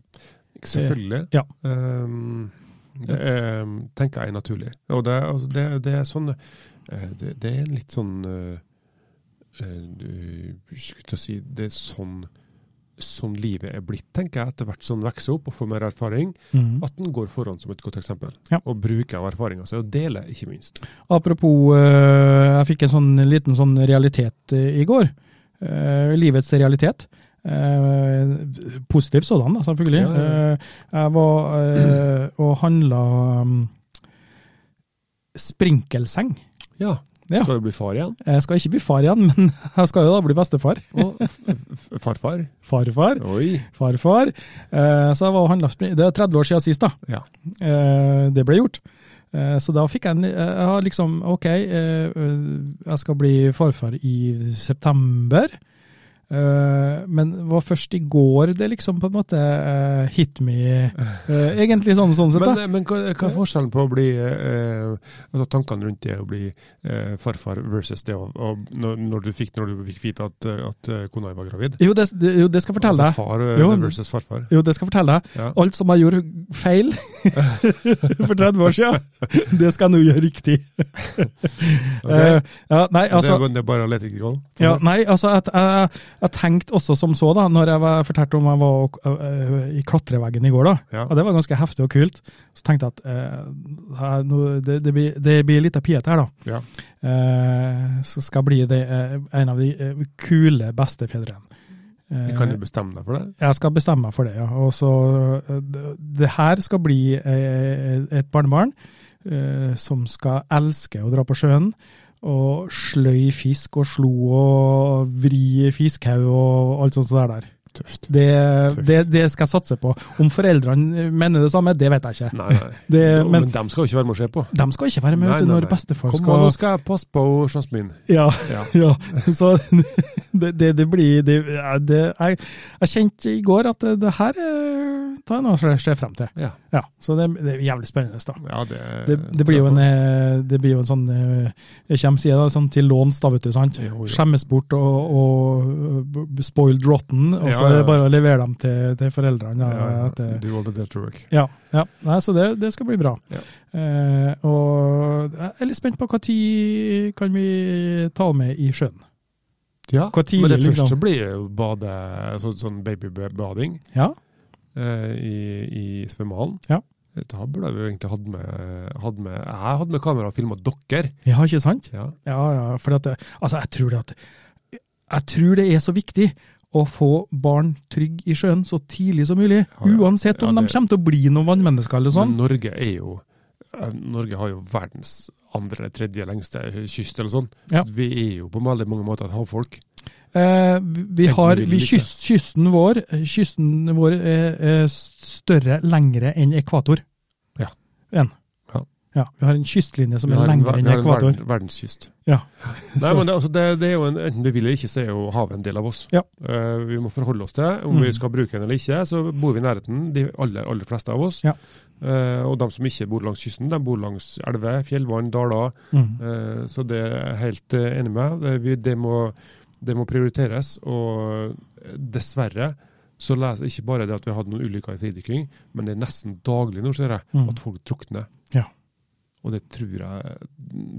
Selvfølgelig.
Ja.
Ehm, det er, tenker jeg er naturlig. Og det, er- altså, det, er- det er sånn eh, det, det er en litt sånn eh, eh, du- Skulle til å si Det er sånn, sånn livet er blitt, tenker jeg, etter hvert som en vokser opp og får mer erfaring.
Mhm.
At en går foran som et godt eksempel.
Ja.
Og bruker av erfaringa si, og deler, ikke minst.
Apropos, eh, jeg fikk en sånn liten sånn realitet eh, i går. Eh, livets realitet. Eh, positiv sådan, da, selvfølgelig.
Ja, ja,
Eh, jeg var eh, og handla um, sprinkelseng.
Ja.
Ja.
Skal du bli far igjen?
Jeg skal ikke bli far igjen, <laughs> men jeg skal jo da bli bestefar.
Og f- f- farfar?
Farfar,
Oi.
farfar. Eh, så jeg var og handla sprin... Det er 30 år siden sist, da.
Ja.
Eh, det ble gjort. Eh, Så da fikk jeg en Jeg har liksom OK, eh, jeg skal bli farfar i september. Eh, Men det var først i går det liksom på en måte eh, hit me eh, Egentlig sånn, sånn sett, da.
Men, eh, men hva, hva er forskjellen på å bli eh, altså Tankene rundt det å bli eh, farfar versus det å, å, når, når, du fikk, når du fikk vite at, at eh, kona var gravid?
Jo, det, det- jo, det skal jeg fortelle
Altså
deg.
far eh,
Jo.
versus farfar.
Jo, det skal jeg fortelle deg.
Ja.
Alt som jeg gjorde feil <laughs> for 30 år siden, det skal jeg nå gjøre riktig.
Ok.
Eh, Ja, nei,
Det
altså
er jo- det er bare å lete ikke gå.
Ja, nei, altså jeg, jeg, jeg tenkte også som så, da, når jeg var- fortalte om jeg var og- øh, i klatreveggen i går, da.
Ja.
Og det var ganske heftig og kult. Så tenkte jeg at eh, her, nå, det, det, blir, det blir litt av piet her, da.
Ja.
Eh, så skal jeg bli det, eh, en av de eh, kule bestefedrene. Eh,
Jeg kan jo bestemme deg for det.
jeg skal bestemme meg for det, ja. Og så, eh, det- det her skal bli eh, et barnebarn eh, som skal elske å dra på sjøen. Og sløy fisk og slo og vri fiskhaug og alt sånt som det der.
Tøft.
Det,
Tøft.
det, det skal jeg satse på. Om foreldrene mener det samme, det vet jeg ikke.
Nei, nei.
Det,
men,
Eh, men
dem skal jo ikke være med å se på.
de skal ikke være
Nei,
med vet du,
nei,
når
nei.
bestefar
Kom, nå
skal
skal jeg passe på sjansen min.
ja,
Ja.
ja, så det, det, det blir det, ja, det, jeg, jeg kjente i går at det, det her eh, tar jeg noe som jeg ser frem til.
Ja.
Ja, Så det, det er jævlig spennende. da.
Ja, det,
Det, det, blir jo en, eh, det blir jo en sånn eh, Jeg kommer sier det, sånn til låns, da, vet du. sant?
Jo, jo.
Skjemmes bort og, og spoiled rotten, og så
Ja,
er
ja.
det bare å levere dem til, til foreldrene.
Ja,
Ja,
ja,
etter-
Do all the dirty work.
ja, ja. Nei, så det, det skal bli bra.
Ja.
Eh, og jeg er litt spent på hva tid kan vi ta med i sjøen.
Ja,
Hvor tidlig,
men det
liksom?
første blir jo bade, så, sånn babybading
Ja,
eh, i, i svømmehallen.
Ja.
Da burde vi jo egentlig hatt med, hatt med Jeg hadde med kamera og filma dere.
ja ikke sant?
Ja.
Ja, ja, for at, det- altså, jeg tror det at Jeg tror det er så viktig å få barn trygg i sjøen så tidlig som mulig.
Ja, ja.
Uansett om
Ja,
de
det- Mm.
kommer til å bli noen vannmennesker eller sånn.
Men Norge er jo eh, Norge har jo verdens andre, tredje lengste kyst eller sånn.
Ja.
Så vi er jo på veldig mange måter et havfolk.
Eh, vi- vi
Enten
har
vi vil
vi
eller
kyst, Kysten vår Kysten vår er, er større, lengre enn ekvator.
Ja.
En.
Ja.
Ja, vi har en kystlinje som
Vi
er
har en
lengre
ver-
enn
vi har en
ekvator.
verden- verdenskyst.
Ja.
Nei,
Så-
men det, altså, det, det er jo en, Enten vi vil eller ikke, så er jo havet en del av oss.
Ja.
Eh, vi må forholde oss til om vi
Mm.
skal bruke den eller ikke. Så bor vi i nærheten, de aller, aller fleste av oss.
Ja.
Eh, og de som ikke bor langs kysten, de bor langs elver, fjellvann, daler.
Mm.
Eh, så det er jeg helt eh, enig med. Det, vi, det, må, det må prioriteres. Og dessverre så leser ikke bare det at vi har hatt noen ulykker i fridykking, men det er nesten daglig nå, ser jeg,
Mm.
at folk drukner.
Ja.
Og det tror jeg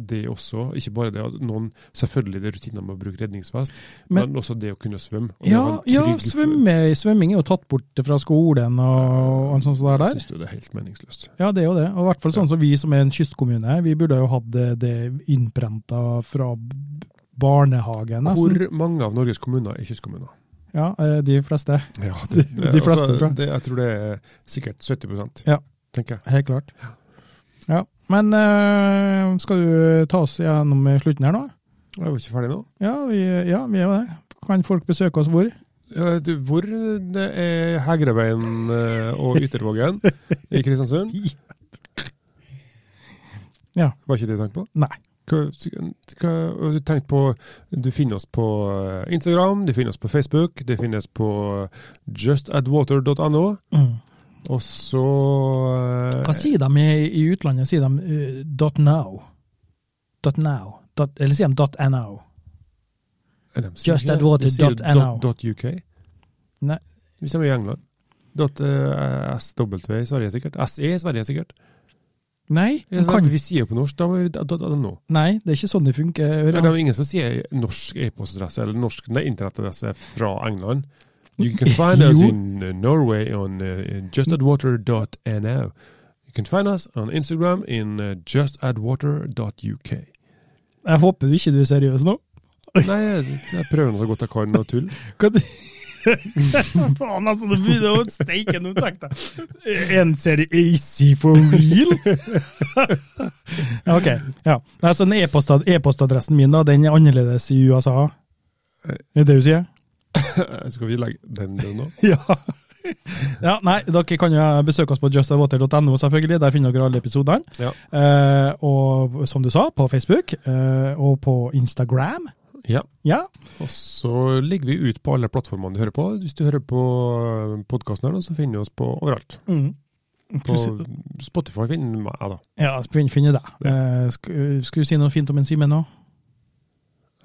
det også. Ikke bare det at noen Selvfølgelig det er rutiner med å bruke redningsvest, men,
Men-
også det å kunne svømme. Og det
Ja,
å ha en
ja
trygg-
svømme, svømming er jo tatt bort fra skolen og, og alt sånt som det er
Jeg
der.
syns jo det er helt meningsløst.
Ja, det er jo det. Og i hvert fall sånn som vi som er en kystkommune, vi burde jo hatt det, det innprenta fra b- barnehagen, nesten.
Hvor mange av Norges kommuner er kystkommuner?
Ja, eh, de fleste.
Ja,
De- de fleste, tror jeg.
Det, jeg tror det er sikkert 70
Ja.
tenker jeg.
Helt klart. Ja, Men eh, skal du ta oss gjennom slutten her nå?
Jeg var ikke ferdig nå.
Ja, vi, ja, vi er jo det. Kan folk besøke oss hvor?
Ja, du, Hvor det er Hegreveien eh, og Yttervågen i Kristiansund?
<laughs> Ja.
Var ikke det du tenkte på?
Nei.
Hva, hva, og du tenkte på, du finner oss på eh, Instagram, du finner oss på Facebook, du finner oss på justatwater.no. Og så eh,
Hva sier de i, i utlandet? Sier de eh, dot .now? Dot .now? Dot, eller sier de dot .no?
eh, de sier
Just
ikke-
at water
de sier
dot NO.
dot- dot UK.
Nei.
Hvis de er i England. Dot, eh, SW i Sverige sikkert. SE i Sverige sikkert.
Nei, de
Ja,
kan,
Vi sier jo på norsk, da må vi da, da, da, nå.
nei, det er ikke sånn det funker.
Men
hører
det
jeg.
er jo ingen som sier norsk e-postadresse eller norsk nei, internettadresse fra England. You can find us
Jo.
in uh, Norway on uh, justatwater.no. You can find us on Instagram in uh, justatwater.uk.
Jeg håper ikke du er seriøs nå.
Nei, jeg, jeg prøver nå så godt jeg kan å tulle. <laughs>
Hva du... <laughs> Faen, altså, det begynner å steike nå, tenkte jeg. En serie AC for real? <laughs> ok, ja. Nei, så den e-postad- E-postadressen min da, den er annerledes i USA. Er det det du sier? <laughs>
Skal vi legge den der nå?
Ja. Ja, nei, Dere kan jo besøke oss på justatwater.no, selvfølgelig. Der finner dere alle episodene.
Ja.
Eh, og som du sa, på Facebook eh, og på Instagram.
Ja.
Ja,
Og så ligger vi ut på alle plattformene du hører på. Hvis du hører på podkasten her, nå, så finner du oss på overalt.
mm.
På Spotify finner du meg, da.
ja finn, finne deg. Eh, sk- skulle du si noe fint om en Simen nå?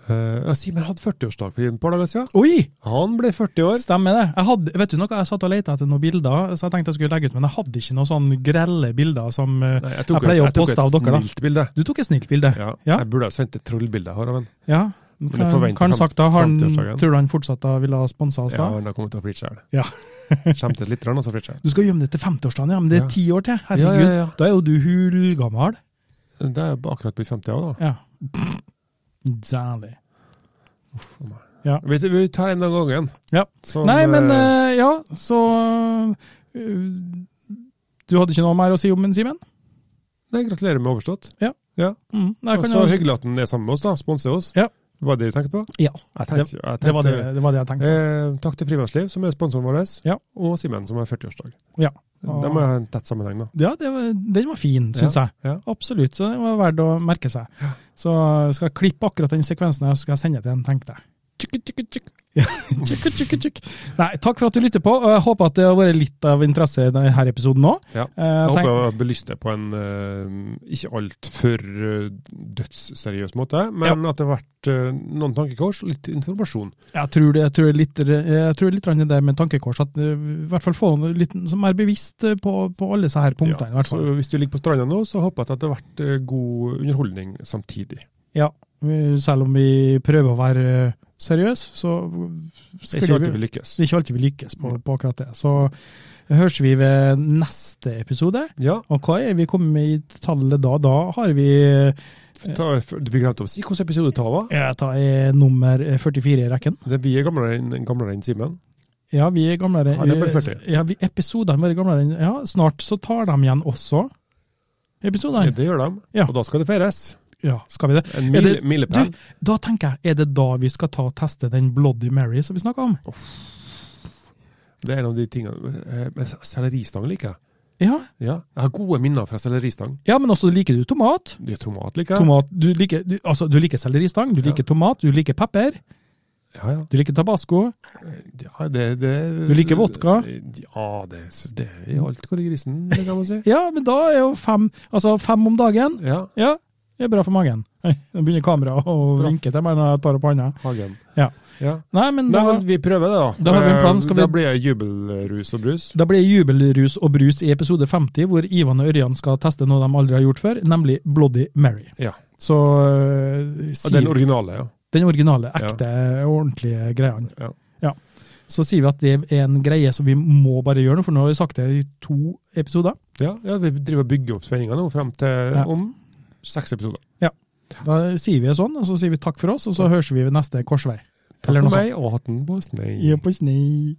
Eh, ja, Simen hadde 40-årsdag for et par dager siden.
Oi!
Han ble 40 år.
Stemmer det. Jeg hadde, vet du noe, jeg satt og lette etter noen bilder, så jeg tenkte jeg skulle legge ut, men jeg hadde ikke noen sånn grelle bilder som eh,
Nei,
Jeg pleier å
tok
poste av dere, da.
snilt bilde.
Du tok et snilt bilde.
Ja,
Ja.
Jeg burde ha sendt et trollbilde her av en.
Ja.
jeg
Hva
forventer
hva han
fem-
sagt da? Har han,
50-årsdagen.
tror du han fortsatt da ville ha sponsa oss
Ja,
da?
han har kommet til å flire sjæl.
Ja.
<laughs> Skjemtes litt, og så flirte sjæl.
Du skal gjemme det til 50-årsdagen, ja, men det er
Ja.
ti år til. Herregud.
Ja, ja, ja.
Da er jo du hulgammal.
Det er jo akkurat blitt 50 år, da.
Ja. Særlig.
For meg.
Ja.
Vi, vi tar en av gangen.
Ja.
Så,
Nei, men
eh,
eh, ja, så eh, Du hadde ikke noe mer å si om en Simen?
Nei, gratulerer med overstått.
Mm. Nei,
Og
kan
så
jeg-
hyggelig at han er sammen med oss, da. Sponser oss.
Ja.
Var det det du tenkte på?
Ja,
Jeg tenkte, jeg tenkte,
det var det, det var det jeg tenkte.
Eh, takk til Frimannsliv, som er sponsoren vår,
Ja.
og Simen, som har 40-årsdag.
Ja.
De har en tett sammenheng, da.
Ja, det var, den var fin, syns jeg.
ja.
Absolutt. Så den var verdt å merke seg. Så skal jeg klippe akkurat den sekvensen her, så skal jeg sende til en, tenkte jeg. Tjukk, tjukk, tjukk. Ja, <laughs> tjukk, tjukk, tjukk. Nei, takk for at du lytter på. og Jeg håper at det har vært litt av interesse i denne episoden nå.
Ja.
Eh,
Jeg
tenk-
håper jeg har belyst det på en eh, ikke altfor uh, dødsseriøs måte, men at det har vært eh, noen tankekors og litt informasjon.
Jeg tror det, jeg tror det er litt, jeg tror det er litt grann det der med tankekors, at eh, i hvert fall få noe litt som mer bevisst eh, på, på alle disse her punktene. i hvert fall.
Så hvis du ligger på stranda nå, så håper jeg at det har vært eh, god underholdning samtidig.
Ja, vi- selv om vi prøver å være eh, seriøse, så
Det er ikke
skulle
alltid
vi
vi lykkes.
det er ikke alltid vi lykkes på, på akkurat det. Så høres vi ved neste episode.
Ja,
Og hva er vi kommet med i tallet da? Da har vi
ta, vi glemte oss. I hvilken episode det var?
jeg tar eh, nummer 44 i rekken.
Det Vi er gamlere enn gamlere enn Simen.
Ja, vi er gamlere.
Ja, det er bare 40.
Ja, vi, episodene våre er gamlere. enn- Ja, snart så tar de igjen også.
Ja,
Episodene.
det gjør de,
Ja.
og da skal det feires.
Ja, skal vi det?
En
Er
mil,
det-
milepæl.
Du, da tenker jeg, er det da vi skal ta og teste den Bloody Mary som vi snakka om?
Det er en av de tingene eh, Men selleristang liker jeg.
Ja.
Ja. Jeg har gode minner fra selleristang.
ja, men også liker du tomat.
Det er Tomat liker jeg.
Tomat, du liker, du, altså, du liker selleristang, du
Ja.
liker tomat, du liker pepper,
Ja, ja.
du liker tabasco.
Ja, det, det,
Du liker vodka?
Ja, det, det er alt går i grisen, det kan man
<laughs>
si.
Ja, men da er jo fem, altså fem om dagen.
Ja,
Ja, det er bra for magen. Hei, Nå begynner kameraet å
Bra.
vinke til meg når jeg tar opp hånda.
Hagen.
Ja.
Ja.
Nei, men
Nei,
da,
men vi prøver det, da.
Da har vi en plan, skal
Eh, Da
vi-
blir det jubelrus og brus.
da blir det jubelrus og brus i episode 50, hvor Ivan og Ørjan skal teste noe de aldri har gjort før, nemlig Bloody Mary.
Ja.
Så øh,
Og
sier
Den originale, ja.
Den originale, ekte, ordentlige greiene.
Ja.
Ja. Så sier vi at det er en greie som vi må bare gjøre nå, for nå har vi sagt det i to episoder.
Ja, ja Vi driver og bygger opp spenninga nå frem til
Ja.
om seks episoder.
Da sier vi det sånn, og så sier vi takk for oss, og så høres vi ved neste korsvei.
Takk
Eller noe
for
sånt.
meg og hatten på snei.
Ja, på snei.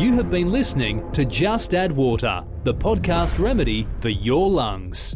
You have been listening to Just Add Water, the podcast remedy for your lungs.